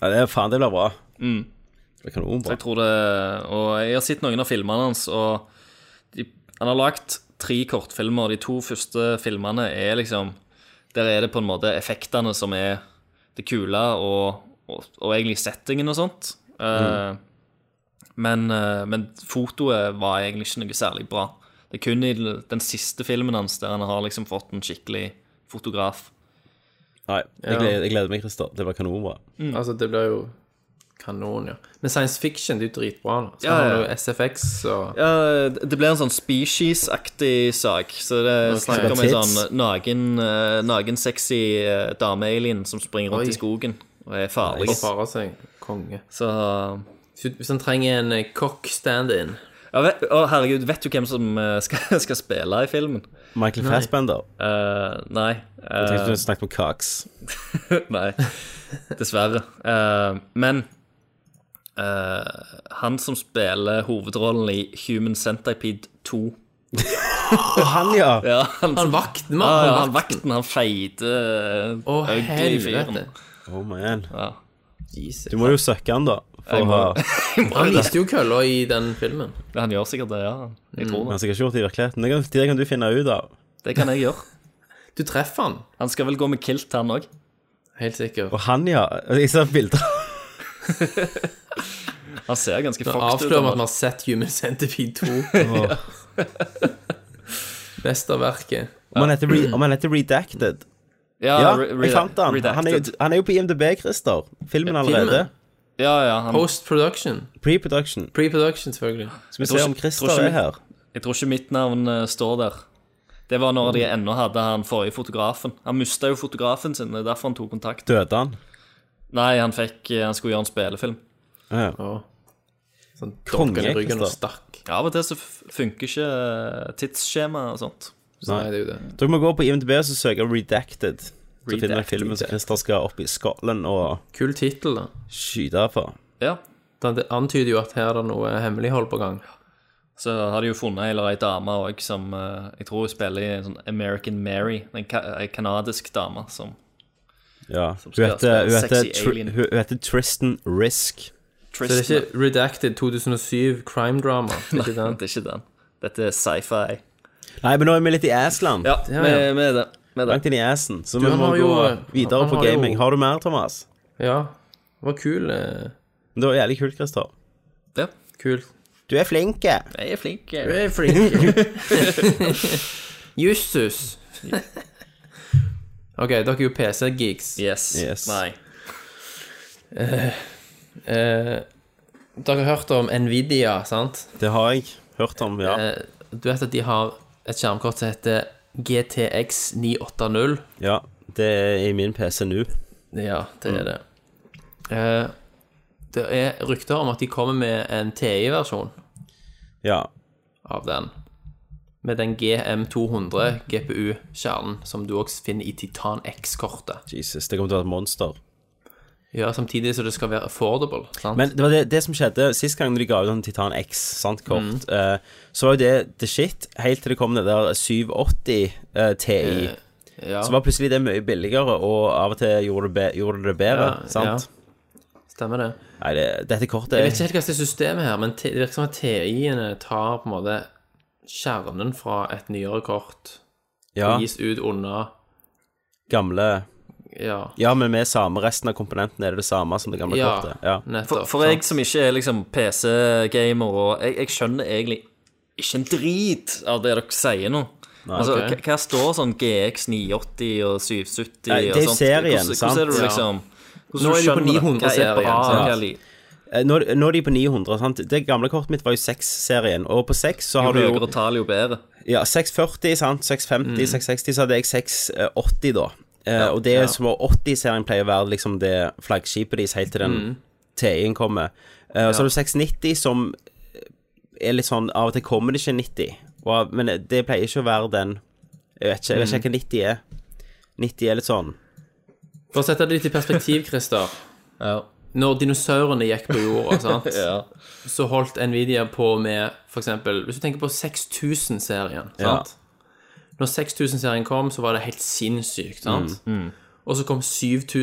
Speaker 1: Ja, det er faen, det blir bra.
Speaker 2: Mm.
Speaker 1: Det er kanonbra.
Speaker 2: Jeg tror det Og jeg har sett noen av filmene hans, og de, han har lagd tre kortfilmer. De to første filmene er liksom Der er det på en måte effektene som er det kule, og, og, og egentlig settingen og sånt. Eh, men, eh, men fotoet var egentlig ikke noe særlig bra. Det er kun i den siste filmen hans der han har liksom fått en skikkelig fotograf.
Speaker 1: Nei, jeg gleder, jeg gleder meg, Christer. Det blir kanonbra.
Speaker 6: Altså, det blir jo kanon, ja. Men science fiction, det er jo dritbra. da. Så
Speaker 2: Ja,
Speaker 6: har
Speaker 2: ja,
Speaker 6: du
Speaker 2: ja.
Speaker 6: SFX og
Speaker 2: Ja, det det blir en sånn species-aktig sak. Så det er snakk om en
Speaker 1: Tits.
Speaker 2: sånn nagen, eh, nagen sexy eh, dame-alien som springer rundt
Speaker 6: Oi.
Speaker 2: i skogen og er farlig.
Speaker 6: og farer seg konge.
Speaker 2: Så
Speaker 6: Så Hvis han trenger en eh, cock stand-in
Speaker 2: ja, vet, Å, herregud, vet du hvem som eh, skal, skal spille i filmen?
Speaker 1: Michael Fassbender.
Speaker 2: Eh, nei.
Speaker 1: Jeg
Speaker 2: eh,
Speaker 1: tenkte du snakket om Cox.
Speaker 2: nei. Dessverre. Eh, men eh, han som spiller hovedrollen i Human Centipede 2
Speaker 1: Og han, ja!
Speaker 2: ja, han,
Speaker 6: Han vakten, mann!
Speaker 2: ah, ja,
Speaker 6: han
Speaker 2: han vakten, han feite
Speaker 6: Å,
Speaker 2: oh, ugly fyren.
Speaker 6: helvete.
Speaker 1: Oh man.
Speaker 6: Jesus.
Speaker 1: Du må jo søkke han, da. For å ha
Speaker 6: Han viste jo kølla i den filmen.
Speaker 2: Ja, Han gjør sikkert det, ja. Jeg tror
Speaker 1: Han
Speaker 2: det.
Speaker 1: har sikkert ikke gjort det i virkeligheten. Det kan, det kan du finne ut av.
Speaker 2: Det kan jeg gjøre.
Speaker 6: Du treffer han,
Speaker 2: Han skal vel gå med kilt, han òg.
Speaker 6: helt sikkert.
Speaker 1: Og han, ja. Jeg ser bilder.
Speaker 2: Han ser ganske fucked ut.
Speaker 6: Avslører vi at vi
Speaker 2: han.
Speaker 6: har sett Human Centipede 2. Mesterverket.
Speaker 1: Om han heter, re, om han heter Redacted.
Speaker 2: Ja,
Speaker 1: Ja,
Speaker 2: re- re-
Speaker 1: jeg fant han. Han er, jo,
Speaker 2: redacted.
Speaker 1: han er jo på IMDb, Christer. Filmen allerede.
Speaker 2: Ja, ja, han,
Speaker 6: Post-production.
Speaker 1: Pre-production.
Speaker 6: Pre-production, selvfølgelig.
Speaker 1: Skal vi
Speaker 2: tror
Speaker 1: se om
Speaker 2: ikke-
Speaker 1: Christer
Speaker 2: tror ikke-
Speaker 1: er her.
Speaker 2: jeg tror ikke mitt navn eh, står der. Det var når de ennå hadde han forrige fotografen. Han mista jo fotografen sin, det er derfor han tok kontakt.
Speaker 1: Døde han?
Speaker 2: Nei, han fikk eh, Han skulle gjøre en spillefilm.
Speaker 1: Ja.
Speaker 6: Sånn
Speaker 1: Konge,
Speaker 6: dolken i ryggen og
Speaker 1: Kristian.
Speaker 6: stakk.
Speaker 2: Ja, Av og til så f- funker ikke eh, tidsskjema og sånt.
Speaker 6: Så
Speaker 1: Nei.
Speaker 6: Nei, det er jo det.
Speaker 1: Dere må gå på IMDb og søke Redacted. Så finner dere
Speaker 2: Redacted.
Speaker 1: filmen som Christer skal opp i Scotland og
Speaker 6: Kul tittel, da.
Speaker 1: skyte på.
Speaker 2: Ja.
Speaker 6: Den- Det antyder jo at her er det noe hemmelighold på gang.
Speaker 2: Så har de jo funnet eller ei dame òg som eh, jeg tror hun spiller i en sånn American Mary. En ka ei kanadisk dame som
Speaker 1: Ja. Hun heter,
Speaker 2: skal
Speaker 1: hun,
Speaker 2: spille
Speaker 1: heter,
Speaker 2: sexy
Speaker 1: Tr-
Speaker 2: alien.
Speaker 1: hun heter Tristan Risk.
Speaker 6: Så det er ikke Redacted 2007 crime drama. Det er ikke
Speaker 2: Nei,
Speaker 6: den.
Speaker 2: det er ikke den. Dette er sci-fi.
Speaker 1: Nei, men nå er vi litt i Asland.
Speaker 2: Ja,
Speaker 6: ja.
Speaker 2: Med, med det. Med det.
Speaker 1: Langt inn i assen. Så
Speaker 6: Du,
Speaker 1: vi
Speaker 6: han
Speaker 1: må
Speaker 6: har
Speaker 1: gå
Speaker 6: jo- eh,
Speaker 1: videre
Speaker 6: han
Speaker 1: på
Speaker 6: har jo-
Speaker 1: gaming. Har du mer, Thomas?
Speaker 6: Ja. Det var kul. eh,
Speaker 1: Men Det var jævlig kult, Christer.
Speaker 2: Ja.
Speaker 6: Kul.
Speaker 1: Du er flink. eh.
Speaker 2: Jeg er flink.
Speaker 6: Du
Speaker 2: Jeg.
Speaker 6: er flink. Justus. OK, dere er jo PC-geeks.
Speaker 2: Yes.
Speaker 1: Yes.
Speaker 2: Nei.
Speaker 6: Eh, dere har hørt om Nvidia, sant?
Speaker 1: Det har jeg hørt om, ja.
Speaker 6: Eh, du vet at de har et skjermkort som heter GTX 980.
Speaker 1: ja. Det er i min PC nå.
Speaker 6: Ja, det
Speaker 1: Mm.
Speaker 6: er det. Eh, det er rykter om at de kommer med en TI-versjon
Speaker 1: Ja.
Speaker 6: av den. Med den GM200 GPU-kjernen som du også finner i Titan X-kortet.
Speaker 1: Jesus, det kommer til å være et monster.
Speaker 6: Ja, Samtidig som det skal være affordable. sant?
Speaker 1: Men det var det, det som skjedde sist gang de ga ut en Titan X sant,
Speaker 6: Mm.
Speaker 1: kort, eh, så var jo det the shit, helt til det kom det der 780 eh, TI.
Speaker 6: Ja.
Speaker 1: Så var plutselig det mye billigere, og av og til gjorde det, be gjorde det bedre.
Speaker 6: Ja,
Speaker 1: sant?
Speaker 6: Stemmer det.
Speaker 1: Nei, det, dette kortet
Speaker 6: Jeg vet ikke helt hva som er systemet her, men te- det virker som at TI-ene tar på en måte kjernen fra et nyere kort
Speaker 1: ja,
Speaker 6: og gis ut unna
Speaker 1: gamle
Speaker 6: Ja,
Speaker 1: Ja, men med samme resten av komponentene er det det samme som det gamle
Speaker 6: ja,
Speaker 1: kortet. Ja.
Speaker 6: nettopp.
Speaker 2: For, for jeg som ikke er liksom PC-gamer, og jeg, jeg skjønner egentlig ikke en drit av det dere sier nå. altså,
Speaker 6: ok.
Speaker 2: hva- Hva står sånn GX 980 og 770
Speaker 1: Nei, det
Speaker 2: og
Speaker 1: er
Speaker 2: sånt?
Speaker 1: serien,
Speaker 2: hvordan,
Speaker 1: sant?
Speaker 2: Hvordan er det
Speaker 6: Ja.
Speaker 2: liksom hvordan
Speaker 6: Nå
Speaker 2: du
Speaker 6: er de på
Speaker 2: skjønner det?
Speaker 6: 900
Speaker 2: Hva er
Speaker 6: serien,
Speaker 2: bra,
Speaker 6: sant?
Speaker 2: hva er li-
Speaker 1: Eh, Nå, nå er de på 900, sant. Det gamle kortet mitt var jo 6-serien, og på 6 så
Speaker 2: Jo
Speaker 1: har du jo
Speaker 2: høyere tall, jo bedre.
Speaker 1: Ja, 640, sant? 650,
Speaker 6: Mm.
Speaker 1: 660, så hadde jeg 680 da. Eh, og det som var 80-serien pleier å være liksom det flaggskipet deres helt til den
Speaker 6: Mm.
Speaker 1: TI-en kommer. Eh, og Så har du 690 som er litt sånn, av og til kommer det ikke 90, og, av- men det pleier ikke å være den, jeg vet ikke, jeg
Speaker 6: Mm.
Speaker 1: vet ikke hva 90 er. 90 er litt sånn,
Speaker 6: For å sette det litt i perspektiv, Christer. Når dinosaurene gikk på jorda, sant, så holdt Nvidia på med f.eks. Hvis du tenker på 6000-serien.
Speaker 1: Ja.
Speaker 6: sant? Når 6000-serien kom, så var det helt sinnssykt. sant? Og så kom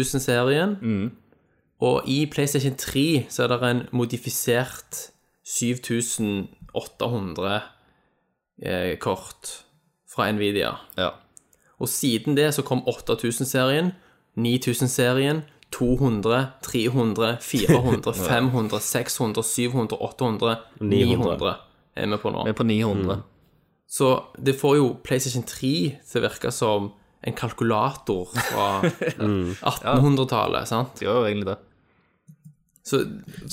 Speaker 6: 7000-serien. Og i PlayStation 3 så er det en modifisert 7800-kort eh, fra Nvidia.
Speaker 2: Ja.
Speaker 6: Og siden det så kom 8000-serien, 9000-serien, 200, 300, 400, 500, 600, 700, 800, 900 er vi på nå.
Speaker 2: Vi er på 900.
Speaker 6: Så det får jo PlayStation 3 til å virke som en kalkulator fra
Speaker 2: Mm.
Speaker 6: 1800-tallet, sant?
Speaker 2: Det gjør jo egentlig det.
Speaker 6: Så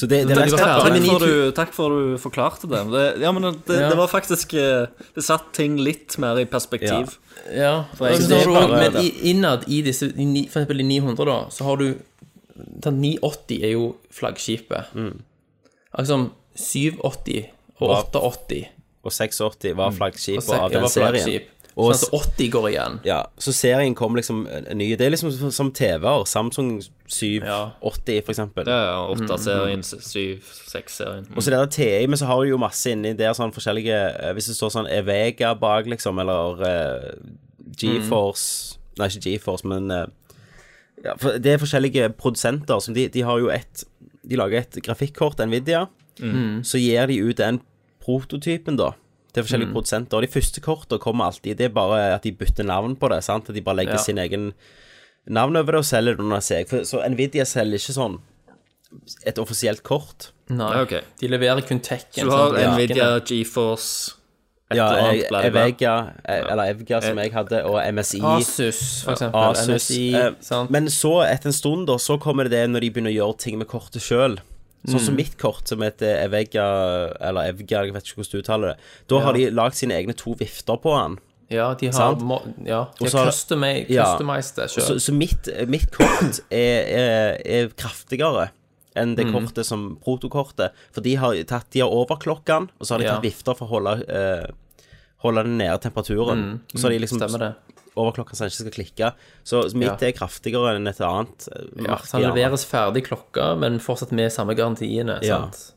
Speaker 1: så det, det er
Speaker 6: veldig
Speaker 1: rett og slett
Speaker 6: bra.
Speaker 1: bare
Speaker 2: Takk
Speaker 6: men
Speaker 2: for,
Speaker 6: 9000
Speaker 2: du, takk for du forklarte det. det ja, men det, det var faktisk eh, Det satt ting litt mer i perspektiv.
Speaker 6: Ja,
Speaker 2: jeg
Speaker 6: men,
Speaker 2: synes
Speaker 6: så
Speaker 2: det er
Speaker 6: har du
Speaker 1: bare
Speaker 6: også- men
Speaker 1: det.
Speaker 6: i, innad i disse, i ni- for eksempel i 900 da, så har du den 980 er jo flaggskipet.
Speaker 2: Mm.
Speaker 6: Altså 780 og
Speaker 1: Var-
Speaker 6: 880
Speaker 1: Og 680
Speaker 6: Mm.
Speaker 1: var flaggskipet
Speaker 6: sek-
Speaker 1: av den
Speaker 6: var
Speaker 1: serien.
Speaker 6: flaggskip.
Speaker 1: Og altså,
Speaker 6: Sånn at 80 går igjen.
Speaker 1: Ja, så serien kom liksom eh, ny. Det er liksom som- som TV-er. Samsung 780 for eksempel.
Speaker 2: Ja, ja, 8-serien, 7-6-serien.
Speaker 1: Og så det der TI, men så har du jo masse inni der sånn forskjellige eh, Hvis det står sånn Evega bak, liksom, eller eh, GeForce Nei, ikke GeForce, men eh, ja, for Det er forskjellige produsenter som de, de har jo et De lager et grafikkort, Nvidia, så gir de ut den prototypen, da. Til forskjellige produsenter. Og de første kortene kommer alltid Det er bare at de bytter navn på det. sant? At de bare legger sin egen navn over det og selger det under seg. For, så Nvidia selger ikke sånn et offisielt kort.
Speaker 6: Nei,
Speaker 2: Ja, ok.
Speaker 6: de leverer kun tekken.
Speaker 2: Du
Speaker 6: sant?
Speaker 2: har
Speaker 6: Ja.
Speaker 2: Nvidia, GeForce
Speaker 1: Ja,
Speaker 2: eller annet,
Speaker 1: jeg-
Speaker 2: bla, bla, bla.
Speaker 1: Evega, eh, eller Evga som jeg hadde, og MSI.
Speaker 6: Asus, for eksempel.
Speaker 1: Asus,
Speaker 6: NSI,
Speaker 1: eh,
Speaker 6: sant?
Speaker 1: Men så, etter en stund, da, så kommer det det når de begynner å gjøre ting med kortet sjøl. Sånn som mitt kort, som heter Evega, eller Evga, jeg vet ikke hvordan du uttaler det. Da har de lagd sine egne to vifter på den.
Speaker 6: ja, de har,
Speaker 1: sant?
Speaker 6: må, ja, de
Speaker 1: Og så
Speaker 6: har
Speaker 1: har-
Speaker 6: customi-
Speaker 1: Ja.
Speaker 6: customized det
Speaker 1: Så,
Speaker 6: selv.
Speaker 1: så mitt, mitt kort er, er, er kraftigere enn det kortet som protokortet. For de har tatt, de har overklokket den, og så har de
Speaker 6: Ja.
Speaker 1: tatt vifter for å holde, eh, holde den nede temperaturen. Og så har de liksom
Speaker 6: Stemmer det.
Speaker 1: overklokka så den ikke skal klikke. Så mitt
Speaker 6: Ja.
Speaker 1: er kraftigere enn et annet. eh,
Speaker 6: Ja,
Speaker 1: merke,
Speaker 6: så han
Speaker 1: gjerne.
Speaker 6: leveres ferdig klokka, men fortsatt med samme garantiene.
Speaker 1: Ja.
Speaker 6: sant?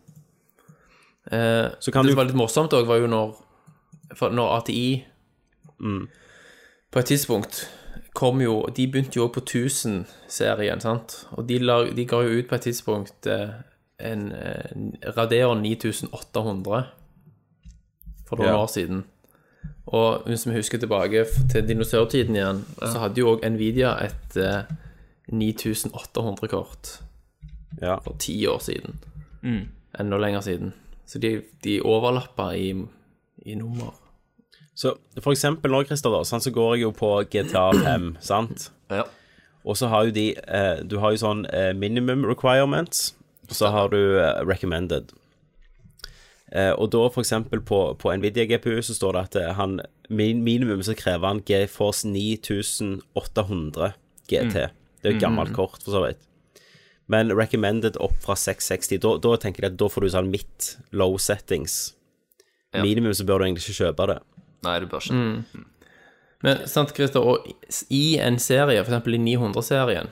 Speaker 6: Eh,
Speaker 1: Så kan du-
Speaker 6: det som var litt morsomt òg, var jo når, for når ATI
Speaker 1: Mm.
Speaker 6: på et tidspunkt kom jo De begynte jo òg på 1000-serien, sant? Og de, la, de ga jo ut på et tidspunkt eh, en eh, Radeon 9800 for noen
Speaker 1: Ja.
Speaker 6: år siden. Og hvis vi husker tilbake f- til dinosaurtiden igjen, så hadde jo òg Nvidia et eh, 9800-kort
Speaker 1: Ja.
Speaker 6: for ti år siden. Enda lenger siden. Så de, de overlapper i, i nummer.
Speaker 1: Så for eksempel nå, Christer, da, sånn, så går jeg jo på GTA 5, sant?
Speaker 2: Ja.
Speaker 1: Og så har jo de eh, Du har jo sånn eh, minimum requirements, og så har du eh, recommended. Eh, og da for eksempel på, på Nvidia GPU så står det at eh, han min, minimum så krever han GeForce 9800 GT. Det er jo et gammelt kort, for så vidt. Men recommended opp fra 660, da, da tenker jeg at da får du sånn midt low settings. Minimum så bør du egentlig ikke kjøpe det.
Speaker 2: Nei, du bør ikke.
Speaker 6: Men sant, Christer, og i en serie, f.eks. i 900-serien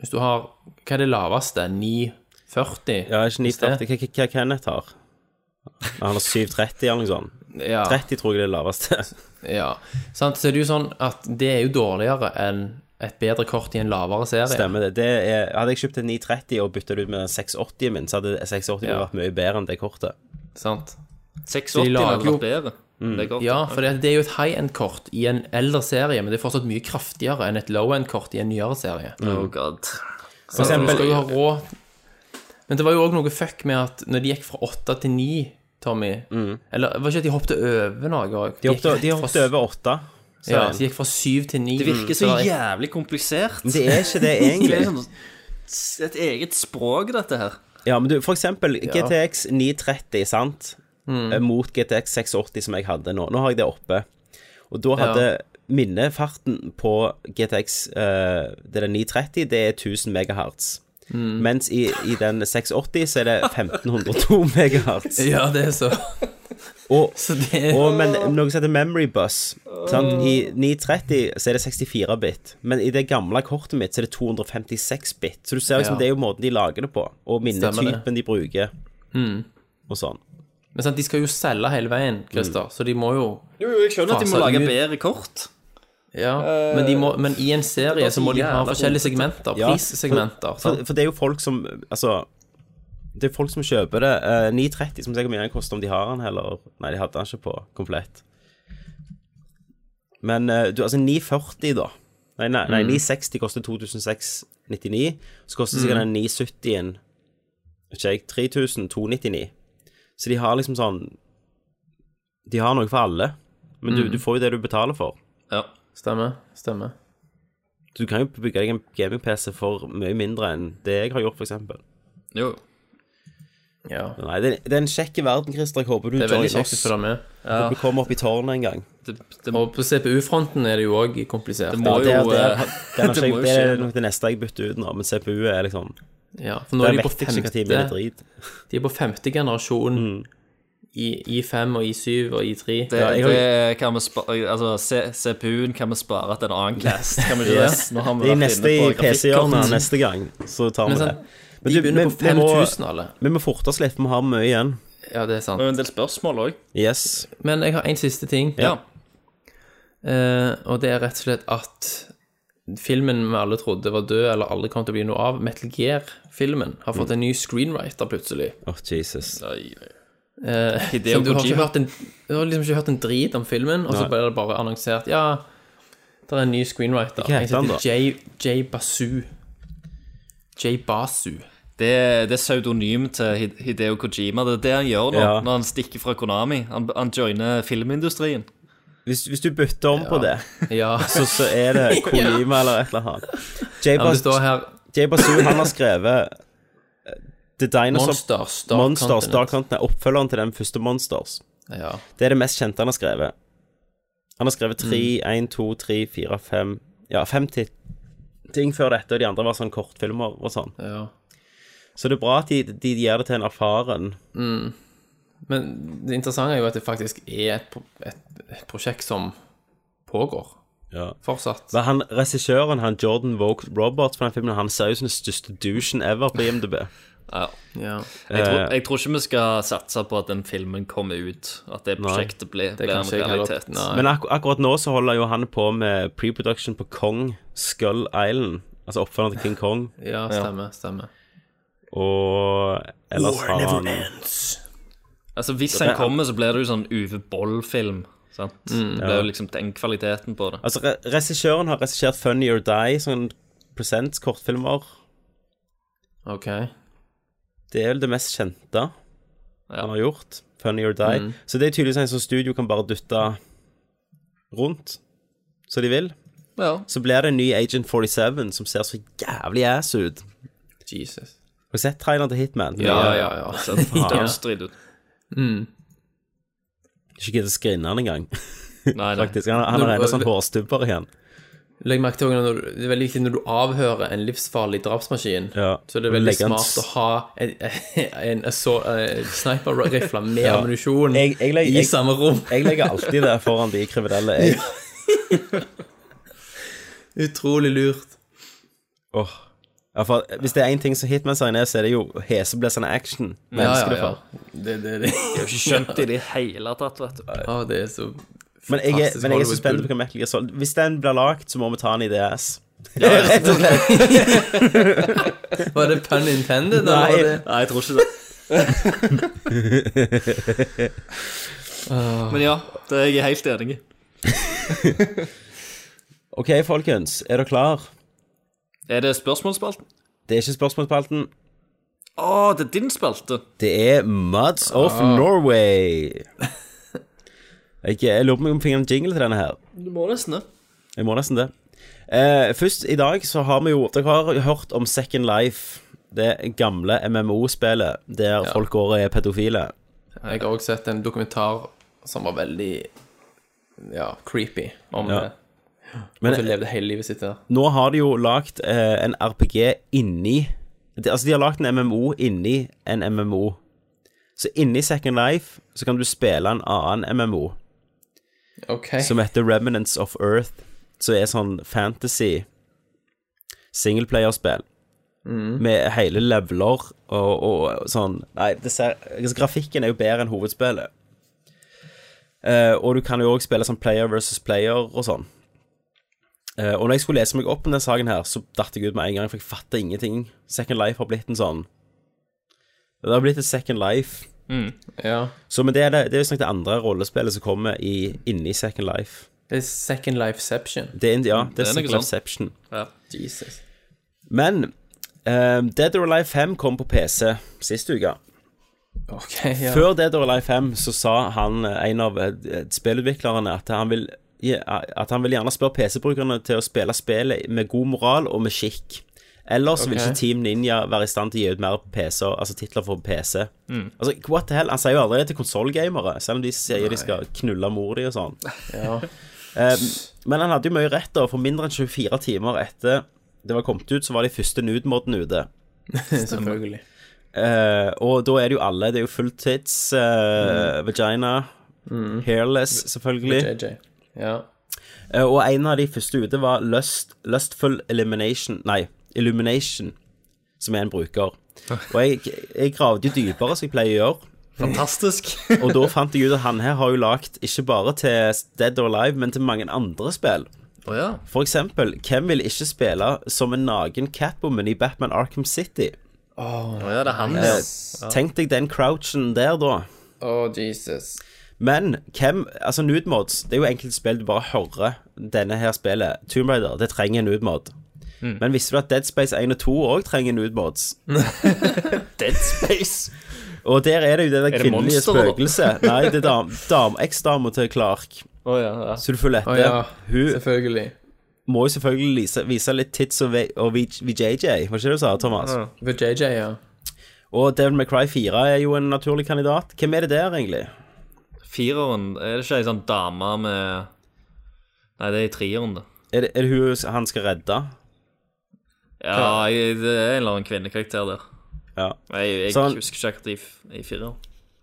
Speaker 6: Hvis du har Hva er det laveste? 940?
Speaker 1: Ja, ikke
Speaker 6: Hvis det-
Speaker 1: 940. Hva- Hva hva Kenneth har? Han har 7,30 eller noe sånt.
Speaker 6: Ja,
Speaker 1: 30 tror jeg det er det laveste.
Speaker 6: ja. Sant? Så er det jo sånn at det er jo dårligere enn et bedre kort i en lavere serie.
Speaker 1: Stemmer det. det er, hadde jeg kjøpt en 9,30 og bytta det ut med den 680 min, så hadde 680
Speaker 6: Ja.
Speaker 1: vært mye bedre enn det kortet.
Speaker 6: Sant?
Speaker 2: 86
Speaker 6: lager
Speaker 2: hadde
Speaker 6: jo-
Speaker 2: vært bedre. Det er godt.
Speaker 6: Ja, for det, det er jo et high-end-kort i en eldre serie, men det er fortsatt mye kraftigere enn et low-end-kort i en nyere serie.
Speaker 2: Oh god.
Speaker 6: For
Speaker 1: eksempel-
Speaker 6: skal jo ha råd Men det var jo òg noe fuck med at når de gikk fra åtte til ni, Tommy Eller var ikke at de hoppet over noe? også?
Speaker 1: Mm. De hoppet,
Speaker 6: gikk
Speaker 1: de
Speaker 6: rett
Speaker 1: hoppet
Speaker 6: fra-
Speaker 1: over 8. Så
Speaker 6: Ja, de gikk fra syv til ni.
Speaker 2: Det virker så jævlig komplisert.
Speaker 1: det er ikke det,
Speaker 2: Det
Speaker 1: egentlig.
Speaker 2: er sånn et eget språk, dette her.
Speaker 1: Ja, men du, for eksempel GTX 930, sant? Eh, Mot GTX 680 som jeg hadde nå. Nå har jeg det oppe. Og da hadde minnefarten på GTX eh, det er 930, det er 1000 megahertz. Mens i, i den 680 så er det 1502 megahertz.
Speaker 6: Ja, det er så
Speaker 1: Og,
Speaker 6: Så det er
Speaker 1: og men, noe som heter memory bus. Sant? I 930 så er det 64 bit, men i det gamle kortet mitt så er det 256 bit. Så du ser liksom
Speaker 6: Ja.
Speaker 1: det er jo måten de lager det på, og minnetypen de bruker, og sånn.
Speaker 6: Men sant, de skal jo selge hele veien,
Speaker 1: Mm.
Speaker 6: Christer, så de må jo
Speaker 2: Jo, jo, jeg skjønner at de må
Speaker 6: Faser
Speaker 2: lage
Speaker 6: ut.
Speaker 2: bedre kort.
Speaker 6: Ja, men, de må, men i en serie så må de ha
Speaker 2: jævla
Speaker 6: forskjellige segmenter,
Speaker 1: Ja,
Speaker 6: prissegmenter.
Speaker 1: For,
Speaker 6: sant?
Speaker 1: for det er jo folk som Altså, det er folk som kjøper det. eh, 930 som sikkert mye den koster om de har den heller. Nei, de hadde den ikke på komplett. Men eh, du, altså 940, da. Nei, nei, nei 960 koster 2699. Så koster sikkert den 970-en vet ikke jeg, 3299. Så de har liksom sånn De har noe for alle, men du, du får jo det du betaler for.
Speaker 2: Ja.
Speaker 6: Stemmer. Stemmer.
Speaker 1: Du kan jo bygge deg en gaming-PC for mye mindre enn det jeg har gjort, for eksempel.
Speaker 2: Jo.
Speaker 6: Ja.
Speaker 1: Nei, det, det er en kjekk verden, Christer. Jeg håper du
Speaker 6: Det er veldig
Speaker 1: joiner
Speaker 6: kjekt
Speaker 1: oss.
Speaker 6: å følge med.
Speaker 1: Håper du kommer opp i tårnet en gang.
Speaker 2: Det, det,
Speaker 6: Og på CPU-fronten er det jo òg komplisert.
Speaker 2: må
Speaker 1: Ja, det,
Speaker 2: jo
Speaker 1: det,
Speaker 2: eh,
Speaker 1: det, er nok
Speaker 2: det
Speaker 1: ikke-
Speaker 2: må jo
Speaker 1: det er
Speaker 2: skje.
Speaker 1: nok det neste jeg bytter ut nå, men CPU er liksom
Speaker 6: Ja, for nå
Speaker 1: Der
Speaker 6: er de på
Speaker 1: vet jeg ikke hva tid det er
Speaker 6: femte,
Speaker 1: drit.
Speaker 6: de er på femte generasjon
Speaker 1: Mm.
Speaker 6: i I5 og I7 og I3.
Speaker 2: Det,
Speaker 1: jeg har-
Speaker 2: det kan vi spare Altså, C- CPU-en kan vi spare til en annen cast. Kan vi ikke
Speaker 1: Ja.
Speaker 2: det? Nå har vi
Speaker 1: Det er
Speaker 2: vært
Speaker 1: neste i
Speaker 2: inne på
Speaker 1: PC-hjørnet
Speaker 2: grafikkort.
Speaker 1: neste gang, så tar vi
Speaker 6: Men
Speaker 1: det.
Speaker 6: sant,
Speaker 1: Men
Speaker 6: de
Speaker 1: du,
Speaker 6: begynner
Speaker 1: vi-
Speaker 6: på
Speaker 1: vi må-
Speaker 6: 5000 alle.
Speaker 1: Vi må forte oss litt, vi har mye igjen.
Speaker 6: Ja, det er
Speaker 2: Det
Speaker 6: sant.
Speaker 2: er jo en del spørsmål òg.
Speaker 1: Yes.
Speaker 6: Men jeg har en siste ting,
Speaker 2: Ja.
Speaker 6: eh, og det er rett og slett at filmen vi alle trodde var død, eller alle kom til å bli noe av, Metal Gear-filmen, har
Speaker 1: Mm.
Speaker 6: fått en ny screenwriter plutselig.
Speaker 1: Åh, Jesus.
Speaker 2: Hideo
Speaker 6: Så du har ikke
Speaker 2: Kojima.
Speaker 6: hørt en, du har liksom ikke hørt en drit om filmen, og så
Speaker 1: Nei.
Speaker 6: ble det bare annonsert Ja, det er en ny screenwriter.
Speaker 1: Hva heter han da?
Speaker 6: J, J. Basu. J. Basu.
Speaker 2: Det, det er pseudonym til Hid- Hideo Kojima. Det er det han gjør nå,
Speaker 1: Ja.
Speaker 2: når han stikker fra Konami. Han, han joiner filmindustrien.
Speaker 1: Hvis, hvis du bytter om på det,
Speaker 6: Ja.
Speaker 1: så, så er det Kolima eller et eller annet. Jay
Speaker 6: men det står
Speaker 1: Bas-
Speaker 6: her
Speaker 1: Jay Basu, han har skrevet eh, The Dinosaur
Speaker 6: Monsters. Dark
Speaker 1: Monsters,
Speaker 6: Continent.
Speaker 1: Dark Continent, oppfølgeren til den første Monsters.
Speaker 6: Ja.
Speaker 1: Det er det mest kjente han har skrevet. Han har skrevet 3, 1, 2, 3, 4, 5 Ja, 50 ting før dette, og de andre var sånn kortfilmer og sånn.
Speaker 6: ja.
Speaker 1: Så det er bra at de, de gir det til en erfaren.
Speaker 6: Men det interessante er jo at det faktisk er et, pro- et, et prosjekt som pågår
Speaker 1: Ja.
Speaker 6: fortsatt.
Speaker 1: Men han, Regissøren, han Jordan Vogt Roberts, på den filmen, han ser ut som den største douchen ever på IMDb.
Speaker 6: Ja.
Speaker 2: Jeg tror,
Speaker 1: Eh.
Speaker 2: jeg tror ikke vi skal satse på at den filmen kommer ut. At det prosjektet blir,
Speaker 6: Det
Speaker 2: blir en
Speaker 6: kan ikke jeg heller-
Speaker 2: realitet.
Speaker 6: Nei.
Speaker 1: Men ak akkurat nå så holder jo han på med pre-production på Kong Skull Island. Altså oppfølgeren til King Kong.
Speaker 6: ja, stemmer. stemmer.
Speaker 1: Og ellers har han
Speaker 2: Altså, hvis den kommer, så blir det jo sånn Uwe Boll-film. Sant? det blir jo liksom den kvaliteten på det.
Speaker 1: Altså, re- regissøren har regissert Funny or Die, sånn presents kortfilmer.
Speaker 6: OK.
Speaker 1: Det er vel det mest kjente han har gjort. Funny or Die.
Speaker 6: Mm.
Speaker 1: Så det er tydeligvis en sånn studio kan bare dytte rundt som de vil.
Speaker 2: Ja.
Speaker 1: Så blir det en ny Agent 47 som ser så jævlig ass ut.
Speaker 6: Jesus.
Speaker 1: Har du sett traileren til Hitman?
Speaker 6: Ja, ja, ja.
Speaker 2: Dødsdrit ut.
Speaker 1: Ikke gidd å skrinne han engang.
Speaker 2: Nei, nei.
Speaker 1: Faktisk, han, han har rene sånn hårstubber igjen.
Speaker 6: Legg merke til også når, du- Det er veldig viktig når du avhører en livsfarlig drapsmaskin.
Speaker 1: Ja.
Speaker 6: Så det er veldig
Speaker 1: Legger han
Speaker 6: smart å ha en, en, assault- eh, sniper-rifle med ammunisjon
Speaker 1: Jeg, jeg, legger-
Speaker 6: i
Speaker 1: jeg,
Speaker 6: samme rom.
Speaker 1: jeg legger alltid det foran de kriminelle. Jeg,
Speaker 6: Utrolig lurt.
Speaker 1: åh. Ja, for Hvis det er én ting som Hitman-serien er, så er det jo heseblesende action. Vi
Speaker 6: Ja,
Speaker 1: elsker det
Speaker 6: ja, ja.
Speaker 1: for.
Speaker 6: Det, det, det.
Speaker 2: Ikke skjønt det i det hele tatt, vet du.
Speaker 6: Å, det er så
Speaker 1: Men jeg er,
Speaker 6: Fantastisk
Speaker 1: men jeg er
Speaker 6: Hollywood
Speaker 1: så spent
Speaker 6: Bull.
Speaker 1: på hva Metal Gear Solid Hvis den blir lagd, så må vi ta den i DS. Rett og slett.
Speaker 6: Var det pun intended? eller
Speaker 1: Nei.
Speaker 6: var det-
Speaker 2: Nei, jeg tror ikke det. Men ja, det er jeg helt enig i.
Speaker 1: OK, folkens. Er dere klar?
Speaker 2: Er det spørsmålsspalten?
Speaker 1: Det er ikke spørsmålspalten.
Speaker 2: Å, det er din spalte.
Speaker 1: Det er Muds of Norway. Jeg, jeg lurer på om jeg finner en jingle til denne her.
Speaker 2: Du må nesten det.
Speaker 1: Jeg må nesten det. Eh, først i dag så har vi jo Dere har jo hørt om Second Life. Det gamle MMO-spillet der folk går og er pedofile.
Speaker 6: Jeg har også sett en dokumentar som var veldig ja, creepy om
Speaker 1: Ja.
Speaker 6: det.
Speaker 1: Men-
Speaker 6: Men, som levde hele livet sitt der.
Speaker 1: Nå har de jo lagd eh, en RPG inni de, Altså, de har lagd en MMO inni en MMO. Så inni Second Life så kan du spille en annen MMO
Speaker 6: OK.
Speaker 1: som heter Remnants of Earth, som er sånn fantasy singleplayerspill. Med hele leveler og, og sånn Nei, det ser, altså, grafikken er jo bedre enn hovedspillet. Eh, og du kan jo òg spille sånn player versus player og sånn. Eh, og når jeg skulle lese meg opp om denne saken her, så datt jeg ut med en gang, for jeg fatter ingenting. Second Life har blitt en sånn Det har blitt et Second Life.
Speaker 6: ja.
Speaker 1: Så men det er, det, det er jo snakk det andre rollespillet som kommer i, inni Second Life.
Speaker 6: Det er Second Lifeception.
Speaker 1: Det er, ja, det er
Speaker 2: er
Speaker 1: Second
Speaker 2: noe
Speaker 1: Life Seption.
Speaker 6: Jesus.
Speaker 1: Men ehm, Dead or Alive 5 kom på PC sist uke.
Speaker 6: OK, ja.
Speaker 1: Før Dead or Alive 5 så sa han, eh, en av eh, spillutviklerne at han vil ja, at han vil gjerne spørre PC-brukerne til å spille spillet med god moral og med skikk. Ellers vil
Speaker 6: Ok.
Speaker 1: ikke Team Ninja være i stand til å gi ut mer PC, altså titler for PC. Altså, what the hell? Han sier jo aldri det til konsollgamere, selv om de sier de skal knulle mor di og sånn.
Speaker 6: Ja.
Speaker 1: Eh, men han hadde jo mye rett, da. For mindre enn 24 timer etter det var kommet ut, så var de første nude-modene ute.
Speaker 6: Selvfølgelig.
Speaker 1: Eh, og da er det jo alle. Det er jo full tits, eh, vagina, hairless, selvfølgelig.
Speaker 6: JJ. Ja.
Speaker 1: Eh, og en av de første ute var Lust, Lustful Elimination Nei, Illumination, som er en bruker. Og jeg, jeg gravde jo dypere, som jeg pleier å gjøre.
Speaker 2: Fantastisk.
Speaker 1: Og da fant jeg ut at han her har jo lagd ikke bare til Dead or Alive, men til mange andre spill.
Speaker 2: Å ja.
Speaker 1: For eksempel, hvem vil ikke spille som en naken Catwoman i Batman Arkham City?
Speaker 2: Å ja, det er han.
Speaker 1: Eh, Tenk deg den crouchen der, da.
Speaker 6: Oh, Jesus.
Speaker 1: Men hvem Altså, nudemods Det er jo enkelte spill du bare hører denne her spillet. Tomb Raider, det trenger en nudemod. Men visste du at Dead Space 1 og 2 òg trenger nudemods?
Speaker 2: Dead Space.
Speaker 1: Og der er det jo det der
Speaker 2: det
Speaker 1: kvinnelige
Speaker 2: monster, da?
Speaker 1: spøkelset. Nei, det er dam, dam, eksdama til Clark.
Speaker 2: Å ja, ja.
Speaker 1: Så du følger
Speaker 6: Å
Speaker 1: etter.
Speaker 6: ja,
Speaker 1: Hun
Speaker 6: selvfølgelig. og
Speaker 1: må jo selvfølgelig vise, vise litt tits og, ve- og VJJ, var ikke det du sa, Thomas?
Speaker 6: JJ, ja.
Speaker 1: Og Devil May Cry 4 er jo en naturlig kandidat. Hvem er det der, egentlig?
Speaker 2: Fireren. Er det ikke ei sånn dame med Nei, det er i treeren, det.
Speaker 1: Er det, er det hun han skal redde?
Speaker 2: Ja, jeg, det er en eller annen kvinnekarakter der.
Speaker 1: Ja.
Speaker 2: Jeg, jeg
Speaker 1: Så han-
Speaker 2: husker ikke akkurat i, f- i fireren.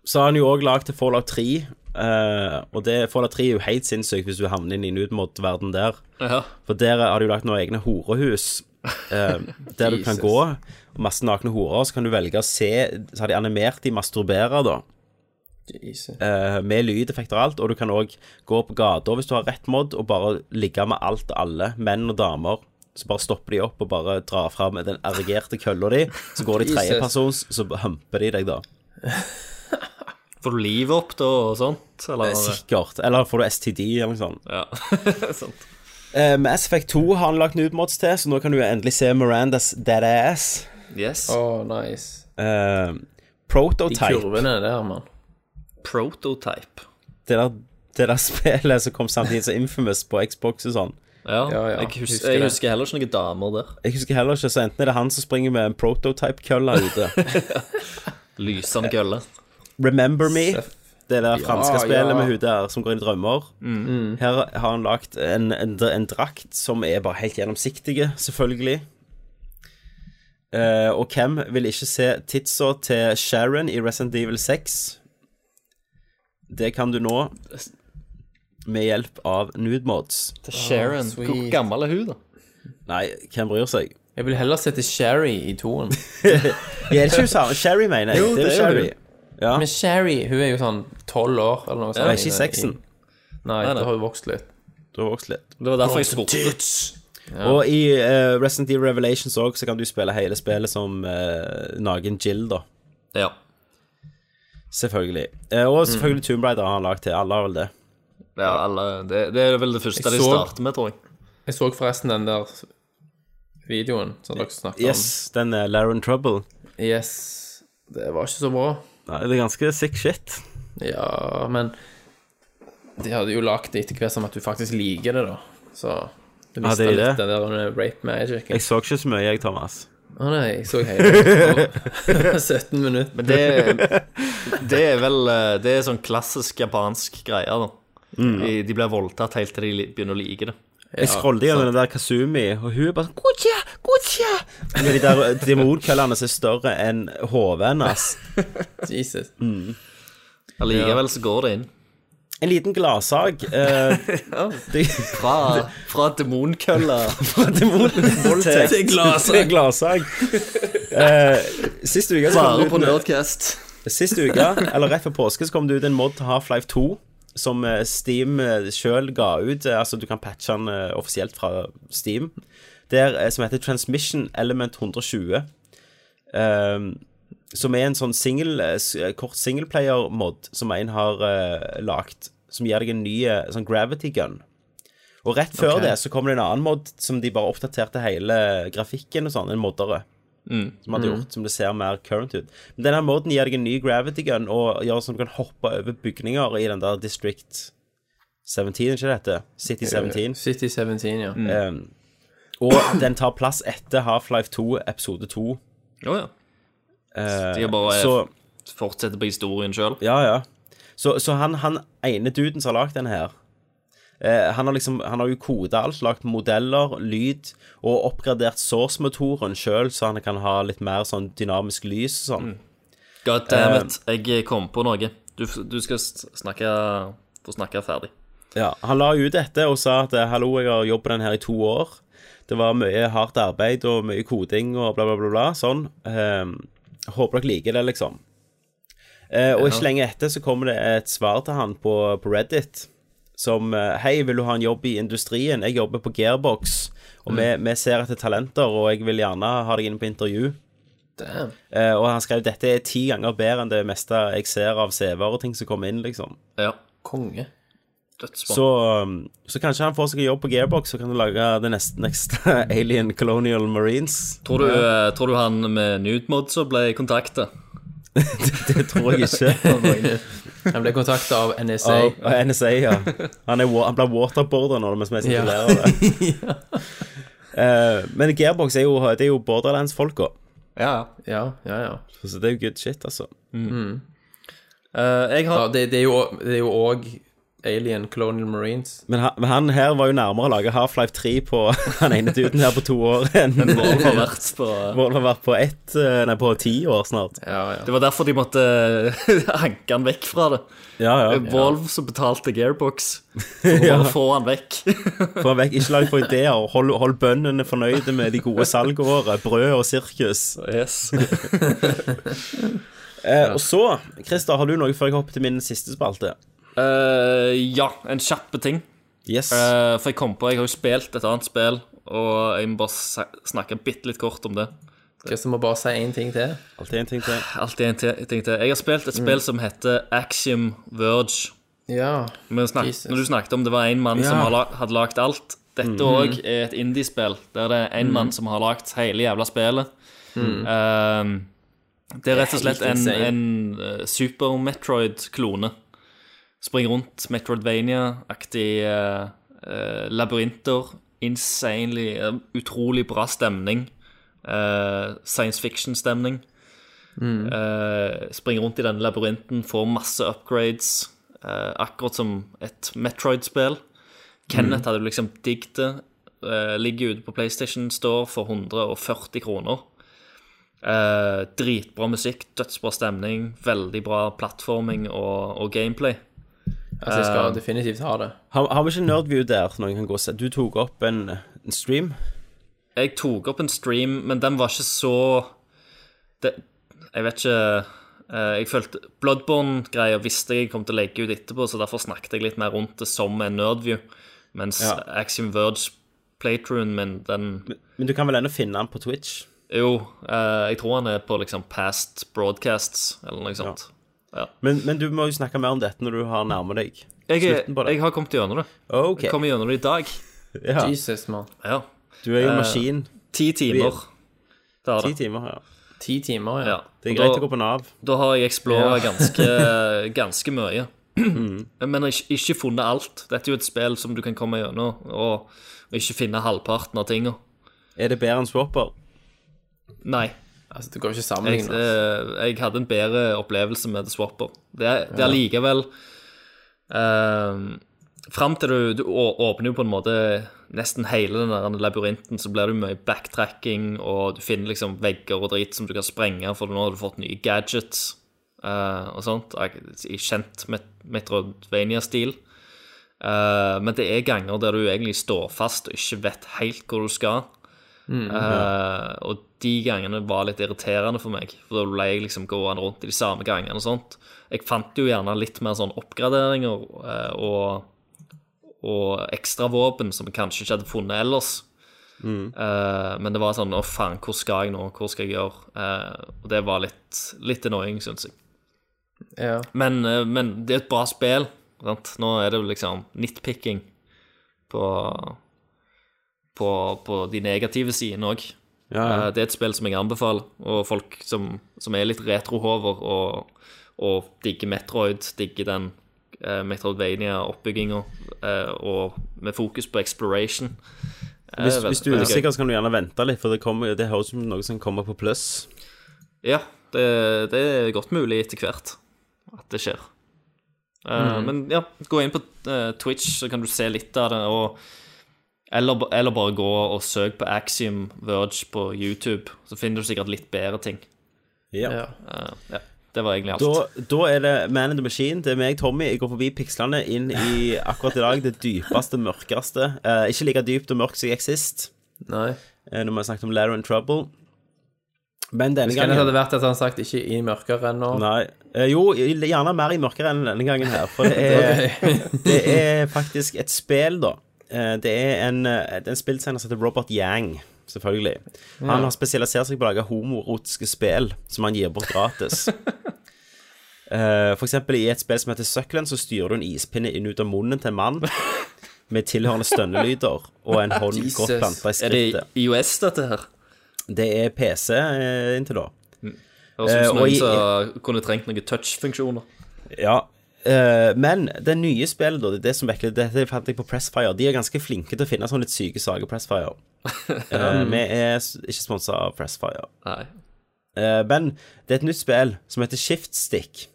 Speaker 1: Så har han jo òg lagd til Fallout 3. eh, og det, Fallout 3 er jo helt sinnssykt hvis du havner inn i nudemod-verden der.
Speaker 2: Ja.
Speaker 1: For der har de jo lagd noen egne horehus. eh, der du kan
Speaker 6: Jesus.
Speaker 1: gå, og masse nakne horer, så kan du velge å se Så har de animert de masturberer, da.
Speaker 6: Jesus.
Speaker 1: eh, med lydeffekter og alt. Og du kan òg gå på gata hvis du har rett mod, og bare ligge med alt og alle, menn og damer. Så bare stopper de opp og bare drar fram den erigerte kølla di. Så går de
Speaker 6: Jesus.
Speaker 1: tredjepersons, så humper de deg, da.
Speaker 2: Får du livet opp da og sånt? Eller?
Speaker 1: Sikkert. Eller får du STD eller noe sånt.
Speaker 2: Ja. sånt.
Speaker 1: Eh, Mass Effect 2 har han lagt nudemods til, så nå kan du endelig se Mirandas dead ass.
Speaker 2: Yes.
Speaker 6: Å, nice.
Speaker 1: Eh,
Speaker 6: De
Speaker 1: prototype.
Speaker 6: kurvene der, mann.
Speaker 2: Prototype.
Speaker 1: Det der, det der spillet som kom samtidig som Infamous på Xbox og sånn.
Speaker 2: Ja,
Speaker 6: Ja, ja,
Speaker 2: Jeg, husker,
Speaker 6: husker
Speaker 2: jeg
Speaker 6: det.
Speaker 2: husker heller ikke noen damer der.
Speaker 1: Jeg husker heller ikke, så enten er det han som springer med en prototype-kølle ute.
Speaker 2: Lysende gølle.
Speaker 1: Remember Me. Det der franske
Speaker 6: ja. Mm.
Speaker 1: spillet med hun der som går inn i drømmer. Her har han lagt en, en, en drakt som er bare helt gjennomsiktige, selvfølgelig. Eh, og hvem vil ikke se titsa til Sharon i Resident Evil 6? Det kan du nå med hjelp av nudemods.
Speaker 2: Til Sharon.
Speaker 6: sweet.
Speaker 2: Hvor gammel er hun, da?
Speaker 1: Nei, hvem bryr seg?
Speaker 6: Jeg vil heller sette Sherry i toen.
Speaker 1: Ja, det er ikke samme. Sherry, mener jeg.
Speaker 6: Jo,
Speaker 1: det er jo Sherry. Ja.
Speaker 6: Men Sherry hun er jo sånn tolv år eller noe sånt.
Speaker 1: Nei, ikke i sexen.
Speaker 6: Nei,
Speaker 2: Nei, nei.
Speaker 6: da har hun vokst litt.
Speaker 1: Du har vokst litt.
Speaker 2: Det var derfor jeg spurte.
Speaker 1: Og i eh, Resident Evil Revelations òg, så kan du spille hele spillet som eh, naken Jill, da.
Speaker 2: Ja.
Speaker 1: Selvfølgelig. Eh, og selvfølgelig Tomb Raider har han lagd til. Alle har vel det.
Speaker 2: Ja, alle, det, det er vel det første de
Speaker 6: så-
Speaker 2: starter med, tror jeg.
Speaker 6: Jeg så forresten den der videoen som dere snakket
Speaker 1: Yes, Sånn. den er Laren Trouble.
Speaker 6: om. Yes. Det var ikke så bra.
Speaker 1: Nei, det er ganske sick shit.
Speaker 6: Ja, men de hadde jo lagd det etter hvert som at du faktisk liker det, da. Så du
Speaker 1: Ja,
Speaker 6: mista
Speaker 1: det er
Speaker 6: litt
Speaker 1: det.
Speaker 6: den der eh, rape magic.
Speaker 1: Jeg så ikke så mye, jeg, Thomas.
Speaker 6: Å nei, jeg så hele 17 minutter.
Speaker 2: Men det, det er vel eh, Det er sånn klassisk japansk greie, da. De, de blir voldtatt helt til de li- begynner å like det.
Speaker 1: Jeg scrollet gjennom den der Kazumi, og hun er bare sånn Guccia, Guccia! Med de der eh, demonkøllene som er større enn hodet hennes.
Speaker 6: Jesus.
Speaker 2: Allikevel så går det inn.
Speaker 1: En liten gladsak. eh, det-
Speaker 2: Fra, fra demonkøller
Speaker 1: fra demon
Speaker 6: Voldtekt.
Speaker 1: til
Speaker 6: gladsak.
Speaker 1: til gladsak. Eh, Sist uke så kom
Speaker 2: bare
Speaker 1: det
Speaker 2: på
Speaker 1: ut-
Speaker 2: Nerdcast.
Speaker 1: Sist uke, eller rett før påske, så kom det ut en mod til Half-Life 2. Som eh, Steam eh, sjøl ga ut. Eh, Altså, du kan patche den eh, offisielt fra Steam. Der, eh, som heter Transmission Element 120. Ehm, som er en sånn single, eh, s- eh, kort singleplayer-mod som en har uh, lagd. Som gir deg en ny eh, sånn gravity gun. Og rett før det så kom det en annen mod som de bare oppdaterte hele grafikken og sånn. En moddere som hadde gjort, som det ser mer current ut. Men denne måten gir deg en ny gravity gun og gjør sånn at du kan hoppe over bygninger i den der District 17, er ikke det heter? City 17.
Speaker 6: City 17, ja.
Speaker 1: Um, og den tar plass etter Half-Life 2, episode 2.
Speaker 2: Jo, ja. De har bare
Speaker 1: Så,
Speaker 2: fortsetter på historien sjøl.
Speaker 1: ja, ja. Så, så han, han ene duden som har lagd den her eh, han, har liksom, han har jo koda alt, lagd modeller, lyd, og oppgradert source-motoren sjøl, så han kan ha litt mer sånn dynamisk lys og sånn.
Speaker 2: God damn it, jeg kom på noe. Du, f- du skal s- snakke få snakke ferdig.
Speaker 1: Ja, han la ut dette og sa at eh, hallo, jeg har jobbet den her i to år. Det var mye hardt arbeid og mye koding og bla, bla, bla, bla sånn. Ehm, håper dere liker det, liksom. Eh, og ikke lenge etter så kommer det et svar til han på, på Reddit som eh, Hei, vil du ha en jobb i industrien? Jeg jobber på Gearbox, og vi, vi ser etter talenter, og jeg vil gjerne ha deg inn på intervju.
Speaker 6: Damn.
Speaker 1: Eh, og han skrev dette er ti ganger bedre enn det meste jeg ser av CV-er og ting som kommer inn, liksom.
Speaker 2: Ja.
Speaker 6: Konge.
Speaker 2: Dødsbra.
Speaker 1: Så, um, så kanskje han får seg en jobb på Gearbox og kan lage det neste, neste Alien Colonial Marines.
Speaker 2: Tror du, eh, tror du han med nudemod som ble kontakta?
Speaker 1: Det tror jeg ikke.
Speaker 6: Han ble kontakta av NSA.
Speaker 1: Og, og NSA, ja. Han, er, wa- han blir waterboarder nå mens vi
Speaker 6: Ja.
Speaker 1: sirkulerer det. Eh, men Gearbox er jo, det er jo Borderlands-folka,
Speaker 2: Ja, ja.
Speaker 6: Ja, ja, ja.
Speaker 1: så det er jo good shit, altså.
Speaker 2: Eh, jeg
Speaker 6: ja
Speaker 2: har
Speaker 6: det, det er jo- det er jo òg Alien Colonial Marines.
Speaker 1: Men han, men han her var jo nærmere å lage Half-Life 3 på han ene duden her på to år enn
Speaker 2: Målet har vært på
Speaker 1: Målet har vært på ett, eh, nei, på ti år snart.
Speaker 6: Ja, ja.
Speaker 2: Det var derfor de måtte eh, hanke han vekk fra det.
Speaker 1: Ja, ja.
Speaker 2: Valve som betalte Gearbox for å bare få han vekk.
Speaker 1: Få han vekk. Ikke lag for ideer. Hold, hold bøndene fornøyde med de gode salgårene. Brød og sirkus.
Speaker 2: Yes.
Speaker 1: Eh, og så, Christer, har du noe før jeg hopper til min siste spalte?
Speaker 2: Eh, ja, en kjapp ting.
Speaker 1: Yes.
Speaker 2: Eh, for jeg kom på, jeg har jo spilt et annet spill, og jeg må bare sa- snakke bitte litt kort om det.
Speaker 6: Christer må bare si én ting til.
Speaker 1: Alltid en ting til.
Speaker 2: Alltid en te- ting til. Jeg har spilt et spill som heter Axiom Verge.
Speaker 6: Ja.
Speaker 2: Men snak,
Speaker 6: Jesus.
Speaker 2: når du snakket om det var en mann som har la, hadde lagt alt Dette òg er et indiespill der det er en mann som har lagt hele jævla spillet. Ehm, det er rett og slett
Speaker 6: Helt
Speaker 2: en,
Speaker 6: insane.
Speaker 2: en eh, Super Metroid-klone. Springer rundt Metroidvania-aktig eh, eh, labyrinter. Insanely eh, Utrolig bra stemning. Eh, science fiction-stemning. Eh, springer rundt i denne labyrinten, får masse upgrades. eh, akkurat som et Metroid-spill. Kenneth hadde liksom digget det. eh, ligger ute på PlayStation Store for 140 kroner. Eh, dritbra musikk, dødsbra stemning, veldig bra plattforming og, og gameplay.
Speaker 6: Altså, jeg skal definitivt ha det.
Speaker 1: Har, har vi ikke Nerdview der? Noen kan gå og se. Du tok opp en, en stream.
Speaker 2: Jeg tok opp en stream, men den var ikke så det, Jeg vet ikke eh, Jeg følte Bloodborne-greier visste jeg kom til å legge ut etterpå, så derfor snakket jeg litt mer rundt det som en nerdview. Mens
Speaker 1: Ja.
Speaker 2: Axiom Verge-playtruen min, den
Speaker 1: Men du kan vel ennå finne den på Twitch?
Speaker 2: Jo, eh, jeg tror han er på liksom past broadcasts, eller noe sånt.
Speaker 1: Men, men du må jo snakke mer om dette når du har nærmet deg.
Speaker 2: Jeg,
Speaker 1: Slutten på
Speaker 2: er,
Speaker 1: det.
Speaker 2: jeg har kommet gjennom det.
Speaker 1: Ok,
Speaker 2: Jeg kommer gjennom det i dag.
Speaker 1: ja.
Speaker 6: Jesus, mann.
Speaker 2: Ja.
Speaker 1: Du er jo maskin.
Speaker 2: Ti timer. Det er
Speaker 1: Ti
Speaker 2: det.
Speaker 1: timer, ja.
Speaker 6: Ti timer, ja.
Speaker 2: Ja.
Speaker 1: Det
Speaker 2: Og
Speaker 1: er greit å
Speaker 2: da-
Speaker 1: gå på Nav.
Speaker 2: Da har jeg explora ganske, ganske mye.
Speaker 1: Mm.
Speaker 2: Men ikke, ikke funnet alt. Dette er jo et spill som du kan komme gjennom og, og ikke finne halvparten av tinga.
Speaker 1: Er det bedre enn Swapper?
Speaker 2: Nei.
Speaker 6: Altså, det går jo
Speaker 2: Jeg,
Speaker 6: ikke sammenlignet.
Speaker 2: eh, jeg hadde en bedre opplevelse med The Swapper. Det er, det er likevel eh, Fram til du, du å- åpner jo på en måte nesten hele den der labyrinten, så blir det jo mye backtracking, og du finner liksom vegger og drit som du kan sprenge, for nå har du fått nye gadgets eh, og sånt. Jeg- I kjent Met- Metroidvania-stil. Eh, men det er ganger der du egentlig står fast og ikke vet helt hvor du skal. Eh, og de gangene var litt irriterende for meg, for da ble jeg liksom gående rundt i de samme gangene og sånt. Jeg fant jo gjerne litt mer sånn oppgraderinger eh, og, og ekstra våpen som jeg kanskje ikke hadde funnet ellers. Eh, men det var sånn Å, faen, hvor skal jeg nå? Hvor skal jeg gjøre? Eh, og det var litt, litt annoying, syns jeg.
Speaker 6: Ja.
Speaker 2: Men, eh, men det er et bra spill. Sant? Nå er det jo liksom nitpicking på, på, på de negative sidene òg. Eh, Det er et spill som jeg anbefaler, og folk som, som er litt retrohover og, og digger Metroid, digger den eh, Metroidvania-oppbygginga, eh, og med fokus på exploration. Eh,
Speaker 1: Hvis,
Speaker 2: vel-
Speaker 1: hvis du er
Speaker 2: veldig gøy.
Speaker 1: usikker, så kan du gjerne vente litt, for det, kommer, det høres ut som noe som kommer på pluss.
Speaker 2: Ja, det, det er godt mulig etter hvert at det skjer. Eh,
Speaker 1: Mhm.
Speaker 2: Men ja, gå inn på eh, Twitch, så kan du se litt av det. Og, eller, ba- eller bare gå og søk på Axiom Verge på YouTube, så finner du sikkert litt bedre ting.
Speaker 1: Ja.
Speaker 6: Ja.
Speaker 2: Eh, ja, det var egentlig alt.
Speaker 1: Da, da er det Man in the Machine. Det er meg, Tommy. Jeg går forbi pikslene inn i akkurat i dag det dypeste, mørkeste. Eh, ikke like dypt og mørkt som jeg gikk sist,
Speaker 6: Nei.
Speaker 1: eh, når vi har snakket om Larry and Trouble. Men denne
Speaker 6: Kan det hadde
Speaker 1: gangen
Speaker 6: vært at han sagt 'ikke i mørkere enn nå'?
Speaker 1: Nei. Eh, jo, gjerne mer i mørket enn denne gangen her, for det er det er faktisk et spill, da. Eh, Det er en, eh, det er en spilldesigner som heter Robert Yang, selvfølgelig. Han har spesialisert seg på å lage homoerotiske spill som han gir bort gratis. Eh, For eksempel i et spill som heter Suckland, så styrer du en ispinne inn ut av munnen til en mann med tilhørende stønnelyder og en hånd godt
Speaker 6: Jesus.
Speaker 1: planta i
Speaker 2: er det
Speaker 1: skrittet.
Speaker 2: IOS, dette her?
Speaker 1: Det er PC eh, inntil da.
Speaker 2: Høres ut
Speaker 1: Eh,
Speaker 2: som
Speaker 1: og i-
Speaker 2: noen som kunne trengt noen touchfunksjoner.
Speaker 1: Ja. eh, men det nye spillet, da, det er det som virkelig Dette fant jeg på Pressfire. De er ganske flinke til å finne sånne litt syke saker, Pressfire. Eh, vi er s- ikke sponsa av Pressfire.
Speaker 2: Nei.
Speaker 1: Eh, men det er et nytt spill som heter Shiftstick.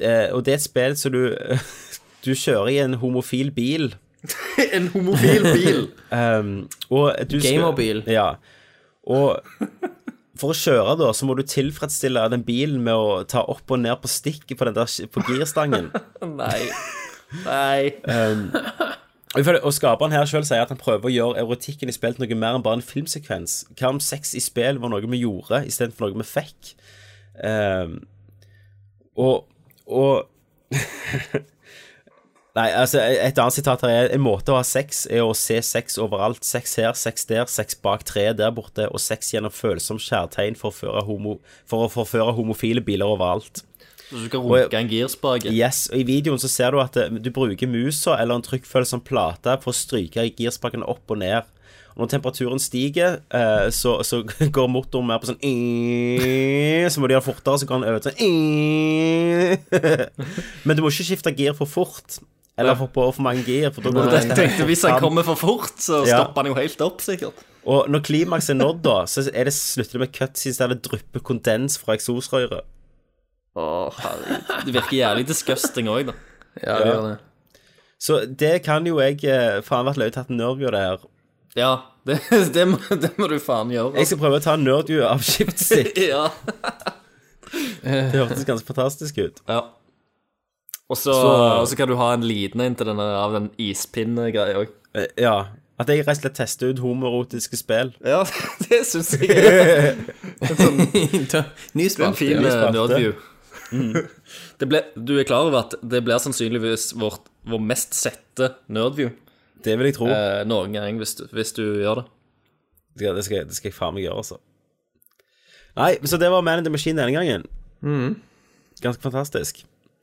Speaker 1: Eh, og det er et spill som du Du kjører i en homofil bil.
Speaker 2: En homofil bil!
Speaker 1: Og du skal-
Speaker 6: Gamerbil.
Speaker 1: Ja. Og for å kjøre, da, så må du tilfredsstille den bilen med å ta opp og ned på stikket på den der sk- på girstangen.
Speaker 2: Nei. Nei.
Speaker 1: Og ifølge- Og skaperen her selv sier at han prøver å gjøre erotikken i spillet noe mer enn bare en filmsekvens. Hva om sex i spill var noe vi gjorde, istedenfor noe vi fikk? Ehm, og og Nei, altså, et annet sitat her er En måte å ha sex er å se sex overalt. Sex her, sex der, sex bak treet der borte, og sex gjennom følsom kjærtegn for å, føre homo, for å forføre homofile biler overalt.
Speaker 2: Så du kan runke en girspake?
Speaker 1: Yes, og i videoen så ser du at eh, du bruker musa eller en trykkfølsom plate for å stryke girspaken opp og ned. Og når temperaturen stiger, eh, så, så går motoren mer på sånn Så må du gjøre det fortere, så går den over til Men du må ikke skifte gir for fort. Eller for på for mange gir. For da går
Speaker 2: Jeg
Speaker 1: det
Speaker 2: tenkte Hvis han kommer for fort, så
Speaker 1: Ja.
Speaker 2: stopper han jo helt opp, sikkert.
Speaker 1: Og når klimaks er nådd, da, så er det slutter det med cutscenes der det drypper kondens fra eksosrøret.
Speaker 2: Det virker jævlig disgusting òg, da.
Speaker 6: Ja, det gjør det.
Speaker 1: Så det kan jo jeg eh, Faen, vært løye tatt en nerve av det her.
Speaker 2: Ja, det, det, må, det må du faen gjøre.
Speaker 1: Jeg skal prøve å ta en nerdview av Shiftstick.
Speaker 2: Ja.
Speaker 1: Det hørtes ganske fantastisk ut.
Speaker 2: ja. Og så, og så kan du ha en liten en til denne av den ispinne-greia òg.
Speaker 1: Eh, Ja. At jeg rett og slett tester ut homoerotiske spill.
Speaker 2: Ja, det syns jeg er
Speaker 6: Ny
Speaker 2: en
Speaker 6: spalte.
Speaker 2: fin eh,
Speaker 1: spalte.
Speaker 2: nerdview. Det ble, du er klar over at det blir sannsynligvis vårt, vår mest sette nerdview
Speaker 1: Det vil jeg tro.
Speaker 2: eh, noen gang, hvis du, hvis du gjør det.
Speaker 1: Det skal, det skal, det skal jeg faen meg gjøre, altså. Nei, så det var Man in the Machine denne gangen.
Speaker 6: Mm.
Speaker 1: Ganske fantastisk,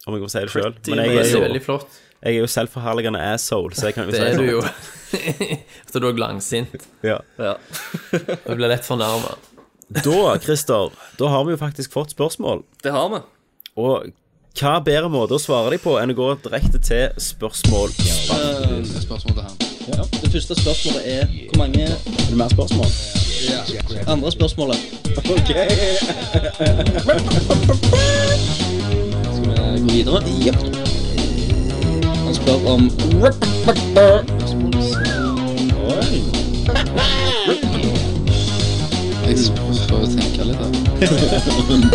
Speaker 1: om jeg må si det sjøl. Men jeg er,
Speaker 6: Veldig,
Speaker 1: jo,
Speaker 6: veldig flott.
Speaker 1: jeg er jo selvforherligende asshole, så jeg kan jo
Speaker 6: Det
Speaker 1: si
Speaker 6: er du
Speaker 1: sånn.
Speaker 6: jo. Så du er langsint.
Speaker 1: Ja.
Speaker 2: Ja.
Speaker 6: Du blir lett fornærma.
Speaker 1: Da, Christer, da har vi jo faktisk fått spørsmål.
Speaker 2: Det har vi.
Speaker 1: Og hva bedre måte å svare dem på enn å gå direkte til spørsmål?
Speaker 8: Det første spørsmålet er hvor mange
Speaker 1: Er det mer spørsmål?
Speaker 8: andre spørsmålet? Ok. Skal vi gå videre? Jepp. Han spør om Jeg prøver å tenke litt her.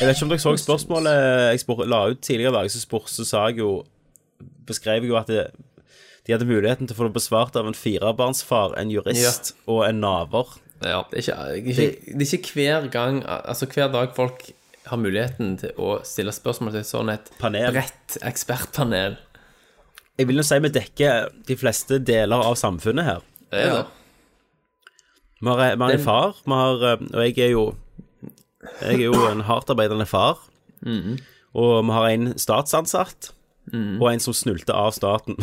Speaker 1: Jeg vet ikke om dere så spørsmålet jeg spor, la ut tidligere i dag, så spor, så sa jeg jo Beskrev jeg jo at det, de hadde muligheten til å få det besvart av en firebarnsfar, en jurist og en naver.
Speaker 6: Ja. Det, er ikke, det, er ikke, det er ikke hver gang Altså hver dag folk har muligheten til å stille spørsmål til et sånn et
Speaker 1: Panel.
Speaker 6: bredt ekspertpanel.
Speaker 1: Jeg vil jo si vi dekker de fleste deler av samfunnet her.
Speaker 2: Det er det.
Speaker 1: Vi har, vi har en far, vi har, eh, og jeg er jo Jeg er jo en hardtarbeidende far. Mm. Og vi har en statsansatt, og en som snulter av staten.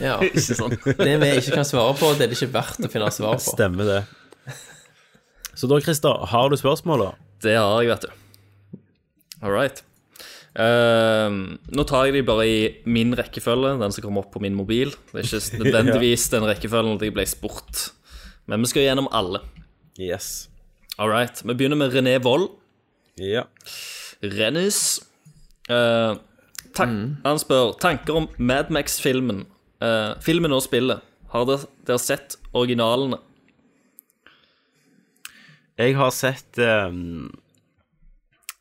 Speaker 6: Ja. Det vi ikke kan svare på, det er det ikke verdt å finne svar på.
Speaker 1: Stemmer det. Så da, Christer, har du spørsmål, da?
Speaker 2: Det har jeg, vet du. All right. Ehm, nå tar jeg de bare i min rekkefølge, den som kommer opp på min mobil. Det er ikke nødvendigvis den rekkefølgen at jeg ble spurt. Men vi skal gjennom alle.
Speaker 1: Yes.
Speaker 2: All right. Vi begynner med René Wold.
Speaker 1: Ja.
Speaker 2: Rennis. Eh, ta- Han spør tanker om Mad Max-filmen. Eh, filmen og spillet. Har dere, dere sett originalene?
Speaker 1: Jeg har sett eh,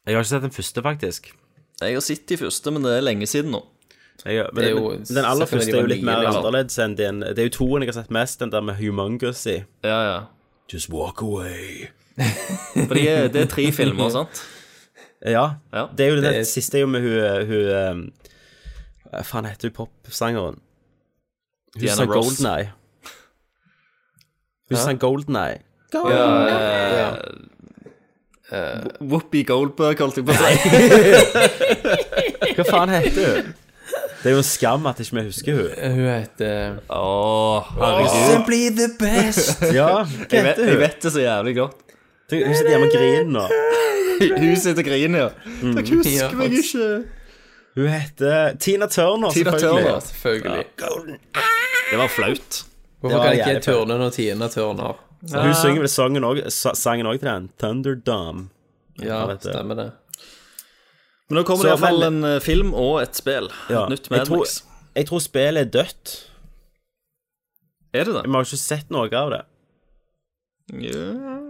Speaker 1: Jeg har ikke sett den første, faktisk.
Speaker 2: Jeg har sett de første, men det er lenge siden nå.
Speaker 1: Jeg, men
Speaker 6: Det er jo-
Speaker 1: den, den aller
Speaker 6: selvfølgelig
Speaker 1: første er jo
Speaker 6: var
Speaker 1: litt
Speaker 6: nye,
Speaker 1: mer
Speaker 6: liksom.
Speaker 1: annerledes enn den Det er jo toen jeg har sett mest, den der med Humongous i.
Speaker 2: Ja, ja.
Speaker 1: Just walk away.
Speaker 2: For de er, det er tre filmer, sant?
Speaker 1: Ja.
Speaker 2: Ja.
Speaker 1: Det er jo det, siste er jo med hun, hun eh, Hva faen heter hun popsangeren? Hun
Speaker 2: Diana
Speaker 1: sang
Speaker 2: Ross.
Speaker 1: Golden Eye. Hun sang Golden Eye.
Speaker 2: Whoopi Goldberg, holdt jeg på å si.
Speaker 1: Hva faen heter hun? Det er jo en skam at ikke vi husker hun.
Speaker 6: Hun heter
Speaker 2: Åh, herregud.
Speaker 6: Simply the best.
Speaker 1: Ja, hva
Speaker 2: Jeg vet,
Speaker 1: heter
Speaker 2: jeg
Speaker 1: hun?
Speaker 2: vet det så jævlig godt.
Speaker 1: Tenk, Hun sitter hjemme og griner nå.
Speaker 2: Hun sitter og griner, ja. Dere
Speaker 6: Ja.
Speaker 2: husker meg ikke.
Speaker 1: Hun heter Tina Turner,
Speaker 2: Tina
Speaker 6: Ja,
Speaker 1: selvfølgelig.
Speaker 2: Turner.
Speaker 6: selvfølgelig.
Speaker 2: Det var
Speaker 1: Det
Speaker 2: flaut.
Speaker 6: Hvorfor
Speaker 1: var
Speaker 6: kan ikke
Speaker 1: jævlig
Speaker 6: jeg turne når Tina turner?
Speaker 1: Hun synger vel sangen også- sa- sangen òg til den. Thunderdome.
Speaker 6: Ja,
Speaker 1: vet det.
Speaker 6: stemmer det.
Speaker 2: Men nå kommer
Speaker 1: Så,
Speaker 2: det iallfall
Speaker 1: men-
Speaker 2: en eh, film og et spill.
Speaker 1: Ja,
Speaker 2: Et nytt
Speaker 1: jeg
Speaker 2: Mad
Speaker 1: tror-
Speaker 2: Max.
Speaker 1: Jeg tror spillet er dødt.
Speaker 2: Er det
Speaker 1: Vi
Speaker 2: det?
Speaker 1: har ikke sett noe av det.
Speaker 2: Ja.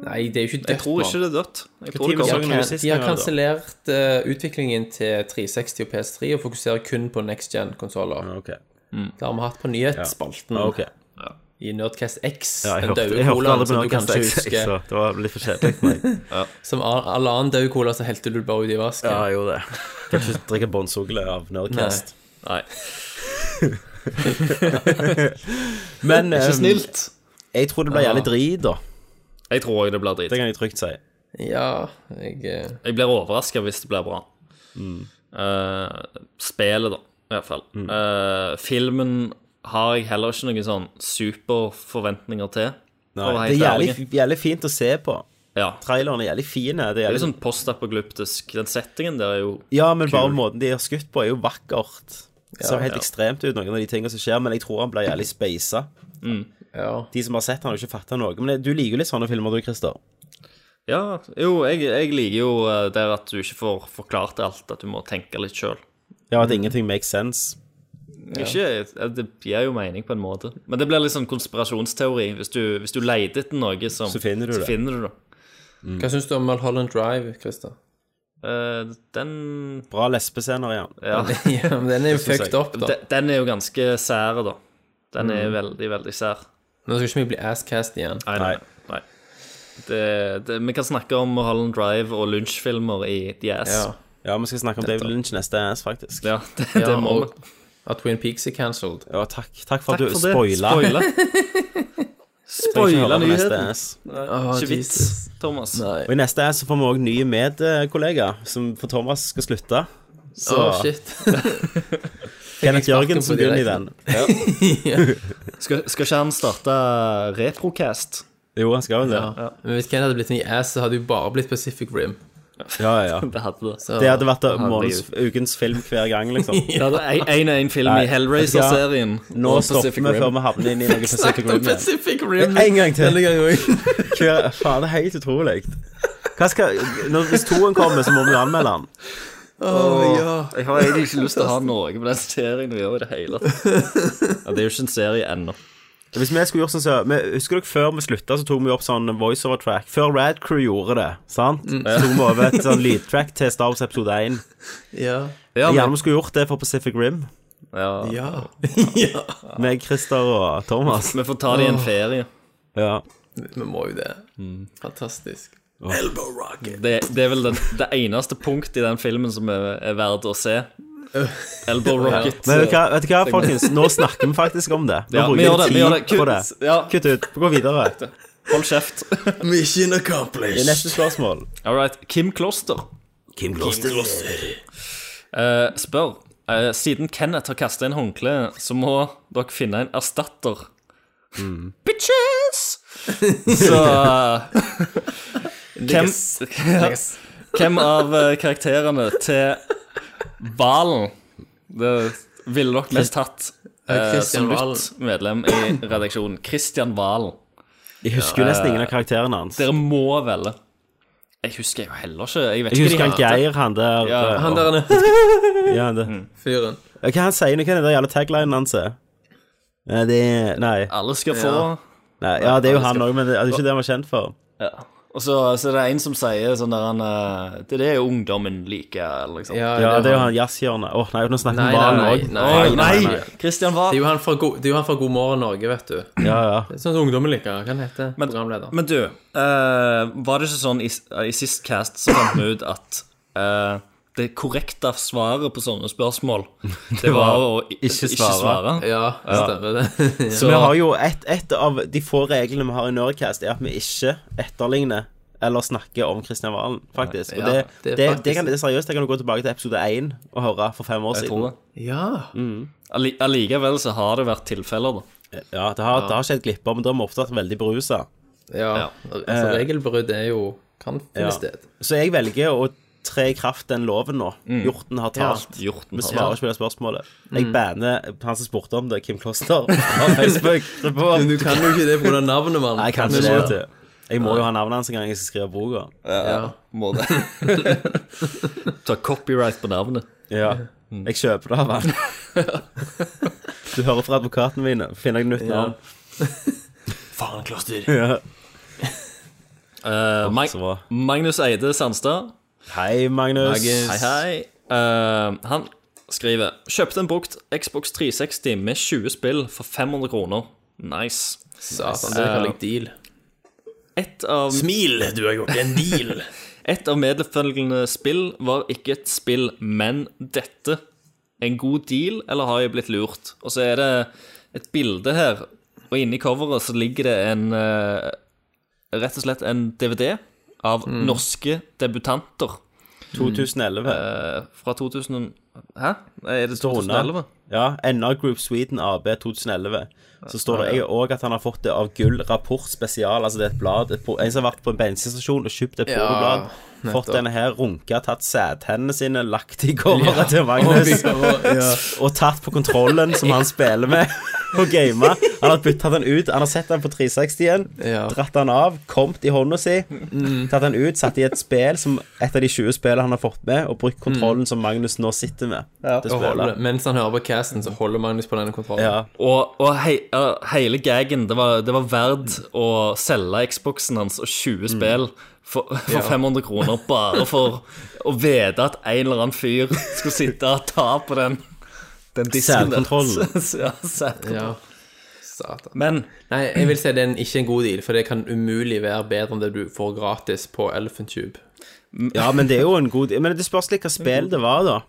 Speaker 6: Nei, det er jo ikke dødt.
Speaker 2: Jeg tror
Speaker 6: barn.
Speaker 2: ikke det er dødt. Jeg
Speaker 1: tid var
Speaker 2: tror det
Speaker 6: De
Speaker 2: kommer.
Speaker 1: sangen?
Speaker 6: har,
Speaker 1: noe
Speaker 6: kan,
Speaker 1: sist
Speaker 6: de har
Speaker 1: gang, da.
Speaker 6: kansellert eh, utviklingen til 360 og PS3 og fokuserer kun på next gen-konsoller.
Speaker 1: Ok.
Speaker 6: Det har vi hatt på nyhetsspalten
Speaker 1: Ok.
Speaker 6: i Nerdcast X.
Speaker 1: Ja, jeg
Speaker 6: den
Speaker 1: hørte,
Speaker 6: døde
Speaker 1: jeg hørte
Speaker 6: colaen
Speaker 1: aldri på
Speaker 6: som du
Speaker 1: noe
Speaker 6: kanskje husker.
Speaker 1: så det var litt for kjedelig for meg.
Speaker 6: Som all all annen død cola, så helte du bare ut i vasken.
Speaker 1: Ja, jeg gjorde det. Kan ikke drikke bånnsugle av Nerdcast.
Speaker 2: Nei.
Speaker 1: Men eh,
Speaker 2: Ikke snilt.
Speaker 1: jeg tror det ble jævlig drit, da.
Speaker 2: Jeg tror òg det blir drit.
Speaker 1: Det kan jeg trygt si.
Speaker 6: Ja, jeg eh,
Speaker 2: Jeg blir overraska hvis det blir bra. Eh, spillet, da, i hvert fall.
Speaker 1: Mm.
Speaker 2: Eh, filmen har jeg heller ikke noen sånn superforventninger til.
Speaker 1: Nei,
Speaker 2: for å
Speaker 1: det
Speaker 2: være
Speaker 1: er
Speaker 2: helt
Speaker 1: jævlig, jævlig fint å se på.
Speaker 2: Ja.
Speaker 1: Traileren er jævlig fin. Det er
Speaker 2: Det er
Speaker 1: jævlig,
Speaker 2: sånn postapokalyptisk. Den settingen der er jo
Speaker 1: ja, men bare måten de er skutt på, er jo vakkert. Det ser helt
Speaker 2: ja.
Speaker 1: ekstremt ut, noen av de tingene som skjer, men jeg tror han blir jævlig speisa.
Speaker 6: Ja.
Speaker 1: De som har sett han har ikke fatta noe. Men det- du liker jo litt sånne filmer, du, Christer.
Speaker 2: Ja, jo, jeg, jeg liker jo eh, der at du ikke får forklart alt, at du må tenke litt sjøl.
Speaker 1: Ja,
Speaker 2: Mm.
Speaker 1: at ingenting makes sense.
Speaker 2: Ikke, eh, Det gir jo mening på en måte. Men det blir litt sånn konspirasjonsteori. Hvis du, hvis du leter etter noe, som,
Speaker 1: Så finner du det. Mm.
Speaker 2: finner du det.
Speaker 6: Hva syns du om Mulholland Drive, Christer?
Speaker 2: Eh, den
Speaker 1: Bra lesbescener igjen.
Speaker 2: ja,
Speaker 6: ja, men den er jo
Speaker 1: synes
Speaker 6: fucked
Speaker 1: jeg.
Speaker 6: up, da.
Speaker 2: den, den er jo ganske sære, da. Den er veldig, veldig sær.
Speaker 6: Nå skal ikke vi bli asscast igjen.
Speaker 2: Nei, nei. nei. Det, det, vi kan snakke om Holland Drive og lunsjfilmer i The Ass.
Speaker 6: Ja.
Speaker 1: Ja, vi skal snakke om David Lynch neste ass, faktisk.
Speaker 2: Ja, det,
Speaker 6: Ja,
Speaker 2: det må vi.
Speaker 6: og- At Twin Peaks er cancelled.
Speaker 1: Ja, takk, takk for at du
Speaker 2: Takk for det.
Speaker 1: spoila. Trenger ikke
Speaker 2: Spoila
Speaker 1: høre på neste
Speaker 2: nyheten.
Speaker 1: ass.
Speaker 6: Oh,
Speaker 2: Ikke vits, Thomas.
Speaker 1: Og i neste ass så får vi òg ny medkollega, som for Thomas skal slutte. Så
Speaker 6: shit.
Speaker 1: Kenneth Jørgen som
Speaker 6: på
Speaker 1: begynner i den.
Speaker 6: direkten.
Speaker 2: Skal, skal ikke han starte Reprocast?
Speaker 1: Jo, han skal jo det.
Speaker 6: Ja. Men hvis Ken hadde blitt en i ass, så hadde jo bare blitt Pacific Rim.
Speaker 1: Ja, ja, ja.
Speaker 2: Det hadde det.
Speaker 6: Så,
Speaker 1: Det hadde vært månedens, ukens film hver gang, liksom.
Speaker 2: Det hadde én og én film
Speaker 1: Nei,
Speaker 2: i Hellraiser-serien.
Speaker 1: Nå
Speaker 2: Og
Speaker 1: stopper
Speaker 2: Pacific
Speaker 1: vi
Speaker 2: Rim.
Speaker 1: før vi havner inn i noe Pacific Rim. igjen.
Speaker 6: Pacific Rim.
Speaker 1: En gang til.
Speaker 6: Denne gangen også.
Speaker 1: Hver, faen, det er helt utrolig. Hva skal, når, hvis toen kommer, så må vi anmelde den.
Speaker 2: Jeg har egentlig ikke lyst til å ha noe med den serien å gjøre i det hele tatt. Ja, det er jo ikke en serie ennå.
Speaker 1: Hvis vi skulle gjort sånn, så, vi, Husker dere før vi slutta, så tok vi opp sånn voiceover track? Før Rad Crew gjorde det, sant?
Speaker 2: Mm.
Speaker 1: Så tok vi over et sånn lydtrack til Star Wars episode 1.
Speaker 6: Ja.
Speaker 2: Ja,
Speaker 1: Gjerne
Speaker 2: men,
Speaker 1: vi skulle gjort det for Pacific Rim.
Speaker 2: ja,
Speaker 6: Ja.
Speaker 1: Med Christer og Thomas.
Speaker 2: Vi får ta det i en ferie.
Speaker 1: Ja.
Speaker 6: Vi må jo det.
Speaker 1: Mm.
Speaker 6: Fantastisk.
Speaker 2: Det, det er vel den, det eneste punktet i den filmen som er, er verdt å se. Øh. Elbow Rocket.
Speaker 1: Men vet du, hva, vet du hva, folkens? Nå snakker vi faktisk om det. Nå
Speaker 2: Ja, vi
Speaker 1: bruker
Speaker 2: gjør det.
Speaker 1: vi
Speaker 2: Vi gjør det.
Speaker 1: tid på det.
Speaker 2: Kutt. Ja,
Speaker 1: Kutt ut. Gå videre.
Speaker 2: hold kjeft.
Speaker 6: Mission
Speaker 1: Det er
Speaker 6: accomplished.
Speaker 1: neste spørsmål.
Speaker 2: All right. Kim Kloster
Speaker 1: Kim Gloster.
Speaker 2: eh, spør eh, Siden Kenneth har kasta inn håndkleet, så må dere finne en erstatter. Bitches! Så eh, hvem, hvem av eh, karakterene til Valen det ville dere mest hatt eh,
Speaker 6: Christian
Speaker 2: som
Speaker 6: Valen.
Speaker 2: nytt medlem i redaksjonen? Christian Valen.
Speaker 1: Jeg husker jo nesten ingen av karakterene hans.
Speaker 2: Dere må velge. Jeg husker jo heller ikke. Jeg vet
Speaker 1: Jeg husker
Speaker 2: ikke hva
Speaker 1: han
Speaker 2: de heter.
Speaker 1: Geir, han der.
Speaker 2: Ja,
Speaker 1: eh,
Speaker 6: Han der er
Speaker 1: ja, han der.
Speaker 6: fyren.
Speaker 1: Hva han sier nå? Hva er den der jævla taglinen hans? er? Eh, Det er Nei.
Speaker 2: Alle skal få.
Speaker 1: nei. Ja, det er jo han òg, men det er jo ikke det han var kjent for.
Speaker 2: Og så, så er det en som sier sånn der han eh, Det er det ungdommen liker, eller liksom.
Speaker 1: Ja, det er jo han jazzhjørnet. Åh, nei, nå snakker
Speaker 6: Nei,
Speaker 1: vi om Valen
Speaker 6: nei,
Speaker 1: òg.
Speaker 6: nei,
Speaker 2: Å,
Speaker 6: nei, nei, nei.
Speaker 2: nei! Christian
Speaker 6: Det er
Speaker 2: Wahl.
Speaker 6: jo han fra God, det er jo han fra God morgen Norge, vet du. Det
Speaker 1: Ja, ja.
Speaker 6: er Sånn som ungdommen liker. Hva han heter programleder?
Speaker 2: Men du, eh, var det ikke sånn i, i sist cast så fant vi ut at eh, det korrekte svaret på sånne spørsmål, det var å i-
Speaker 1: ikke
Speaker 2: ikke
Speaker 1: svare.
Speaker 2: svare.
Speaker 6: ja, stemmer det.
Speaker 2: Så,
Speaker 1: Vi har jo et, et av de få reglene vi har i Nerdcast, er at vi ikke etterligner eller snakker om Kristian Valen, faktisk. Og
Speaker 6: Ja,
Speaker 1: det,
Speaker 6: det er
Speaker 1: det, det,
Speaker 6: faktisk-
Speaker 1: kan, det er seriøst, det kan du gå tilbake til episode 1 og høre for fem år
Speaker 2: jeg
Speaker 1: siden.
Speaker 2: tror det.
Speaker 6: ja.
Speaker 2: Alli- Allikevel så har det vært tilfeller, da.
Speaker 1: Ja, det har, det har skjedd glipper, men da har vi ofte vært veldig berusa.
Speaker 6: ja. Altså, regelbrudd er jo kan finne
Speaker 1: Eh. Ja.
Speaker 6: sted.
Speaker 1: Så jeg velger å tre i kraft den loven nå. Hjorten har talt.
Speaker 2: Hjorten
Speaker 1: Vi
Speaker 2: har
Speaker 1: svarer ikke på det spørsmålet.
Speaker 6: Mm.
Speaker 1: Jeg banner han som spurte om det, Kim Kloster. på Facebook. Det på.
Speaker 6: Men du kan jo ikke det pga. navnet, mann.
Speaker 1: Nei, kanskje
Speaker 6: Men
Speaker 1: det.
Speaker 6: må-
Speaker 1: vet du. Jeg må jo ha navnet hans en gang jeg skal skrive boka.
Speaker 6: Ja.
Speaker 2: Må det. Ta copyright på navnet.
Speaker 1: Ja. Mm. Jeg kjøper det av han. Du hører fra advokatene mine. Finner jeg nytt navn.
Speaker 6: Faen, Kloster.
Speaker 1: Ja.
Speaker 2: Eh, Mag
Speaker 1: så bra.
Speaker 2: Magnus Eide Sandstad.
Speaker 1: Hei, Magnus.
Speaker 2: Hei, hei. Eh, han skriver Kjøpte en brukt Xbox 360 med 20 spill for 500 kroner. Nice. Eh,
Speaker 6: Satan, det
Speaker 1: Eh,
Speaker 6: kaller jeg deal.
Speaker 2: Et av,
Speaker 6: Smil, du har gjort en deal.
Speaker 2: et av medfølgende spill var ikke et spill, men dette. En god deal, eller har jeg blitt lurt? Og så er det et bilde her, og inni coveret så ligger det en eh, Rett og slett en DVD av
Speaker 6: Mm.
Speaker 2: norske debutanter
Speaker 6: Eh,
Speaker 1: 2011.
Speaker 2: fra 2000 Hæ? Er det
Speaker 1: står under.
Speaker 2: 2011?
Speaker 1: Ja, NR Group Sweden AB 2011. Så står det jeg òg at han har fått det av Gull Rapport Spesial. Altså det er et blad. Et, po- en som har vært på en bensinstasjon og kjøpt et pornoblad. Fått denne her, runka, tatt sædhendene sine, lagt i coveret til Magnus. Og tatt på kontrollen som han spiller med. og gama. Han har byttet den ut. Han har sett den på 360 igjen,
Speaker 6: Ja. Mm.
Speaker 1: dratt den av, kommet i hånda si, tatt den ut, satt i et spill som et av de 20 spillene han har fått med, og brukt kontrollen som Magnus nå sitter med. Til
Speaker 6: Mm. Og holder,
Speaker 1: spillet.
Speaker 6: mens han hører på casten, så holder Magnus på denne kontrollen.
Speaker 1: Ja.
Speaker 2: Og, og hei, ja, hele gaggen, det var, det var verdt å selge Xboxen hans og 20 spill for, for 500 kroner, bare for å vite at en eller annen fyr skulle sitte og ta på den, den disken. der.
Speaker 1: Særkontrollen.
Speaker 2: ja, særkontrollen.
Speaker 6: Ja. Satan.
Speaker 2: Men
Speaker 6: Nei, jeg vil si det er en, ikke en god deal, for det kan umulig være bedre enn det du får gratis på Elephant Tube.
Speaker 1: ja, men det er jo en god Men det spørs litt hva spill det var, da.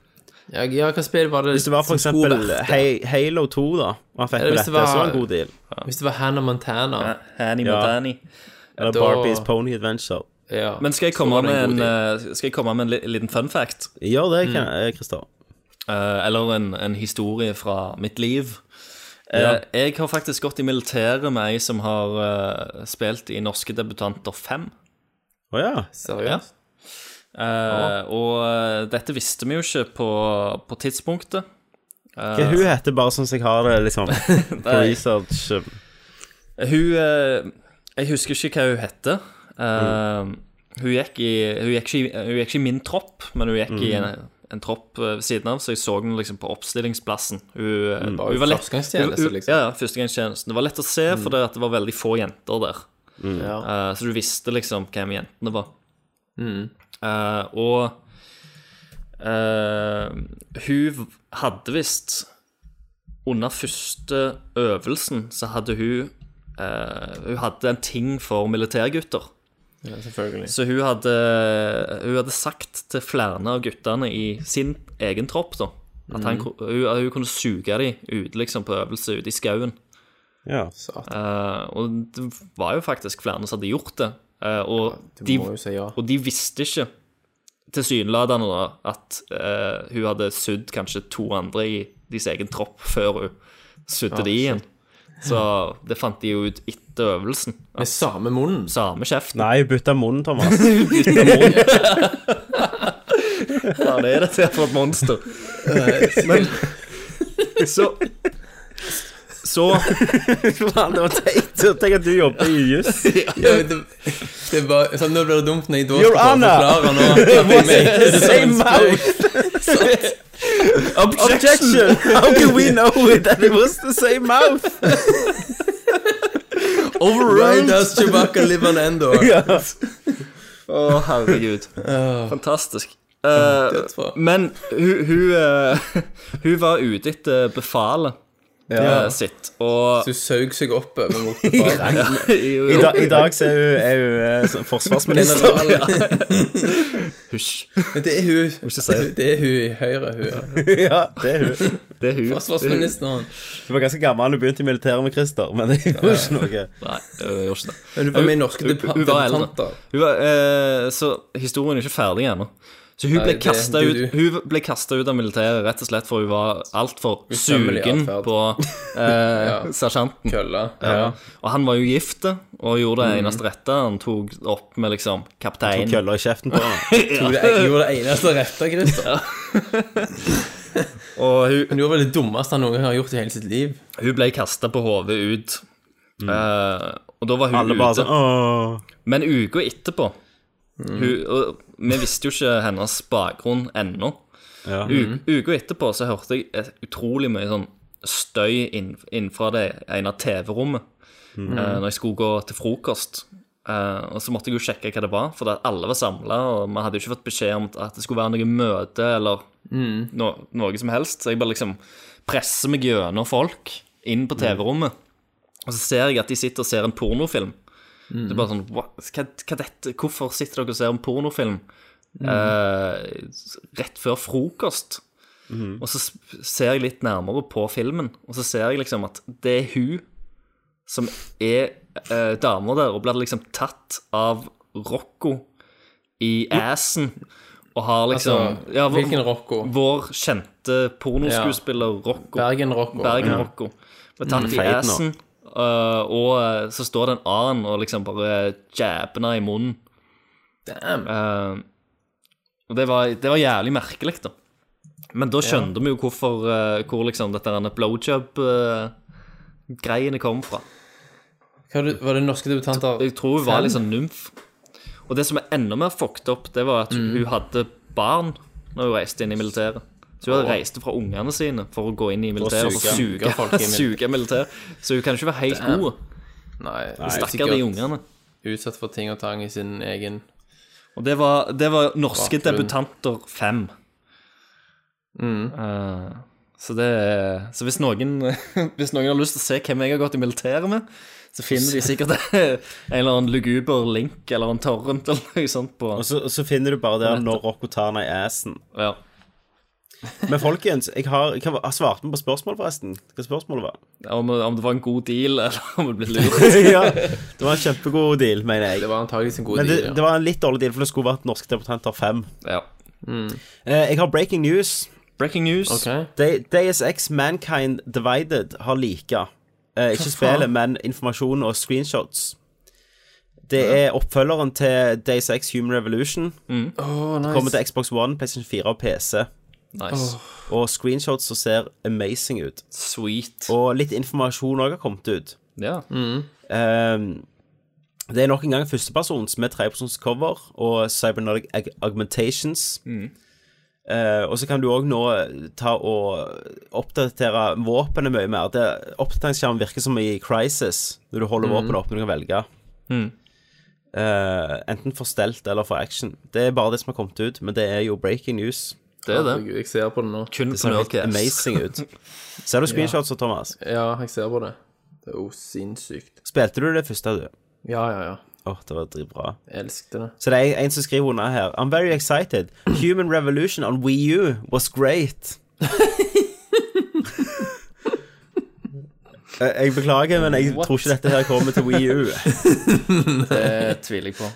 Speaker 6: Ja, ja hva spill var det
Speaker 1: Hvis det var for
Speaker 6: som skulle
Speaker 1: eksempel
Speaker 6: vært det?
Speaker 1: Hei- Halo 2, da, og han fikk med
Speaker 6: Eller hvis
Speaker 1: dette,
Speaker 6: det
Speaker 1: så var
Speaker 6: var-
Speaker 1: det en god deal.
Speaker 6: Hvis det var Hannah Montana
Speaker 2: eh, Hanny
Speaker 1: Ja.
Speaker 2: Montani
Speaker 1: Eller
Speaker 6: da-
Speaker 1: Barbies Pony Adventure.
Speaker 6: ja.
Speaker 2: Men skal jeg,
Speaker 6: var
Speaker 2: komme
Speaker 6: det en
Speaker 2: med
Speaker 6: god
Speaker 2: en, eh, skal jeg komme med en li- liten fun fact?
Speaker 1: Gjør det, kan- Christer.
Speaker 2: Eh, eller en, en historie fra mitt liv. Eh, Jeg har faktisk gått i militæret med ei som har eh, spilt i Norske debutanter 5.
Speaker 1: Å ja.
Speaker 6: Seriøst?
Speaker 2: Eh, Og eh, dette visste vi jo ikke på, på tidspunktet.
Speaker 1: Hva hun heter, bare sånn som jeg har det, liksom. På research. um,
Speaker 2: Hun eh, Jeg husker ikke hva hun hette. Eh, hun, gikk i, hun, gikk ikke, i- hun gikk ikke i min tropp, men hun gikk i en, en tropp eh, ved siden av, så jeg så henne liksom på oppstillingsplassen. Hun, eh,
Speaker 6: Bare
Speaker 2: hun var lett
Speaker 6: førstegangstjeneste,
Speaker 2: hun- hun-
Speaker 6: liksom.
Speaker 2: Ja, ja, førstegangstjenesten. Det var lett å se, for det, at det var veldig få jenter der. Eh, så du visste liksom hvem jentene var.
Speaker 6: Mm.
Speaker 2: Eh, og eh, hun hadde visst Under første øvelsen så hadde hun eh, Hun hadde en ting for militærgutter.
Speaker 6: Ja, selvfølgelig.
Speaker 2: Så hun hadde, hun hadde sagt til flere av guttene i sin egen tropp da, at
Speaker 6: Mhm.
Speaker 2: han, ku- hun, hun kunne suge dem ut liksom, på øvelse ute i skauen.
Speaker 1: Ja.
Speaker 6: Satan,
Speaker 2: Eh, og det var jo faktisk flere som hadde gjort det. Eh, og,
Speaker 6: du
Speaker 2: de,
Speaker 6: må jo si ja.
Speaker 2: og de visste ikke, tilsynelatende, da, at eh, hun hadde sudd kanskje to andre i deres egen tropp før hun sudde de igjen. Så det fant de jo ut etter øvelsen.
Speaker 6: Med samme munnen.
Speaker 2: Samme kjeften.
Speaker 1: Nei, bytta munn, Thomas.
Speaker 2: Ja, det er dette for et monster. Men så Så
Speaker 1: Faen, det var teit. Tenk at du jobber i juss.
Speaker 6: Ja, men det, det var, sånn, nå ble det dumt når jeg da
Speaker 1: Your
Speaker 6: skal prøve å
Speaker 1: Honor!
Speaker 6: forklare nå. Jeg mente det som
Speaker 1: Same
Speaker 6: en spøk.
Speaker 1: Objection! How can we know that it was the same mouth?
Speaker 6: Why does Chewbacca live on Endor?
Speaker 2: Å, herregud. Fantastisk. Eh,
Speaker 6: dødsbra.
Speaker 2: men hun hun, eh, hun var ute etter befalet eh, sitt, og
Speaker 6: Du saug seg opp over motorfaget.
Speaker 2: ja, jo,
Speaker 1: I,
Speaker 2: jo.
Speaker 1: da, I dag så er hun, er hun eh, sånn forsvarsminister.
Speaker 2: Husj.
Speaker 6: Men det er hun Det er hun i Høyre, hun. ja.
Speaker 1: Ja, det er hun.
Speaker 2: Det er hun.
Speaker 6: Forsvarsministeren.
Speaker 1: Hun var ganske gammel da hun begynte i militæret med Christer, men det gjorde ikke noe.
Speaker 2: Nei, hun gjorde ikke det.
Speaker 6: Men hun var med i Norske
Speaker 2: Hun- hun- hun var eldre.
Speaker 6: debutanter.
Speaker 2: Hun var, eh, så historien er ikke ferdig ennå. Så hun ble
Speaker 6: det-
Speaker 2: kasta
Speaker 6: du-
Speaker 2: ut, hun ble kastet ut av militæret rett og slett for hun var altfor
Speaker 6: Usømmelig
Speaker 2: sugen
Speaker 6: atferd.
Speaker 2: på eh, sersjanten.
Speaker 6: Kølla. Ja.
Speaker 2: Og han var jo gift eh, og gjorde
Speaker 6: Mhm.
Speaker 2: det eneste rette. Han tok opp med liksom kapteinen.
Speaker 1: Køller i kjeften på henne.
Speaker 6: Hun det- hun gjorde det eneste rette, Christer.
Speaker 2: Og hun,
Speaker 6: Hun gjorde vel det dummeste han noen gang har gjort i hele sitt liv.
Speaker 2: hun ble kasta på hodet ut. Eh, og da var hun
Speaker 1: Alle
Speaker 2: ute.
Speaker 1: bare sånn åh. Mm.
Speaker 2: Men uka etterpå hun, og, Vi visste jo ikke hennes bakgrunn ennå.
Speaker 1: Ja.
Speaker 2: U- Uka etterpå så hørte jeg et utrolig mye sånn støy inn- innenfra det ene TV-rommet eh, når jeg skulle gå til frokost. Eh, og så måtte jeg jo sjekke hva det var, for det, alle var samla. Og vi hadde jo ikke fått beskjed om at det skulle være noe møte eller
Speaker 6: Mm.
Speaker 2: no, noe som helst. Så jeg bare liksom presser meg gjennom folk inn
Speaker 6: Mm.
Speaker 2: på TV-rommet, og så ser jeg at de sitter og ser en pornofilm.
Speaker 6: Mm.
Speaker 2: Det er bare sånn hva, hva, hva dette, Hvorfor sitter dere og ser en pornofilm
Speaker 6: Mm.
Speaker 2: eh, rett før frokost?
Speaker 6: Mm.
Speaker 2: Og så s- ser jeg litt nærmere på filmen, og så ser jeg liksom at det er hun som er eh, dama der, og blir liksom tatt av Rocco i assen. Og har liksom
Speaker 6: Altså,
Speaker 2: ja, vår-
Speaker 6: hvilken Rocco?
Speaker 2: Vår kjente pornoskuespiller Rocco.
Speaker 6: Bergen Rocco. Mm.
Speaker 2: Bergen Rocco. Ble tatt i
Speaker 1: Feit nå.
Speaker 2: assen, øh, og øh, så står det en annen og liksom bare jabber henne i munnen.
Speaker 6: Damn.
Speaker 2: Øh, og det var, det var jævlig merkelig, da. eh, Men da skjønte vi jo hvorfor øh, hvor liksom dette er en blowjob-greia greiene kom fra.
Speaker 6: Hva var det- var det norske debutanter
Speaker 2: Jeg tror hun var
Speaker 6: Fem?
Speaker 2: liksom nymf. Og det som er enda mer fucked up, det var at
Speaker 6: Mm.
Speaker 2: hun hadde barn når hun reiste inn i militæret. Så hun hadde reist fra ungene sine for å gå inn i militæret og så
Speaker 6: suge
Speaker 2: suge,
Speaker 6: folk inn i-
Speaker 2: suge militæret. Så hun kan ikke være helt god.
Speaker 6: Nei,
Speaker 2: Stakkar de ungene.
Speaker 6: Utsatt for ting og tang i sin egen
Speaker 2: Og det var, det var norske
Speaker 6: Bakgrunn.
Speaker 2: debutanter fem.
Speaker 6: Mm.
Speaker 2: Eh, så det er- Så hvis noen, hvis noen har lyst til å se hvem jeg har gått i militæret med, så finner de sikkert en eller annen luguber link eller en torrent eller noe sånt på
Speaker 1: Og så, og så finner du bare der når Rocco tar henne i assen.
Speaker 2: ja.
Speaker 1: Men folkens, jeg har, jeg har svart meg på spørsmål, forresten. Hva spørsmålet var?
Speaker 2: om, om det var en god deal, eller om det ble lurt.
Speaker 1: ja, det var en kjempegod deal, mener
Speaker 6: Det
Speaker 1: jeg.
Speaker 6: var antageligvis en god
Speaker 1: Men det,
Speaker 6: deal.
Speaker 1: det var en litt dårlig deal, for det skulle vært norske debutanter fem.
Speaker 2: Ja.
Speaker 1: Eh, jeg har breaking news.
Speaker 2: Breaking news.
Speaker 6: Ja. Ok.
Speaker 1: Day- Deus X Mankind Divided har lika. Eh, ikke spillet, men informasjon og screenshots. Det er oppfølgeren til Days X Human Revolution.
Speaker 6: Åh, nice.
Speaker 1: Kommer til Xbox One, PlayStation 4 og PC.
Speaker 2: Nice.
Speaker 1: Og screenshots som ser amazing ut.
Speaker 2: Sweet.
Speaker 1: Og litt informasjon òg har kommet ut.
Speaker 2: Ja.
Speaker 1: Ehm, det er nok en gang førstepersons med trepersons cover og cybernetic ag- augmentations. Eh, og så kan du òg nå eh, ta og oppdatere våpenet mye mer. Det- Oppdateringsskjermen virker som i Crisis, når du holder våpenet opp når du kan velge. Eh, enten for stelt eller for action. Det er bare det som har kommet ut, men det er jo breaking news.
Speaker 2: Det er det.
Speaker 6: Herregud, Jeg ser på det nå.
Speaker 2: Kun på
Speaker 1: Det ser helt
Speaker 2: Nerdcast.
Speaker 1: amazing ut. Ser du screenshots, Thomas?
Speaker 6: Ja, jeg ser på det. Det er jo sinnssykt.
Speaker 1: Spilte du det første, du?
Speaker 6: Ja, ja, ja.
Speaker 1: Åh, det var dritbra.
Speaker 6: Jeg elsket det.
Speaker 1: Så det er en som skriver under her I'm very excited. Human revolution on Wii U was great. Eh, jeg beklager, men jeg tror ikke dette her kommer til Wii U.
Speaker 2: Det tviler jeg på.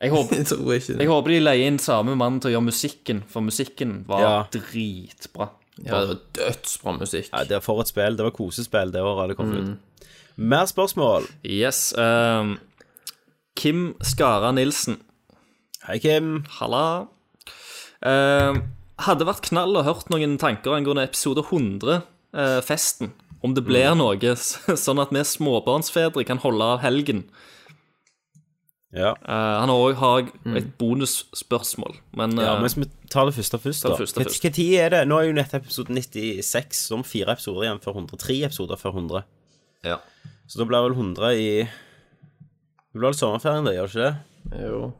Speaker 2: Jeg håper,
Speaker 6: Jeg tror ikke det.
Speaker 2: jeg håper de leier inn samme mann til å gjøre musikken, for musikken var
Speaker 1: Ja.
Speaker 2: dritbra.
Speaker 6: Ja, det var dødsbra musikk.
Speaker 1: Nei, det var for et spill. Det var kosespill det året det kom
Speaker 2: Mm.
Speaker 1: ut. Mer spørsmål.
Speaker 2: Yes. ehm, Kim Skara Nilsen.
Speaker 1: Hei, Kim.
Speaker 2: Halla. Ehm, hadde vært knall og hørt noen tanker angående episode 100-festen. om det blir noe, s- sånn at vi småbarnsfedre kan holde av helgen.
Speaker 1: Ja.
Speaker 2: Eh, han har òg har jeg et bonusspørsmål, Mm. men
Speaker 1: ja,
Speaker 2: eh,
Speaker 1: men vi tar det første først, da.
Speaker 2: det første først.
Speaker 1: Hva tid er det? Nå er jo nettopp episode 96, så om fire episoder igjen før 100. Tre episoder før 100.
Speaker 2: ja.
Speaker 1: Så da blir vel 100 i Det blir vel sommerferien, det, gjør det ikke det?
Speaker 6: Jo.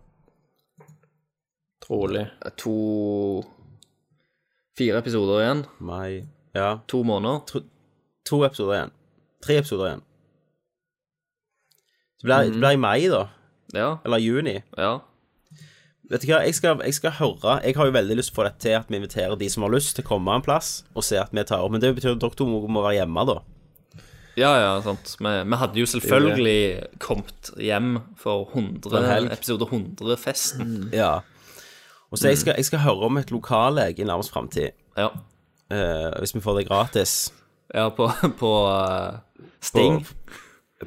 Speaker 6: Trolig.
Speaker 2: To Fire episoder igjen.
Speaker 1: Mai Ja.
Speaker 2: To måneder.
Speaker 1: to episoder igjen. Tre episoder igjen. Det blir, det blir i mai, da.
Speaker 2: Ja.
Speaker 1: Eller juni.
Speaker 2: ja.
Speaker 1: Vet du hva, jeg skal, jeg skal høre Jeg har jo veldig lyst til å få dette til at vi inviterer de som har lyst, til å komme en plass og se at vi tar opp. Men det betyr at dere to må, må være hjemme, da.
Speaker 2: Ja, ja, sant. Vi, vi hadde jo selvfølgelig kommet hjem for 100,
Speaker 1: helg.
Speaker 2: episode 100-festen.
Speaker 1: Ja. Og så jeg, skal, jeg skal høre om et lokallege i nærmest framtid.
Speaker 2: Ja.
Speaker 1: eh, hvis vi får det gratis.
Speaker 2: ja, på, på eh, Sting.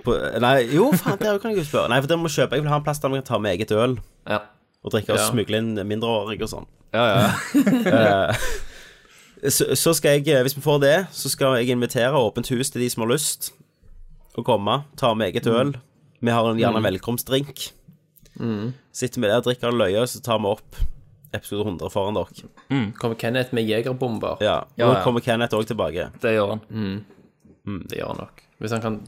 Speaker 1: På, nei, jo, faen, det kan jeg jo spørre. Nei, for det må jeg kjøpe. Jeg vil ha en plass der vi kan ta med eget øl
Speaker 2: Ja.
Speaker 1: og drikke og smugle inn mindreårige og sånn.
Speaker 2: Ja, ja.
Speaker 1: så, så skal jeg, eh, hvis vi får det, så skal jeg invitere åpent hus til de som har lyst å komme. Ta med eget øl.
Speaker 6: Mm.
Speaker 1: Vi har en, gjerne en velkomstdrink. Sitter vi der, drikker en løye, så tar vi opp episode 100 foran dere.
Speaker 6: Kommer Kenneth med jegerbomber?
Speaker 1: Ja. Nå
Speaker 2: Ja, ja.
Speaker 1: kommer Kenneth òg tilbake.
Speaker 2: Det gjør han.
Speaker 6: Det gjør han nok. Hvis han kan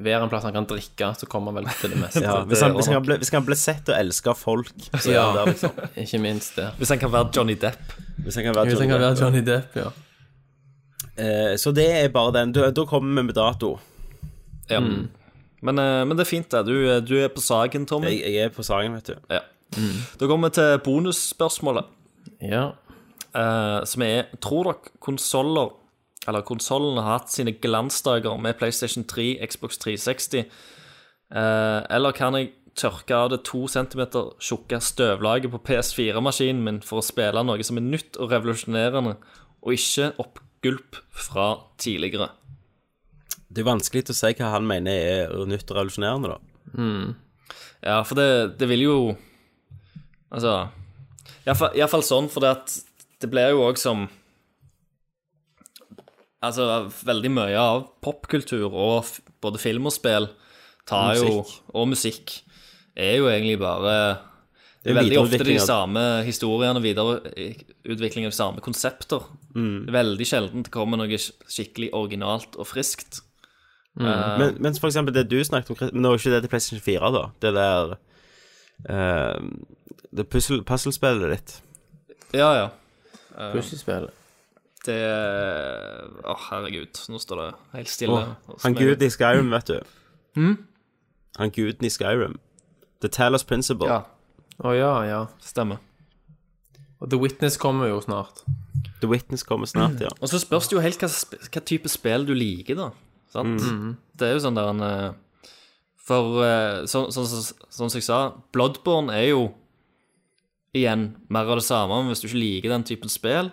Speaker 6: være en plass han kan drikke, så kommer han vel til det meste.
Speaker 1: Ja, hvis, han, hvis, han ble, hvis han ble sett og elska folk, så er
Speaker 6: Ja.
Speaker 1: han der, liksom.
Speaker 6: Ikke minst det.
Speaker 2: Hvis han kan være Johnny Depp.
Speaker 1: Hvis han kan være
Speaker 6: Hvis han kan
Speaker 1: Johnny
Speaker 6: være
Speaker 1: Depp.
Speaker 6: Johnny Depp, ja.
Speaker 1: Eh, Så det er bare den. Da, da kommer vi med dato.
Speaker 2: Ja. Men, eh, men det er fint, det. Du, du er på saken, Tommy.
Speaker 1: Jeg, jeg er på saken, vet du.
Speaker 2: Ja. Da går vi til bonusspørsmålet,
Speaker 6: Ja.
Speaker 2: eh, som er Tror dere konsoller eller konsollene har hatt sine glansdager med PlayStation 3, Xbox 360? Eh, eller kan jeg tørke av det to centimeter tjukke støvlaget på PS4-maskinen min for å spille noe som er nytt og revolusjonerende, og ikke oppgulp fra tidligere?
Speaker 1: Det er vanskelig å si hva han mener er nytt og revolusjonerende, da.
Speaker 2: Ja, for det, det vil jo Altså Iallfall sånn, for det, at det blir jo òg som Altså, veldig mye av popkultur og f både film og spill tar jo
Speaker 1: Musikk.
Speaker 2: Og musikk er jo egentlig bare
Speaker 1: er
Speaker 2: Det er veldig ofte de
Speaker 1: videreutvikling av-
Speaker 2: samme historiene, videreutvikling av samme konsepter.
Speaker 1: Mm.
Speaker 2: Det er veldig sjelden det kommer noe sk- skikkelig originalt og friskt.
Speaker 1: Men, men for eksempel det du snakket om, Chris- men det var jo ikke det til PlayStation 4, da. Det der eh, Det puzzle- puzzlespillet ditt.
Speaker 2: Ja, ja.
Speaker 6: Puslespill.
Speaker 2: Det Å, herregud. Nå står det helt stille.
Speaker 1: Åh, han guden i Skyrim, vet du. Hmm? Han guden i Skyrim. The Talos Principle.
Speaker 2: Ja,
Speaker 6: Å ja, ja.
Speaker 2: stemmer.
Speaker 6: Og The Witness kommer jo snart.
Speaker 1: The Witness kommer snart, ja.
Speaker 2: Og så spørs det jo helt hva, sp- hva type spill du liker, da. Sant?
Speaker 1: Mm.
Speaker 2: Det er jo sånn der en eh, For eh, så- sånn som sånn som jeg sa, Bloodborne er jo igjen mer av det samme men hvis du ikke liker den typen spill.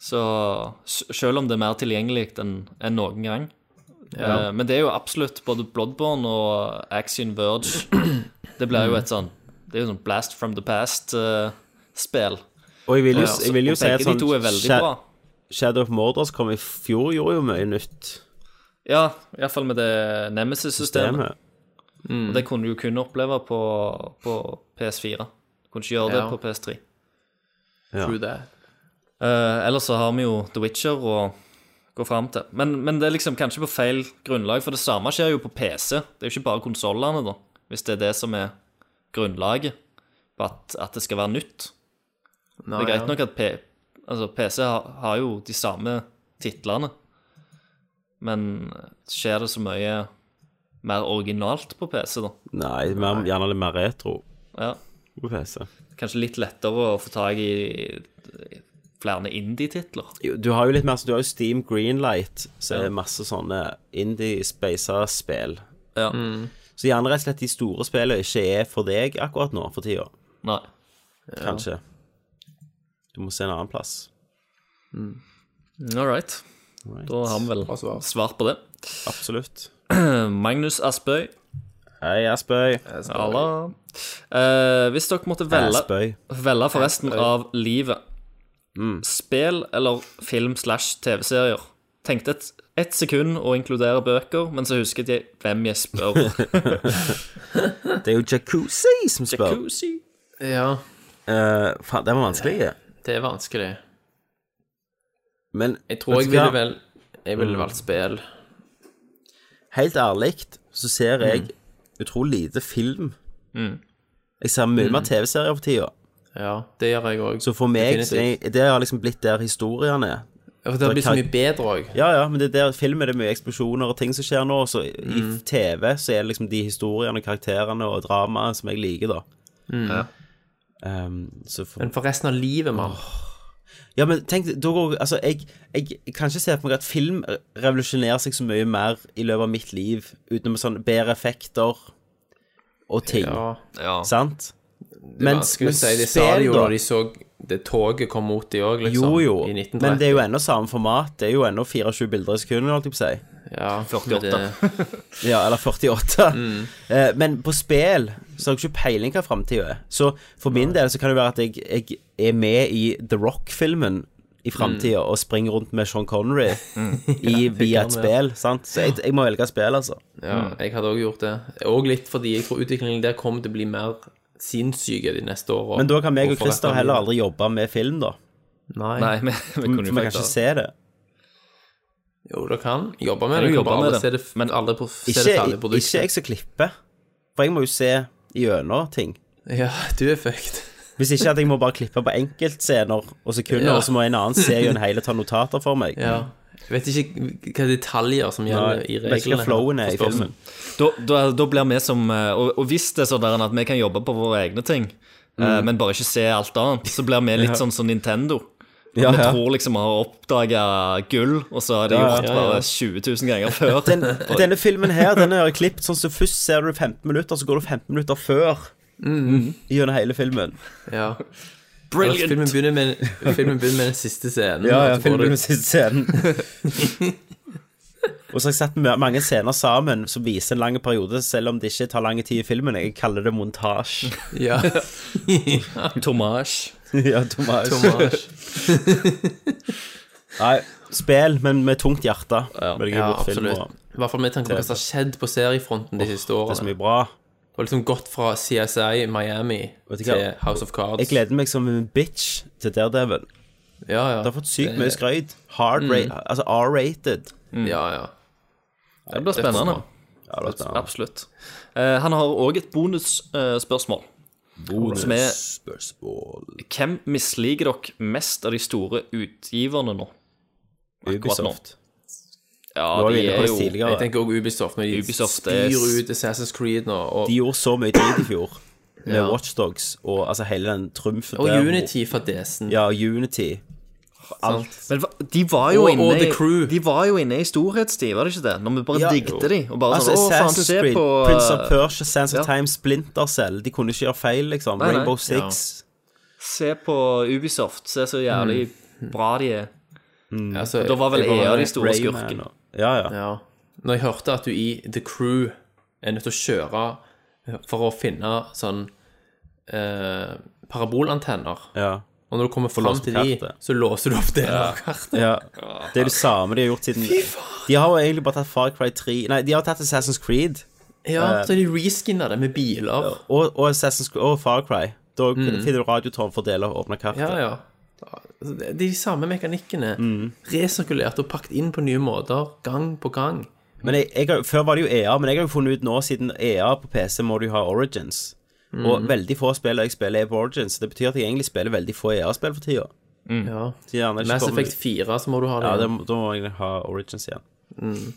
Speaker 2: Så s- selv om det er mer tilgjengelig enn enn noen gang. Eh, Men det er jo absolutt både Bloodborne og Axion Verge. Det blir jo et sånn Det er jo sånn Blast from the Past-spill.
Speaker 1: Og jeg vil jo, jeg vil jo
Speaker 2: og
Speaker 1: si at
Speaker 2: begge de
Speaker 1: sånn
Speaker 2: to er veldig
Speaker 1: Sha-
Speaker 2: bra.
Speaker 1: Shadow of Mordor som kom i fjor, gjorde jo mye nytt.
Speaker 2: Ja, iallfall med det Nemesis-systemet.
Speaker 1: Systemet.
Speaker 2: Og Det kunne du jo kun oppleve på, på PS4. Du kunne ikke gjøre det
Speaker 6: Ja.
Speaker 2: på PS3.
Speaker 1: Ja.
Speaker 6: True that.
Speaker 2: Eh, ellers så har vi jo The Witcher å gå fram til. Men, men det er liksom kanskje på feil grunnlag, for det samme skjer jo på PC. Det er jo ikke bare konsollene, da, hvis det er det som er grunnlaget på at, at det skal være nytt.
Speaker 6: Nei,
Speaker 2: Det er greit
Speaker 6: Ah, ja.
Speaker 2: nok at P altså PC har, har jo de samme titlene, men skjer det så mye mer originalt på PC, da?
Speaker 1: Nei, mer, gjerne litt mer retro
Speaker 2: Ja.
Speaker 1: på PC.
Speaker 2: Kanskje litt lettere å få tak i flere indie-titler.
Speaker 1: Jo, Du har jo litt mer sånn- Du har jo Steam Greenlight, så er det masse sånne indie-spacer-spill.
Speaker 2: Ja.
Speaker 1: Så gjerne rett og slett de store spillene ikke er for deg akkurat nå for tida.
Speaker 2: Nei.
Speaker 1: Kanskje. Du må se en annen plass.
Speaker 2: All right.
Speaker 1: Right.
Speaker 2: Da har vi vel
Speaker 1: Altså-
Speaker 6: Bra svar.
Speaker 2: svar på det. Eh,
Speaker 1: Absolutt.
Speaker 2: Magnus Aspøy.
Speaker 1: Hei, Aspøy.
Speaker 2: Halla. Eh, hvis dere måtte velge,
Speaker 1: Aspøy.
Speaker 2: velge for resten av livet
Speaker 1: Mm.
Speaker 2: Spill eller film slash TV-serier? Tenkte et, ett sekund å inkludere bøker, men så husket jeg hvem jeg spør.
Speaker 1: Det er jo Jacuzzi som spør.
Speaker 2: Jacuzzi.
Speaker 6: ja,
Speaker 1: Eh, faen, den var vanskelig.
Speaker 6: det er vanskelig.
Speaker 1: Men
Speaker 6: Jeg tror
Speaker 1: vet
Speaker 6: jeg
Speaker 1: du hva?
Speaker 6: ville vel Jeg
Speaker 1: Mm.
Speaker 6: ville valgt spill.
Speaker 1: Helt ærlig så ser jeg
Speaker 6: Mm.
Speaker 1: utrolig lite film. Jeg ser mye
Speaker 6: Mm.
Speaker 1: mer TV-serier for tida.
Speaker 6: Ja, det gjør jeg òg.
Speaker 1: Så for meg så
Speaker 6: Definitivt.
Speaker 1: er- Det har liksom blitt der historien er.
Speaker 6: For det har blitt så mye bedre òg.
Speaker 1: Ja, ja, men det er der film er det mye eksplosjoner og ting som skjer nå. Så i
Speaker 6: Mm.
Speaker 1: TV så er det liksom de historiene, karakterene og dramaet som jeg liker, da.
Speaker 6: Mm.
Speaker 1: Um, så for,
Speaker 6: Men for resten av livet, mann.
Speaker 1: ja, men tenk, da går Altså, jeg, jeg, jeg kan ikke se for meg at film revolusjonerer seg så mye mer i løpet av mitt liv, utenom sånn bedre effekter og ting.
Speaker 6: Ja.
Speaker 2: Ja.
Speaker 1: Sant?
Speaker 6: Men, skulle
Speaker 1: men
Speaker 6: si, de sa det
Speaker 1: spill,
Speaker 6: jo
Speaker 1: da.
Speaker 6: da de så det toget kom mot de òg, liksom.
Speaker 1: Jo, jo,
Speaker 6: I
Speaker 1: men
Speaker 6: 1930.
Speaker 1: det er jo ennå samme format. Det er jo ennå 24 bilder i sekundet, holdt jeg på å si.
Speaker 6: ja,
Speaker 2: 48.
Speaker 6: men det-
Speaker 1: Ja, eller 48. Eh, men på spill så har jeg ikke peiling hva framtida er. Så for min del så kan det være at jeg, jeg er med i The Rock-filmen i framtida og springer rundt med Sean Connery i, via et spill. Sant? Så jeg, jeg må velge spill, altså.
Speaker 6: Ja, jeg hadde òg gjort det. Og litt fordi jeg tror utviklingen der kommer til å bli mer sinnssyke de neste åra.
Speaker 1: Men da kan meg og
Speaker 6: for resten
Speaker 1: Christer
Speaker 6: av
Speaker 1: heller
Speaker 6: livet.
Speaker 1: aldri jobbe med film, da.
Speaker 6: Nei.
Speaker 2: Nei, vi, vi
Speaker 1: For
Speaker 2: kunne jo
Speaker 1: vi kan ikke
Speaker 2: faktisk
Speaker 1: se det.
Speaker 6: Jo, du kan jobbe med
Speaker 2: du
Speaker 6: det. Du kan
Speaker 2: jobbe
Speaker 6: bare
Speaker 2: med
Speaker 6: aldri
Speaker 2: det?
Speaker 6: se det, men aldri på, se det
Speaker 1: Ikke,
Speaker 6: ferdige produktet.
Speaker 1: ikke jeg som klipper. For jeg må jo se gjennom ting.
Speaker 6: Ja, du er fucked.
Speaker 1: Hvis ikke at jeg må bare klippe på enkeltscener og sekunder,
Speaker 6: Ja.
Speaker 1: og så må en annen se gjennom hele ta notater for meg.
Speaker 6: Ja. Jeg vet ikke hva detaljer som gjelder
Speaker 1: Nei,
Speaker 6: i
Speaker 1: vet ikke
Speaker 6: reglene.
Speaker 1: hva flowen er i
Speaker 6: forstår du?
Speaker 1: filmen.
Speaker 2: Da, da, da blir vi som eh, Og, og hvis det er sånn der at vi kan jobbe på våre egne ting, eh,
Speaker 1: Mm.
Speaker 2: men bare ikke se alt annet, så blir vi litt sånn som Nintendo.
Speaker 1: Ja,
Speaker 2: Vi
Speaker 1: ja.
Speaker 2: tror liksom vi har oppdaga gull, og så har de
Speaker 1: Ja, ja,
Speaker 2: gjort
Speaker 1: ja,
Speaker 2: bare 20 000 ganger før.
Speaker 1: Den,
Speaker 6: eh,
Speaker 1: denne filmen her, den har jeg klippet sånn som først ser du 15 minutter, så går du 15 minutter før
Speaker 6: Mm.
Speaker 1: gjennom hele filmen.
Speaker 6: Ja.
Speaker 2: Brilliant!
Speaker 6: Filmen begynner med, filmen begynner med den siste scenen. og så får
Speaker 1: filmen
Speaker 6: du-
Speaker 1: med siste scenen. Og så har jeg sett ma- mange scener sammen som viser en lang periode, selv om det ikke tar lang tid i filmen. Jeg kaller det montasje.
Speaker 6: Ja.
Speaker 2: Tomas.
Speaker 1: ja, Tomas.
Speaker 6: Tomas.
Speaker 1: Nei, spill, men med tungt hjerte.
Speaker 2: Ja.
Speaker 1: vil jeg gi
Speaker 6: Ja,
Speaker 1: bort film
Speaker 6: absolutt.
Speaker 1: for.
Speaker 6: I hvert fall med tanke på hva som har skjedd på seriefronten de siste
Speaker 1: Det er så
Speaker 6: årene.
Speaker 1: mye bra.
Speaker 6: Og liksom gått fra CSI Miami
Speaker 1: Vet du
Speaker 6: til
Speaker 1: hva?
Speaker 6: House of Cards.
Speaker 1: Jeg gleder meg som en bitch til Daredevil. Det
Speaker 6: Ja, ja.
Speaker 1: har fått sykt mye skryt. Hard rate,
Speaker 6: Mm.
Speaker 1: altså R-rated.
Speaker 6: Ja, ja.
Speaker 2: Det blir spennende.
Speaker 1: Ja, det var spennende.
Speaker 2: Absolutt. Eh, han har òg et bonusspørsmål. som er-
Speaker 1: Bonusspørsmål.
Speaker 2: Hvem misliker dere mest av de store utgiverne nå? Akkurat nå.
Speaker 1: Ubisoft.
Speaker 2: Ja,
Speaker 1: Du var
Speaker 2: de
Speaker 1: jo inne på
Speaker 2: er
Speaker 1: det
Speaker 2: jo
Speaker 6: Jeg
Speaker 1: tidligere.
Speaker 6: tenker også Ubisoft, når de
Speaker 2: Ubisoft er-
Speaker 6: styrer ut Assassin's Creed nå. Og,
Speaker 1: De gjorde så mye tid i fjor med Watchdogs og altså hele den trumfen
Speaker 6: og
Speaker 1: der.
Speaker 6: Unity for desen.
Speaker 1: Ja, Unity. Alt.
Speaker 2: Men hva- de var jo
Speaker 6: Og-
Speaker 2: inne
Speaker 6: og The
Speaker 2: i-
Speaker 6: Crew.
Speaker 2: De var jo inne i storhetstid, var det ikke det? Når vi bare
Speaker 1: Ja.
Speaker 2: digget de og bare
Speaker 1: Altså,
Speaker 2: sånn, Å, faen,
Speaker 1: Assassin's
Speaker 2: se
Speaker 1: Creed,
Speaker 2: på øh,
Speaker 1: Prince of Persia, Sands of
Speaker 2: ja.
Speaker 1: Time, Splinter Cell. De kunne ikke gjøre feil, liksom.
Speaker 2: Nei, nei.
Speaker 1: Rainbow Six.
Speaker 2: Se på Ubisoft, se så jævlig bra de er.
Speaker 6: Altså,
Speaker 2: Da var vel
Speaker 6: jeg
Speaker 2: EA de store
Speaker 1: Rayman
Speaker 2: skurkene.
Speaker 1: og- Ja, ja.
Speaker 6: Ja. Når jeg hørte at du i The Crew er nødt til å kjøre eh, for å finne sånn eh, parabolantenner,
Speaker 1: ja.
Speaker 6: og når du kommer fram
Speaker 1: låse
Speaker 6: til de,
Speaker 1: kartet.
Speaker 6: så låser du opp det av kartet.
Speaker 1: ja. Det er det samme de har gjort siden De har jo egentlig bare tatt Far Cry 3 Nei, de har tatt Assassin's Creed
Speaker 6: Ja, så de reskinner det med biler.
Speaker 1: og, og, Assassin's Creed, og Far Cry. Da
Speaker 2: Mm.
Speaker 1: finner du radiotårn for å dele og åpne kartet.
Speaker 6: Ja, ja. Altså, det- De samme mekanikkene resirkulert og pakket inn på nye måter, gang på gang.
Speaker 1: Men jeg, jeg, har- Før var det jo EA, men jeg har jo funnet ut nå, siden EA på PC må du ha Origins. Og veldig få spill jeg spiller er på Origins. Det betyr at jeg egentlig spiller veldig få EA-spill for tida.
Speaker 6: Ja.
Speaker 1: De gjerne ikke
Speaker 6: Mm. Mass
Speaker 1: kommer-
Speaker 6: Effect 4, så må du ha det.
Speaker 1: Ja, det,
Speaker 6: igjen.
Speaker 1: må- da må jeg ha Origins igjen.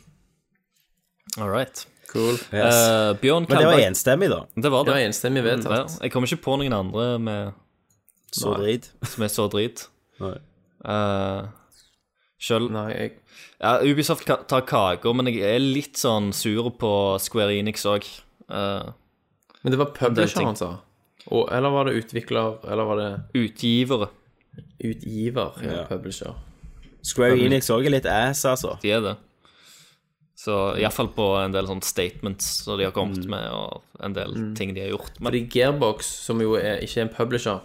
Speaker 2: All right.
Speaker 6: cool.
Speaker 1: Yes.
Speaker 2: Eh, Bjørn
Speaker 1: men det var
Speaker 2: Kalberg.
Speaker 1: enstemmig, da.
Speaker 2: Det var
Speaker 6: Det var
Speaker 2: det.
Speaker 6: enstemmig
Speaker 2: Ja,
Speaker 6: vedtatt.
Speaker 2: jeg kommer ikke på noen andre med,
Speaker 1: Så drit.
Speaker 2: som er så drit.
Speaker 1: Nei.
Speaker 2: Eh, selv
Speaker 6: Nei, jeg,
Speaker 2: Ja, Ubisoft ka- tar kaker, men jeg er litt sånn sur på Square Enix Eh, òg.
Speaker 6: men det var
Speaker 2: Det er
Speaker 6: publisher
Speaker 2: ting.
Speaker 6: han sa. Og, eller var det utvikler, eller var det
Speaker 2: utgivere,
Speaker 6: utgiver? Ja, publisher.
Speaker 1: Square Enix òg er litt ass, altså.
Speaker 2: de er det. Så iallfall på en del sånne statements som de har kommet med, og en del ting de har gjort. Men
Speaker 6: Fordi Gearbox, som jo er, ikke er en publisher,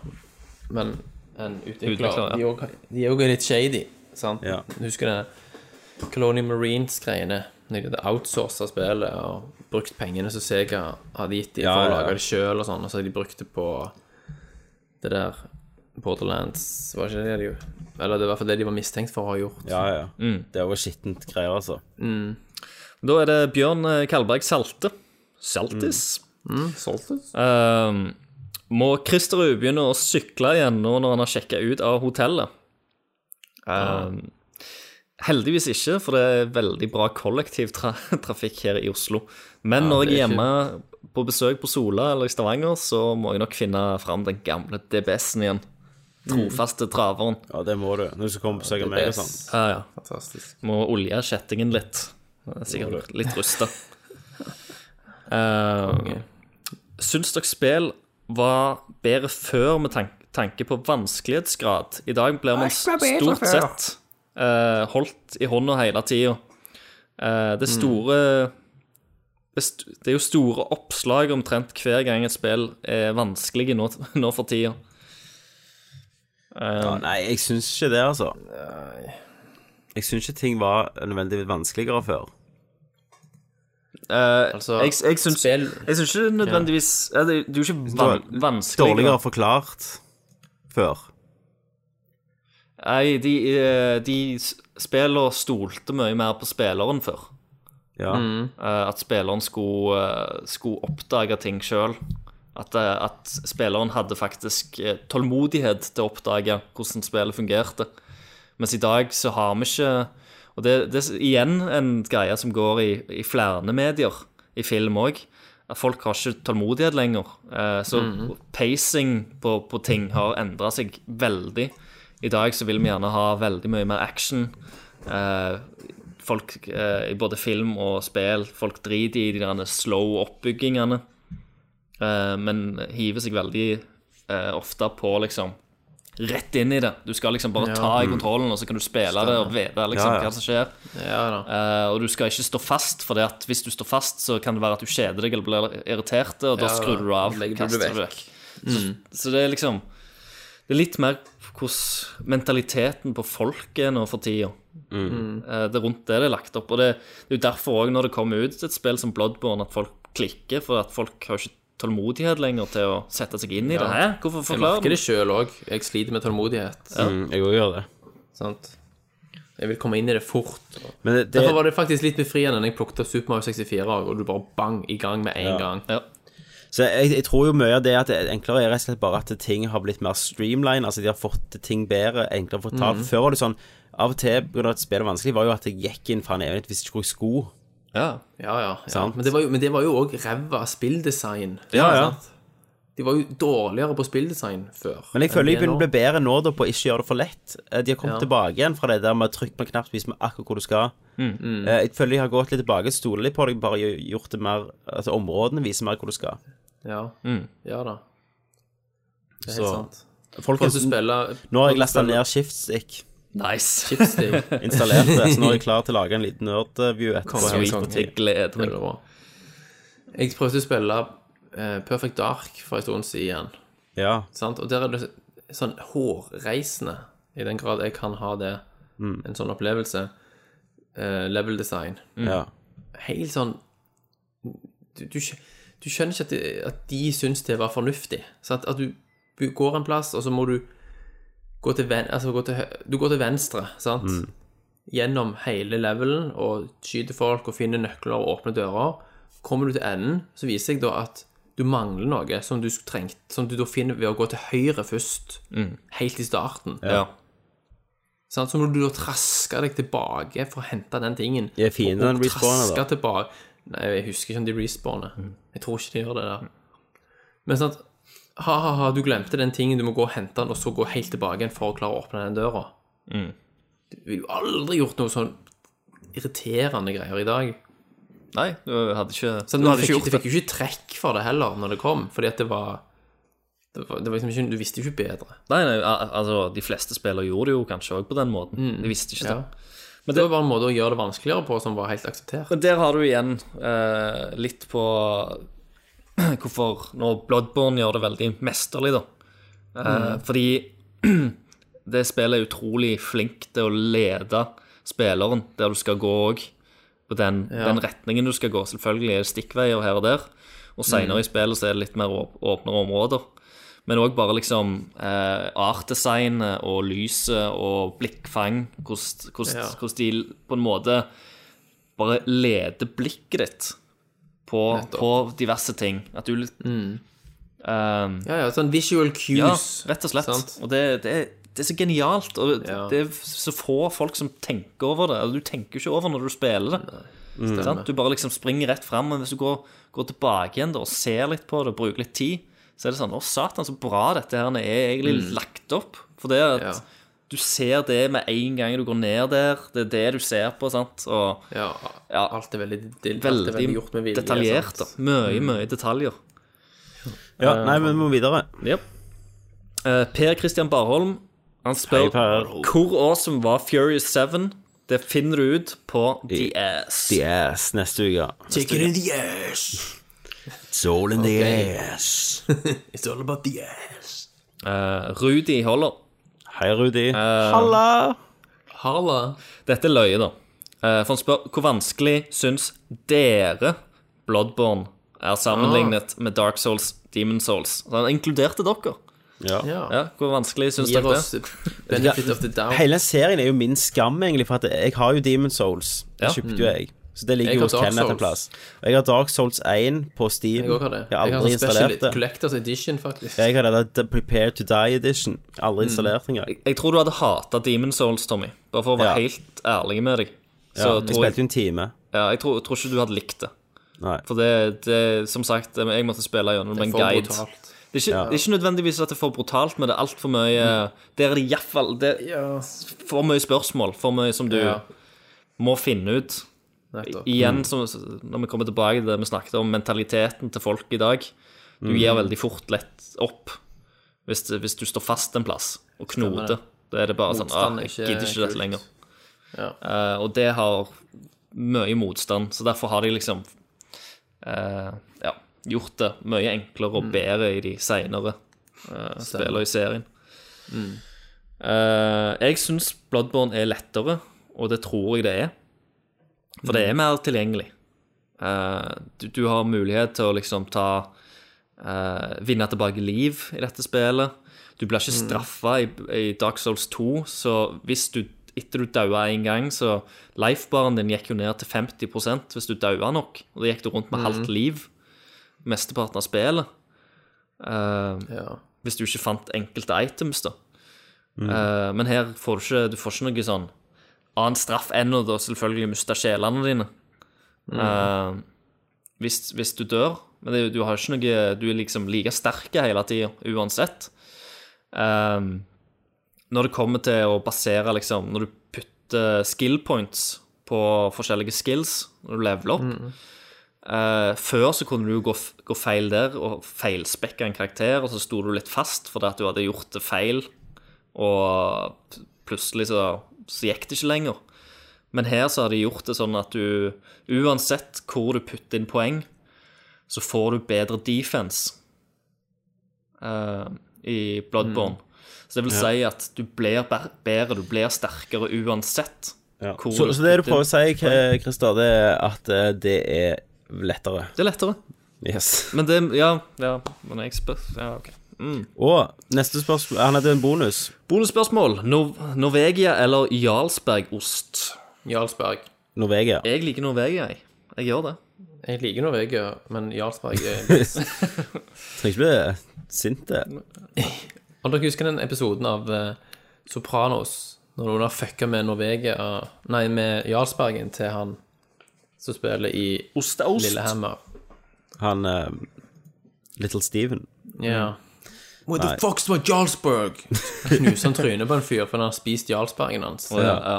Speaker 6: men en utvikler,
Speaker 2: Utvikler, ja.
Speaker 6: de også- de er jo litt shady, sant?
Speaker 1: Ja.
Speaker 6: Husker du det Colony Marines-greiene? Når de hadde outsourca spillet og brukt pengene som Sega hadde gitt dem
Speaker 1: Ja,
Speaker 6: for å
Speaker 1: ja, ja.
Speaker 6: lage det sjøl, og sånn, og så de brukte på det der Borderlands Var ikke det de Eller det var i hvert fall det de var mistenkt for å ha gjort.
Speaker 1: Ja, ja. Det er jo skittent greier, altså.
Speaker 2: da er det Bjørn eh, Kalberg Salte. Saltis.
Speaker 6: Solgte?
Speaker 2: Ehm, må Kristerud begynne å sykle igjen nå når han har sjekka ut av hotellet? Ehm, heldigvis ikke, for det er veldig bra kollektivtrafikk her i Oslo. Men når jeg er hjemme på besøk på Sola eller i Stavanger, så må jeg nok finne fram den gamle DBS-en igjen. Trofaste traveren.
Speaker 1: Ja, det må du når du skal komme og besøke meg og sånn.
Speaker 2: Ja, ja.
Speaker 6: Fantastisk.
Speaker 2: Må olje kjettingen litt. Den er sikkert litt rusta. Eh, Syns dere spill var bedre før med tank tanke på vanskelighetsgrad? I dag blir man stort sett eh, holdt i hånda hele tida. Eh, det store det st- Det er jo store oppslag omtrent hver gang et spill er vanskelig nå, nå for tida.
Speaker 1: Ja, nei, jeg syns ikke det, altså. Jeg syns ikke ting var nødvendigvis vanskeligere før.
Speaker 6: Altså,
Speaker 2: Jeg, jeg syns
Speaker 6: spill
Speaker 2: Jeg syns ikke det nødvendigvis ja. det, det er jo ikke van, vanskelig
Speaker 1: Dårligere forklart før.
Speaker 2: Nei, de, eh, de s- spiller stolte mye mer på spilleren før.
Speaker 1: Ja.
Speaker 6: Mm,
Speaker 2: Eh, At spilleren skulle, eh, skulle oppdage ting sjøl. At, eh, at spilleren hadde faktisk eh, tålmodighet til å oppdage hvordan spillet fungerte. Mens i dag så har vi ikke Og det, det er igjen en greie som går i, i flere medier, i film òg. At folk har ikke tålmodighet lenger. Eh, Så pacing på, på ting har endra seg veldig. I dag så vil vi gjerne ha veldig mye mer action. Eh, folk eh, i både film og spill Folk driter i de der slow oppbyggingene, eh, men hiver seg veldig eh, ofte på liksom Rett inn i det. Du skal liksom bare ta
Speaker 6: Mm.
Speaker 2: i kontrollen, og så kan du spille det og vite liksom,
Speaker 1: Ja, ja.
Speaker 2: hva som skjer.
Speaker 6: Ja da.
Speaker 2: Eh, og du skal ikke stå fast, for hvis du står fast, så kan det være at du kjeder deg eller blir irritert, og da
Speaker 6: Ja,
Speaker 2: skrur du av.
Speaker 6: legger du
Speaker 2: kaster
Speaker 6: det Mm.
Speaker 2: du vekk. Så, så det er liksom Det er litt mer hvordan mentaliteten på folk er nå for tida. Eh, Det er rundt det det er lagt opp. Og det, det er jo derfor òg, når det kommer ut et spill som Bloodborne, at folk klikker, for at folk har ikke tålmodighet lenger til å sette seg inn i det. Hæ? Hvorfor
Speaker 6: Jeg
Speaker 2: forklare
Speaker 6: merker
Speaker 2: det?
Speaker 6: det sjøl òg. Jeg sliter med tålmodighet.
Speaker 1: Mm, jeg òg gjør det.
Speaker 6: Sant? Jeg vil komme inn i det fort. og-
Speaker 1: Men det, det,
Speaker 6: Derfor var det faktisk litt befriende når jeg plukket opp Super Mario 64, og du bare bang i gang med
Speaker 1: Ja.
Speaker 6: en gang.
Speaker 2: Ja.
Speaker 1: Så jeg, jeg tror jo mye av det at det er enklere er rett og slett bare at ting har blitt mer streamlined, altså de har fått ting bedre, enklere fortalt.
Speaker 6: Mm.
Speaker 1: Før var det sånn, av og til på grunn av at spillet var vanskelig, var jo at jeg gikk inn faen jeg vet ikke, visste ikke hvor jeg skulle.
Speaker 6: Ja, ja. ja.
Speaker 1: Sant.
Speaker 6: Men det var jo- men det var jo òg ræva spilldesign.
Speaker 1: Ja, ja.
Speaker 6: Sant? De var jo dårligere på spilldesign før.
Speaker 1: Men jeg føler jeg begynner å
Speaker 6: enn de er nå.
Speaker 1: bli bedre nå da på å ikke gjøre det for lett. Eh, De har kommet
Speaker 6: Ja.
Speaker 1: tilbake igjen fra det der med trykk på en knapp, vis meg akkurat hvor du skal.
Speaker 6: Mm.
Speaker 1: Eh, Jeg føler jeg har gått litt tilbake, stoler litt på det, bare gj- gjort det mer, altså områdene viser mer hvor du skal.
Speaker 6: Ja, ja da.
Speaker 1: Mm.
Speaker 6: Det er helt
Speaker 1: Så-
Speaker 6: sant.
Speaker 1: Folk,
Speaker 6: Folk som spiller
Speaker 1: nå har jeg lastet ned Shiftstick,
Speaker 2: Nice.
Speaker 6: Chipstick.
Speaker 1: installert det, så nå er jeg klar til å lage en liten nerdview etterpå.
Speaker 6: Konge,
Speaker 1: Helt på
Speaker 6: konge.
Speaker 1: ting.
Speaker 2: Jeg gleder
Speaker 6: Det
Speaker 2: meg.
Speaker 6: blir bra. Jeg prøvde å spille eh, Perfect Dark for en stund siden.
Speaker 1: Ja,
Speaker 6: Sant? Og der er det sånn hårreisende, i den grad jeg kan ha det, en sånn opplevelse. Eh, level design.
Speaker 1: ja.
Speaker 6: Helt sånn Du, du, skj- du skjønner ikke at de, at de syns det var fornuftig. Sant? At du bu- går en plass, og så må du gå til, ven, altså gå til, hø- du går til venstre, sant?
Speaker 1: Mm.
Speaker 6: Gjennom hele levelen, og skyter folk og finner nøkler og åpner dører. Kommer du til enden, så viser jeg da at du mangler noe som du skulle trengt, som du da finner ved å gå til høyre først, helt i starten.
Speaker 2: Ja.
Speaker 6: Sant? Så må du da traske deg tilbake for å hente den tingen.
Speaker 1: Er fienden
Speaker 6: Og
Speaker 1: respawner, da?
Speaker 6: traske tilbake. Nei, jeg husker ikke om de respawner. Jeg tror ikke de gjør det der. Men sant, ha-ha-ha, du glemte den tingen, du må gå og hente den, og så gå helt tilbake igjen for å klare å åpne den døra.
Speaker 2: Mm.
Speaker 6: Du ville jo aldri gjort noe sånn irriterende greier i dag.
Speaker 2: Nei, du hadde ikke
Speaker 6: Så
Speaker 2: Du
Speaker 6: du
Speaker 2: hadde
Speaker 6: fikk,
Speaker 2: ikke gjort
Speaker 6: du fikk jo ikke trekk for det heller når det kom, fordi at det var, det var, det var liksom ikke, Du visste jo ikke bedre.
Speaker 2: Nei, nei, al- altså, de fleste spillere gjorde det jo kanskje òg på den måten. De visste ikke
Speaker 6: Ja.
Speaker 2: det.
Speaker 6: Men det var bare en måte å gjøre det vanskeligere på som var helt akseptert.
Speaker 2: Men der har du igjen eh, litt på hvorfor når Bloodborne gjør det veldig mesterlig, da. Eh, Fordi det spillet er utrolig flink til å lede spilleren der du skal gå òg. På den, den retningen du skal gå. Selvfølgelig er det stikkveier her og der. Og seinere i spillet så er det litt mer åp- åpnere områder. Men òg bare liksom eh, artdesignet og lyset og blikkfang. Hvordan hvordan-
Speaker 6: Ja.
Speaker 2: hvordan de på en måte bare leder blikket ditt på, på diverse ting. At du litt Ehm,
Speaker 6: Ja, ja, sånn visual cues.
Speaker 2: ja, rett og slett.
Speaker 6: Sant?
Speaker 2: Og det, det, er- det er så genialt. Og det,
Speaker 6: Ja.
Speaker 2: det er så få folk som tenker over det. Eller du tenker jo ikke over når du spiller det. Sant? Du bare liksom springer rett fram. Men hvis du går, går tilbake igjen da, og ser litt på det, bruker litt tid, så er det sånn Å, satan, så bra dette her er egentlig lagt opp. For det at
Speaker 6: Mm. Ja.
Speaker 2: du ser det med en gang du går ned der. Det er det du ser på, sant. Og
Speaker 6: Ja,
Speaker 2: Ja.
Speaker 6: alt er veldig, det, alt
Speaker 2: veldig,
Speaker 6: er veldig gjort med vilje.
Speaker 2: detaljert.
Speaker 6: sant? Mm.
Speaker 2: da Mye, mye detaljer.
Speaker 1: ja nei, men vi må videre.
Speaker 2: Yep. Eh, per Christian Barholm Han spør
Speaker 1: Hei, Per.
Speaker 2: hvor awesome var Furious 7? Det finner du ut på The Ass.
Speaker 1: Yes, neste uke.
Speaker 6: Take it in the ass.
Speaker 1: Soul in the ass.
Speaker 6: It's all about the ass.
Speaker 2: Eh, Rudi Holler.
Speaker 1: Hei, Rudi.
Speaker 6: Eh,
Speaker 1: Halla.
Speaker 6: Harla.
Speaker 2: Dette er løye, da. Eh, for han spør hvor vanskelig syns dere Bloodborne er sammenlignet
Speaker 1: Ah.
Speaker 2: med Dark Souls, Demon Souls? Så han inkluderte dere.
Speaker 1: Ja.
Speaker 6: Ja.
Speaker 2: Ja, hvor vanskelig syns
Speaker 6: Gir
Speaker 2: dere
Speaker 6: oss
Speaker 2: det?
Speaker 6: benefit of the doubt.
Speaker 1: Hele serien er jo min skam, egentlig, for at jeg har jo Demon Souls. Det
Speaker 2: Ja.
Speaker 1: kjøpte jo jeg. Så det ligger
Speaker 6: Jeg
Speaker 1: jo
Speaker 6: har
Speaker 1: hos
Speaker 6: Dark
Speaker 1: Kenneth en
Speaker 6: Souls.
Speaker 1: plass. Og jeg har Dark Souls 1 på Steam.
Speaker 6: Jeg òg har det.
Speaker 1: Jeg har
Speaker 6: Jeg har
Speaker 1: aldri
Speaker 6: en special
Speaker 1: installert det.
Speaker 6: collectors edition, faktisk.
Speaker 1: Jeg har det der Prepare to Die Edition.
Speaker 6: Mm.
Speaker 1: Aldri installert engang.
Speaker 2: Jeg, jeg tror du hadde hata Demon Souls, Tommy. Bare for å være
Speaker 1: Ja.
Speaker 2: helt ærlig med deg. Så
Speaker 1: Ja, jeg
Speaker 2: tror jeg,
Speaker 1: spilte jo en time.
Speaker 2: ja, jeg, tror, jeg tror ikke du hadde likt det.
Speaker 1: Nei.
Speaker 2: For det, det som sagt, jeg måtte spille gjennom en
Speaker 6: For
Speaker 2: guide.
Speaker 6: brutalt.
Speaker 2: Det er, ikke, det er ikke nødvendigvis at det er for brutalt, men det er altfor mye Der er det iallfall for mye spørsmål, for mye som du
Speaker 6: Ja. Mm.
Speaker 2: må finne ut.
Speaker 6: Nettopp.
Speaker 2: Igjen, som, når vi kommer tilbake til det vi snakket om, mentaliteten til folk i dag. Du
Speaker 6: Mm.
Speaker 2: gir veldig fort lett opp hvis, det- hvis du står fast en plass og knoter. Da er det bare sånn ah,
Speaker 6: Motstand er
Speaker 2: 'Jeg
Speaker 6: ikke
Speaker 2: gidder ikke dette
Speaker 6: kult.
Speaker 2: lenger'.
Speaker 6: Ja.
Speaker 2: Eh, og det har mye motstand, så derfor har de liksom eh, ja, gjort det mye enklere
Speaker 6: Mm.
Speaker 2: og bedre i de seinere spillene i serien. Eh, jeg syns Bloodborne er lettere å og det tror jeg det er. For det er mer tilgjengelig. Eh, du, du har mulighet til å liksom ta eh, Vinne tilbake liv i dette spillet. Du blir ikke straffa i, i Dark Souls 2, så hvis du etter du daua én gang, så Lifebaren din gikk jo ned til 50 hvis du daua nok. Og da gikk du rundt med halvt liv mesteparten av spillet. Eh,
Speaker 6: Ja.
Speaker 2: hvis du ikke fant enkelte items, da. Eh, men her får du ikke, du får ikke noe sånn annen straff enn å da selvfølgelig miste sjelene dine. Eh, hvis, hvis du dør. Men det, du har ikke noe Du er liksom like sterk hele tida uansett. Eh, når det kommer til å basere liksom Når du putter skill points på forskjellige skills når du leveler opp Eh, før så kunne du jo gå, f- gå feil der og feilspekke en karakter, og så sto du litt fast fordi at du hadde gjort det feil, og p- plutselig så, så gikk det ikke lenger. Men her så har de gjort det sånn at du uansett hvor du putter inn poeng, så får du bedre defense eh, i Bloodborne. Så det vil si at du blir bæ- bedre, du blir sterkere uansett.
Speaker 1: Ja.
Speaker 2: hvor
Speaker 1: Så, så det du
Speaker 2: putter inn-
Speaker 1: prøver å si, K- Christer, det er at eh, det er lettere.
Speaker 2: Det er lettere.
Speaker 1: Yes.
Speaker 2: Men det Ja, ja men jeg spør Ja, OK.
Speaker 1: Og neste spørsmål Han hadde en bonus.
Speaker 2: Bonusspørsmål. Nor Norvegia eller Jarlsbergost?
Speaker 6: Jarlsberg.
Speaker 1: Norvegia.
Speaker 2: Jeg liker Norvegia, jeg. Jeg gjør det.
Speaker 6: Jeg liker Norvegia, men Jarlsberg er best.
Speaker 1: Trenger ikke bli sint, eh. det.
Speaker 6: Om dere husker den episoden av eh, Sopranos, når noen har fucka med Norvegia Nei, med Jarlsbergen til han som spiller i
Speaker 2: Osteost.
Speaker 6: Lillehammer.
Speaker 1: Han eh, Little Steven. Mm.
Speaker 6: Ja. Where the fuck's my Jarlsberg? Så Knuser han trynet på en fyr fordi han har spist Jarlsbergen hans.
Speaker 2: Å, ja, ja.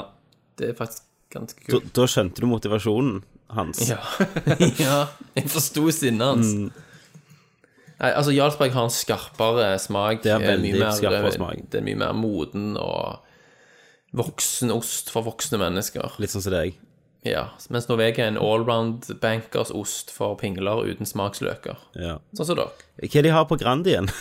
Speaker 6: Det er faktisk ganske
Speaker 1: Da,
Speaker 6: kult.
Speaker 1: da skjønte du motivasjonen hans.
Speaker 6: Ja. ja. Jeg forsto sinnet hans.
Speaker 1: Mm.
Speaker 6: Nei, altså Jarlsberg har en skarpere smak.
Speaker 1: Det er
Speaker 6: eh,
Speaker 1: veldig
Speaker 6: mye mer-
Speaker 1: skarpere smak.
Speaker 6: Det er mye mer moden og voksen ost for voksne mennesker.
Speaker 1: Litt sånn som deg.
Speaker 6: Ja, Mens Norvegia er en allround bankers ost for pingler uten smaksløker.
Speaker 1: Ja.
Speaker 6: Sånn som dere.
Speaker 1: Hva de har på Grand igjen?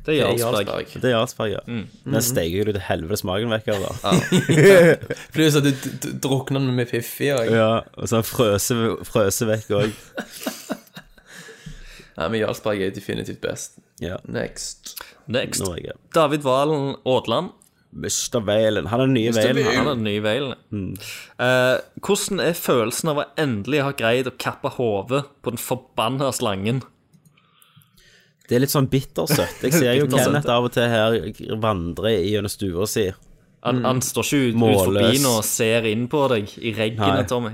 Speaker 2: Det er
Speaker 6: Det er
Speaker 2: Jarlsberg.
Speaker 6: Jarlsberg.
Speaker 1: Det er Jarlsberg, ja. Den steiker jo til helvete smaken vekk av. da.
Speaker 6: Pluss at du d- d- drukner den med Fiffi. Og...
Speaker 1: Ja, og så frøser frøse vekk òg.
Speaker 6: Nei, men Jarlsberg er definitivt best.
Speaker 1: Ja.
Speaker 6: Next.
Speaker 2: Next.
Speaker 1: Norge. Mr.
Speaker 2: David Valen Aadland.
Speaker 1: Valen. Han er Mm. den nye Valen.
Speaker 2: Han
Speaker 1: han.
Speaker 2: er den nye Valen. Eh, hvordan er følelsen av å endelig ha greid å kappe hodet på den forbanna slangen?
Speaker 1: Det er litt sånn bittersøtt. Jeg ser jo
Speaker 2: Bittersøtt,
Speaker 1: Kenneth av og til her vandre gjennom stua si.
Speaker 2: Han, han står ikke ut, ut
Speaker 1: Mm. Målløs.
Speaker 2: forbi nå og ser inn på deg i reggene,
Speaker 1: Nei.
Speaker 2: Tommy.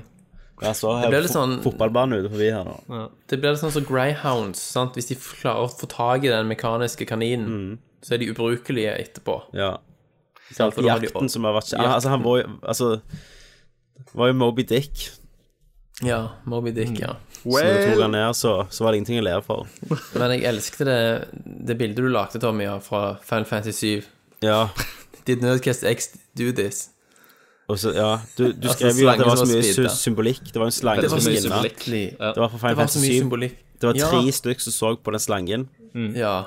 Speaker 1: Ja, så har
Speaker 6: Det blir
Speaker 1: jeg
Speaker 6: litt
Speaker 1: fo
Speaker 6: sånn-
Speaker 1: fotballbane ute forbi her nå.
Speaker 6: Det blir litt sånn som greyhounds. sant? Hvis de klarer å få tak i den mekaniske kaninen,
Speaker 1: Mm.
Speaker 6: så er de ubrukelige etterpå.
Speaker 1: Ja.
Speaker 6: Sant? For da har de-
Speaker 1: Jakten som har vært kjent Altså, han var jo Altså, det var jo Moby Dick.
Speaker 6: Ja, Moby
Speaker 2: Mm.
Speaker 6: Dick, ja.
Speaker 1: Så når du tok han ned, så, så var det ingenting å leve for.
Speaker 6: Men jeg elsket det, det bildet du lagde, Tommy, ja, fra Final Fantasy 7.
Speaker 1: Ja.
Speaker 6: Did Nerdcast X do this?
Speaker 1: Og så, ja. Du, du
Speaker 6: Altså,
Speaker 1: skrev jo at det var
Speaker 6: slangen
Speaker 1: så
Speaker 6: som
Speaker 1: mye
Speaker 6: var speed,
Speaker 1: sy-
Speaker 6: da.
Speaker 1: symbolikk. Det var en slange
Speaker 2: Det
Speaker 1: som
Speaker 2: var så mye
Speaker 1: skinna.
Speaker 2: symbolikk.
Speaker 6: Ja.
Speaker 1: Det var fra
Speaker 6: Det
Speaker 1: Final
Speaker 6: var så mye
Speaker 1: Fantasy 7.
Speaker 6: symbolikk.
Speaker 1: Det var tre
Speaker 6: Ja.
Speaker 1: stykk som så på den slangen.
Speaker 6: Ja.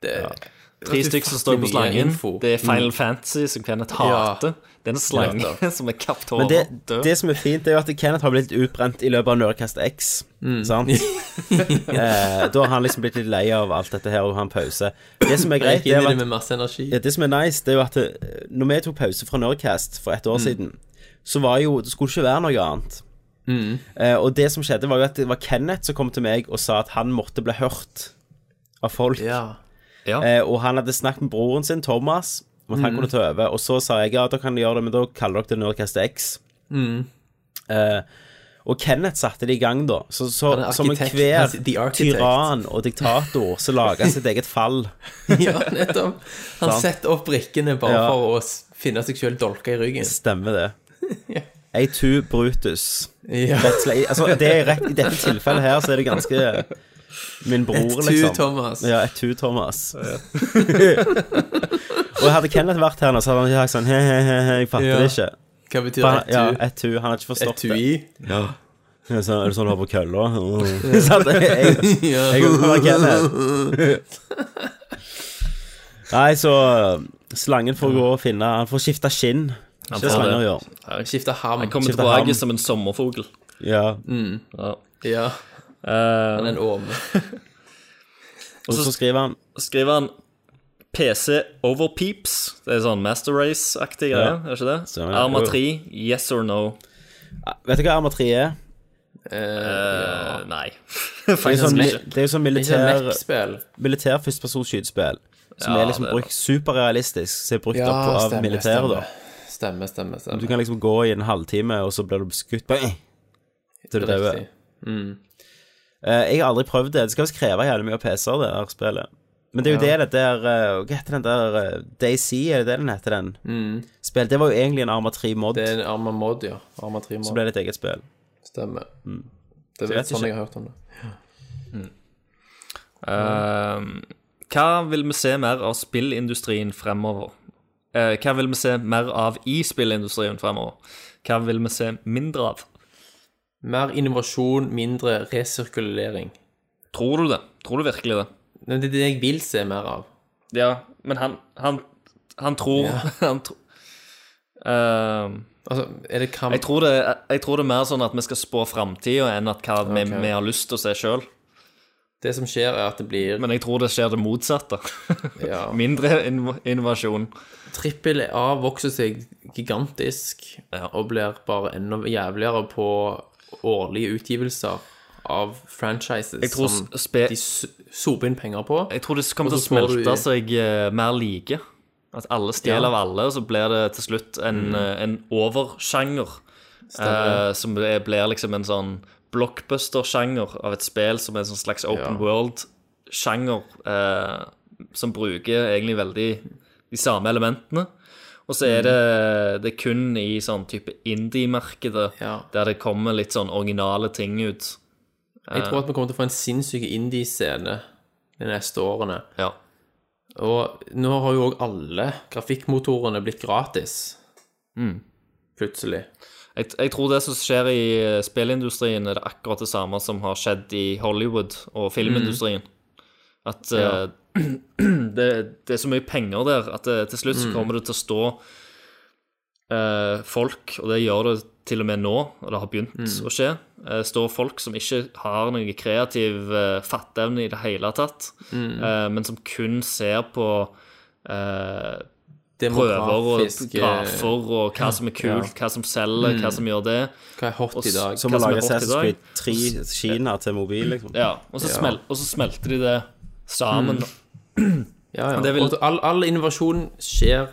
Speaker 6: Det,
Speaker 2: Tre stykker som står på
Speaker 6: Mye
Speaker 2: slangen.
Speaker 6: info.
Speaker 2: Det er
Speaker 1: Mm.
Speaker 2: Final Fantasy, som Kenneth
Speaker 6: Ja.
Speaker 2: hater. Det er en slange som er kapt
Speaker 1: Men
Speaker 2: hår
Speaker 1: det,
Speaker 2: og død.
Speaker 1: det som er fint, det er jo at Kenneth har blitt utbrent i løpet av Nerdcast X.
Speaker 6: Mm.
Speaker 1: Sant? eh, da har han liksom blitt litt lei av alt dette her, og har en pause. Det som er
Speaker 6: Jeg
Speaker 1: greit,
Speaker 6: gikk
Speaker 1: det
Speaker 6: inn
Speaker 1: er
Speaker 6: i
Speaker 1: jo
Speaker 6: det
Speaker 1: at
Speaker 6: med masse energi.
Speaker 1: ja, det som er nice, det er jo at eh, når vi tok pause fra Nerdcast for et
Speaker 6: Mm.
Speaker 1: år siden, så var jo, det skulle ikke være noe annet.
Speaker 6: Mm.
Speaker 1: Eh, og det som skjedde, var jo at det var Kenneth som kom til meg og sa at han måtte bli hørt av folk.
Speaker 6: Ja.
Speaker 1: Eh, og han hadde snakket med broren sin, Thomas, om at han
Speaker 6: Mm.
Speaker 1: kunne ta over. Og så sa jeg ja, da kan de gjøre det, men da kaller dere det Nerdcast X.
Speaker 6: Mm.
Speaker 1: Eh, og Kenneth satte det i gang, da. Så, så
Speaker 6: Han er
Speaker 1: som en
Speaker 6: arkitekt.
Speaker 1: hver
Speaker 6: Han er the architect.
Speaker 1: tyrann og diktator så laga han sitt eget fall.
Speaker 6: ja, nettopp. Han setter opp brikkene bare
Speaker 1: Ja.
Speaker 6: for å s- finne seg sjøl dolka i ryggen.
Speaker 1: Stemmer det.
Speaker 6: Ja.
Speaker 1: A2 Brutus.
Speaker 6: Ja.
Speaker 1: Rett og slett. Altså, det er rett, I dette tilfellet her så er det ganske min bror,
Speaker 6: Et tu,
Speaker 1: liksom.
Speaker 6: Thomas.
Speaker 1: Ja, et tu, Thomas. og hadde Kenneth vært her nå, så hadde han ikke sagt sånn he-he-he, jeg fatter
Speaker 6: Ja.
Speaker 1: det ikke.
Speaker 6: Hva betyr
Speaker 1: Bare,
Speaker 6: et
Speaker 1: ja,
Speaker 6: tu?
Speaker 1: et tu. Han hadde ikke
Speaker 6: Et
Speaker 1: forstått det.
Speaker 6: tui?
Speaker 1: Ja. Ja, så, er det sånn du har på kølla? Så at jeg-
Speaker 6: Ja.
Speaker 1: jeg kan være Kenneth. Nei, så slangen får gå og finne Han får skifte skinn.
Speaker 2: Han
Speaker 1: Ikke
Speaker 2: får
Speaker 1: slanger å
Speaker 2: det.
Speaker 1: gjøre.
Speaker 6: Jeg skifter ham.
Speaker 2: Han kommer
Speaker 1: Skifter ham.
Speaker 2: tilbake som en sommerfugl.
Speaker 1: Ja.
Speaker 6: Mm.
Speaker 2: Ja.
Speaker 6: Ja,
Speaker 2: Eh,
Speaker 6: han er en åme.
Speaker 1: Og så skriver han
Speaker 2: skriver han PC over peeps. Det er sånn Master Race-aktig greie,
Speaker 1: Ja.
Speaker 2: er ikke det?
Speaker 1: Stemmer.
Speaker 2: Arma
Speaker 1: Jo.
Speaker 2: 3, yes or no?
Speaker 1: Vet du hva Arma 3 er?
Speaker 2: Eh, nei.
Speaker 1: Det er jo
Speaker 2: Faktisk
Speaker 1: sånn,
Speaker 2: ikke.
Speaker 1: det er jo sånn
Speaker 6: Ikke et
Speaker 1: militær,
Speaker 6: Mac-spill.
Speaker 1: militær førstepersonsskytespill. Som
Speaker 2: Ja,
Speaker 1: er liksom
Speaker 2: det er
Speaker 1: brukt superrealistisk, som er brukt
Speaker 6: Ja,
Speaker 1: opp av
Speaker 6: stemmer,
Speaker 1: militæret, da.
Speaker 6: Stemmer, stemmer.
Speaker 1: Du
Speaker 6: stemmer.
Speaker 1: kan liksom gå i en halvtime, og så blir du skutt bang, til du dauer.
Speaker 6: Riktig.
Speaker 1: Eh, jeg har aldri prøvd det. Det skal visst kreve jævlig mye av PC-er, det der spillet. Men det er jo det det der eh, Hva heter den der eh, DayZ, er det det den heter, den? Spill. Det var jo egentlig en Arma 3-mod,
Speaker 6: Det er en Arma Mod, ja. Arma 3
Speaker 1: så
Speaker 6: Mod.
Speaker 1: ble det et eget spill.
Speaker 6: Stemmer. Det er
Speaker 1: jeg
Speaker 6: vel
Speaker 1: vet
Speaker 6: sånn
Speaker 1: ikke.
Speaker 6: jeg har hørt om det.
Speaker 2: Eh, hva vil vi se mer av spillindustrien fremover? Eh, hva vil vi se mer av i spillindustrien fremover? Hva vil vi se mindre av?
Speaker 6: Mer innovasjon, mindre resirkulering.
Speaker 2: Tror du det? Tror du virkelig det?
Speaker 6: Men det er det jeg vil se mer av.
Speaker 2: Ja, men han Han, han tror Han tror Eh,
Speaker 6: Altså, er det kamp
Speaker 2: jeg, tror det, jeg tror det er mer sånn at vi skal spå framtida enn at hva vi, vi har lyst til å se sjøl.
Speaker 6: Det som skjer, er at det blir
Speaker 2: Men jeg tror det skjer det motsatte.
Speaker 6: ja,
Speaker 2: Mindre inv innovasjon.
Speaker 6: Trippel A vokser seg gigantisk
Speaker 2: Ja.
Speaker 6: og blir bare enda jævligere på årlige utgivelser av franchises
Speaker 2: Jeg tror
Speaker 6: som
Speaker 2: spe-
Speaker 6: de s- soper inn penger på.
Speaker 2: Jeg tror det kommer til
Speaker 6: Og
Speaker 2: å
Speaker 6: så får du-
Speaker 2: smelte seg eh, mer like. At alle stjeler
Speaker 6: Ja. Mm.
Speaker 2: av alle, og så blir det til slutt en, eh, en oversjanger. Eh, som er- blir liksom en sånn blockbuster-sjanger av et spill som er en sånn slags open world-sjanger. Eh, som bruker egentlig veldig de samme elementene. Og så er det, det er kun i sånn type indie-markedet
Speaker 6: Mm. Ja.
Speaker 2: der det kommer litt sånn originale ting ut.
Speaker 6: Jeg tror at vi kommer til å få en sinnssyk indie-scene de neste årene.
Speaker 2: Ja.
Speaker 6: Og nå har jo òg alle grafikkmotorene blitt gratis.
Speaker 2: Mm.
Speaker 6: Plutselig.
Speaker 2: Jeg, jeg tror det som skjer i eh, spillindustrien, er det akkurat det samme som har skjedd i Hollywood og filmindustrien. At eh, det, det er så mye penger der at det, til slutt så kommer det til å stå eh, folk, og det gjør det til og med nå, og det har begynt å skje, eh, står folk som ikke har noen kreativ eh, fatteevne i det hele tatt, eh, men som kun ser på eh, prøver og
Speaker 6: Demografiske
Speaker 2: grafer og hva som er kult, hva som selger, hva som gjør det.
Speaker 6: Hva er hot i dag?
Speaker 1: Som å
Speaker 2: Hva som er
Speaker 1: lage
Speaker 2: hot i
Speaker 1: Assassin's
Speaker 2: dag?
Speaker 1: Creed 3 Kina til mobil, liksom.
Speaker 2: Ja, og så, smel og så smelter de det sammen.
Speaker 6: Ja, ja.
Speaker 2: det vil-
Speaker 6: Og all, all innovasjon skjer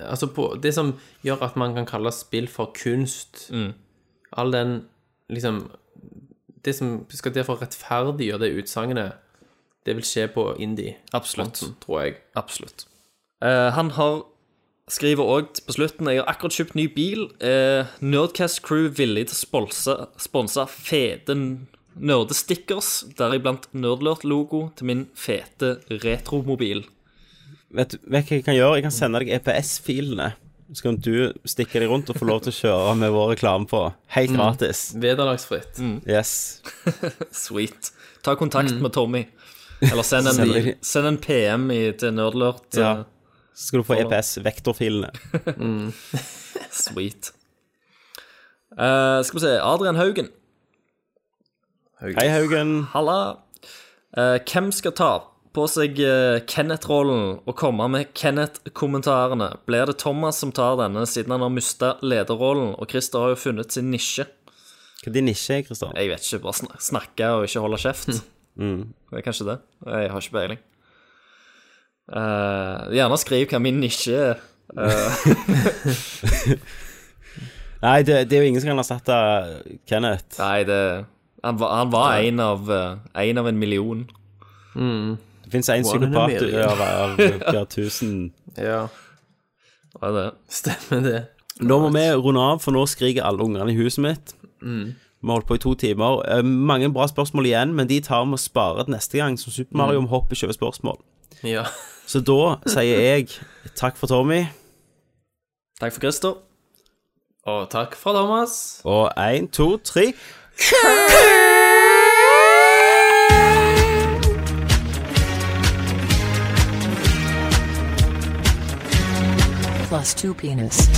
Speaker 6: Altså på det som gjør at man kan kalle spill for kunst
Speaker 2: Mm.
Speaker 6: All den liksom Det som skal derfor rettferdiggjøre det utsagnet, det vil skje på indie,
Speaker 2: Absolutt.
Speaker 6: tror jeg.
Speaker 2: Absolutt. Eh, han har skriver òg på slutten Jeg har akkurat kjøpt ny bil. Eh, Nerdcast Crew villig til å sponse, sponse fete n- nerdestickers, deriblant Nerdlert-logo til min fete retromobil.
Speaker 1: Vet du vet du hva jeg kan gjøre? Jeg kan sende deg EPS-filene. Så kan du stikke deg rundt og få lov til å kjøre med vår reklame på. Helt gratis.
Speaker 6: Vederlagsfritt.
Speaker 1: Yes.
Speaker 2: Sweet. Ta kontakt med Tommy. Eller send en,
Speaker 1: Sender-
Speaker 2: send en PM i, til Nerdlert.
Speaker 1: Ja.
Speaker 2: eh,
Speaker 1: Så skal du få E EPS-vektorfilene.
Speaker 2: Sweet. Eh, skal vi se. Adrian Haugen.
Speaker 1: Hei, Haugen.
Speaker 2: Halla. Eh, hvem skal ta på seg eh, Kenneth-rollen og komme med Kenneth-kommentarene? Blir det Thomas som tar denne, siden han har mista lederrollen, og Christer har jo funnet sin nisje?
Speaker 1: Hva er din nisje, Kristian?
Speaker 2: Jeg vet ikke. Bare sn snakke og ikke holde kjeft. Det er kanskje det. Jeg har ikke peiling. Eh, gjerne skriv hva min nisje er.
Speaker 1: Nei, det, det er jo ingen som kan erstatte Kenneth.
Speaker 2: Nei, det Han var, han var en, av, eh, en av en million.
Speaker 1: Det fins én
Speaker 6: One in a
Speaker 1: psykopat
Speaker 6: million.
Speaker 1: av av hver tusen.
Speaker 6: Ja.
Speaker 2: Hva er det?
Speaker 6: Stemmer det.
Speaker 1: Nå må vi runde av, for nå skriker alle ungene i huset mitt. Vi har holdt på i to timer. Eh, Mange bra spørsmål igjen, men de tar vi og sparer til neste gang, så Super Mario må hoppe kjøpe spørsmål.
Speaker 6: Ja.
Speaker 1: Så da sier jeg takk for Tommy,
Speaker 2: Takk for Christer.
Speaker 6: Og takk fra Thomas.
Speaker 1: og én, to, tre
Speaker 5: plus 2 penis.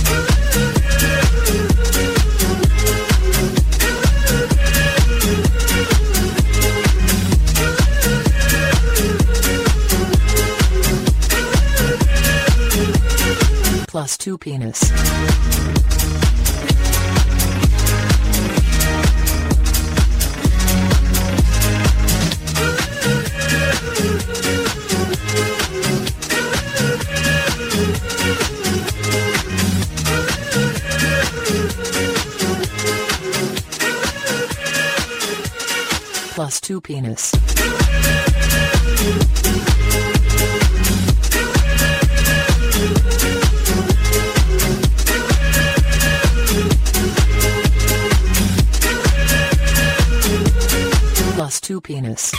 Speaker 5: Plus 2 penis. Plus 2 penis. Plus 2 penis.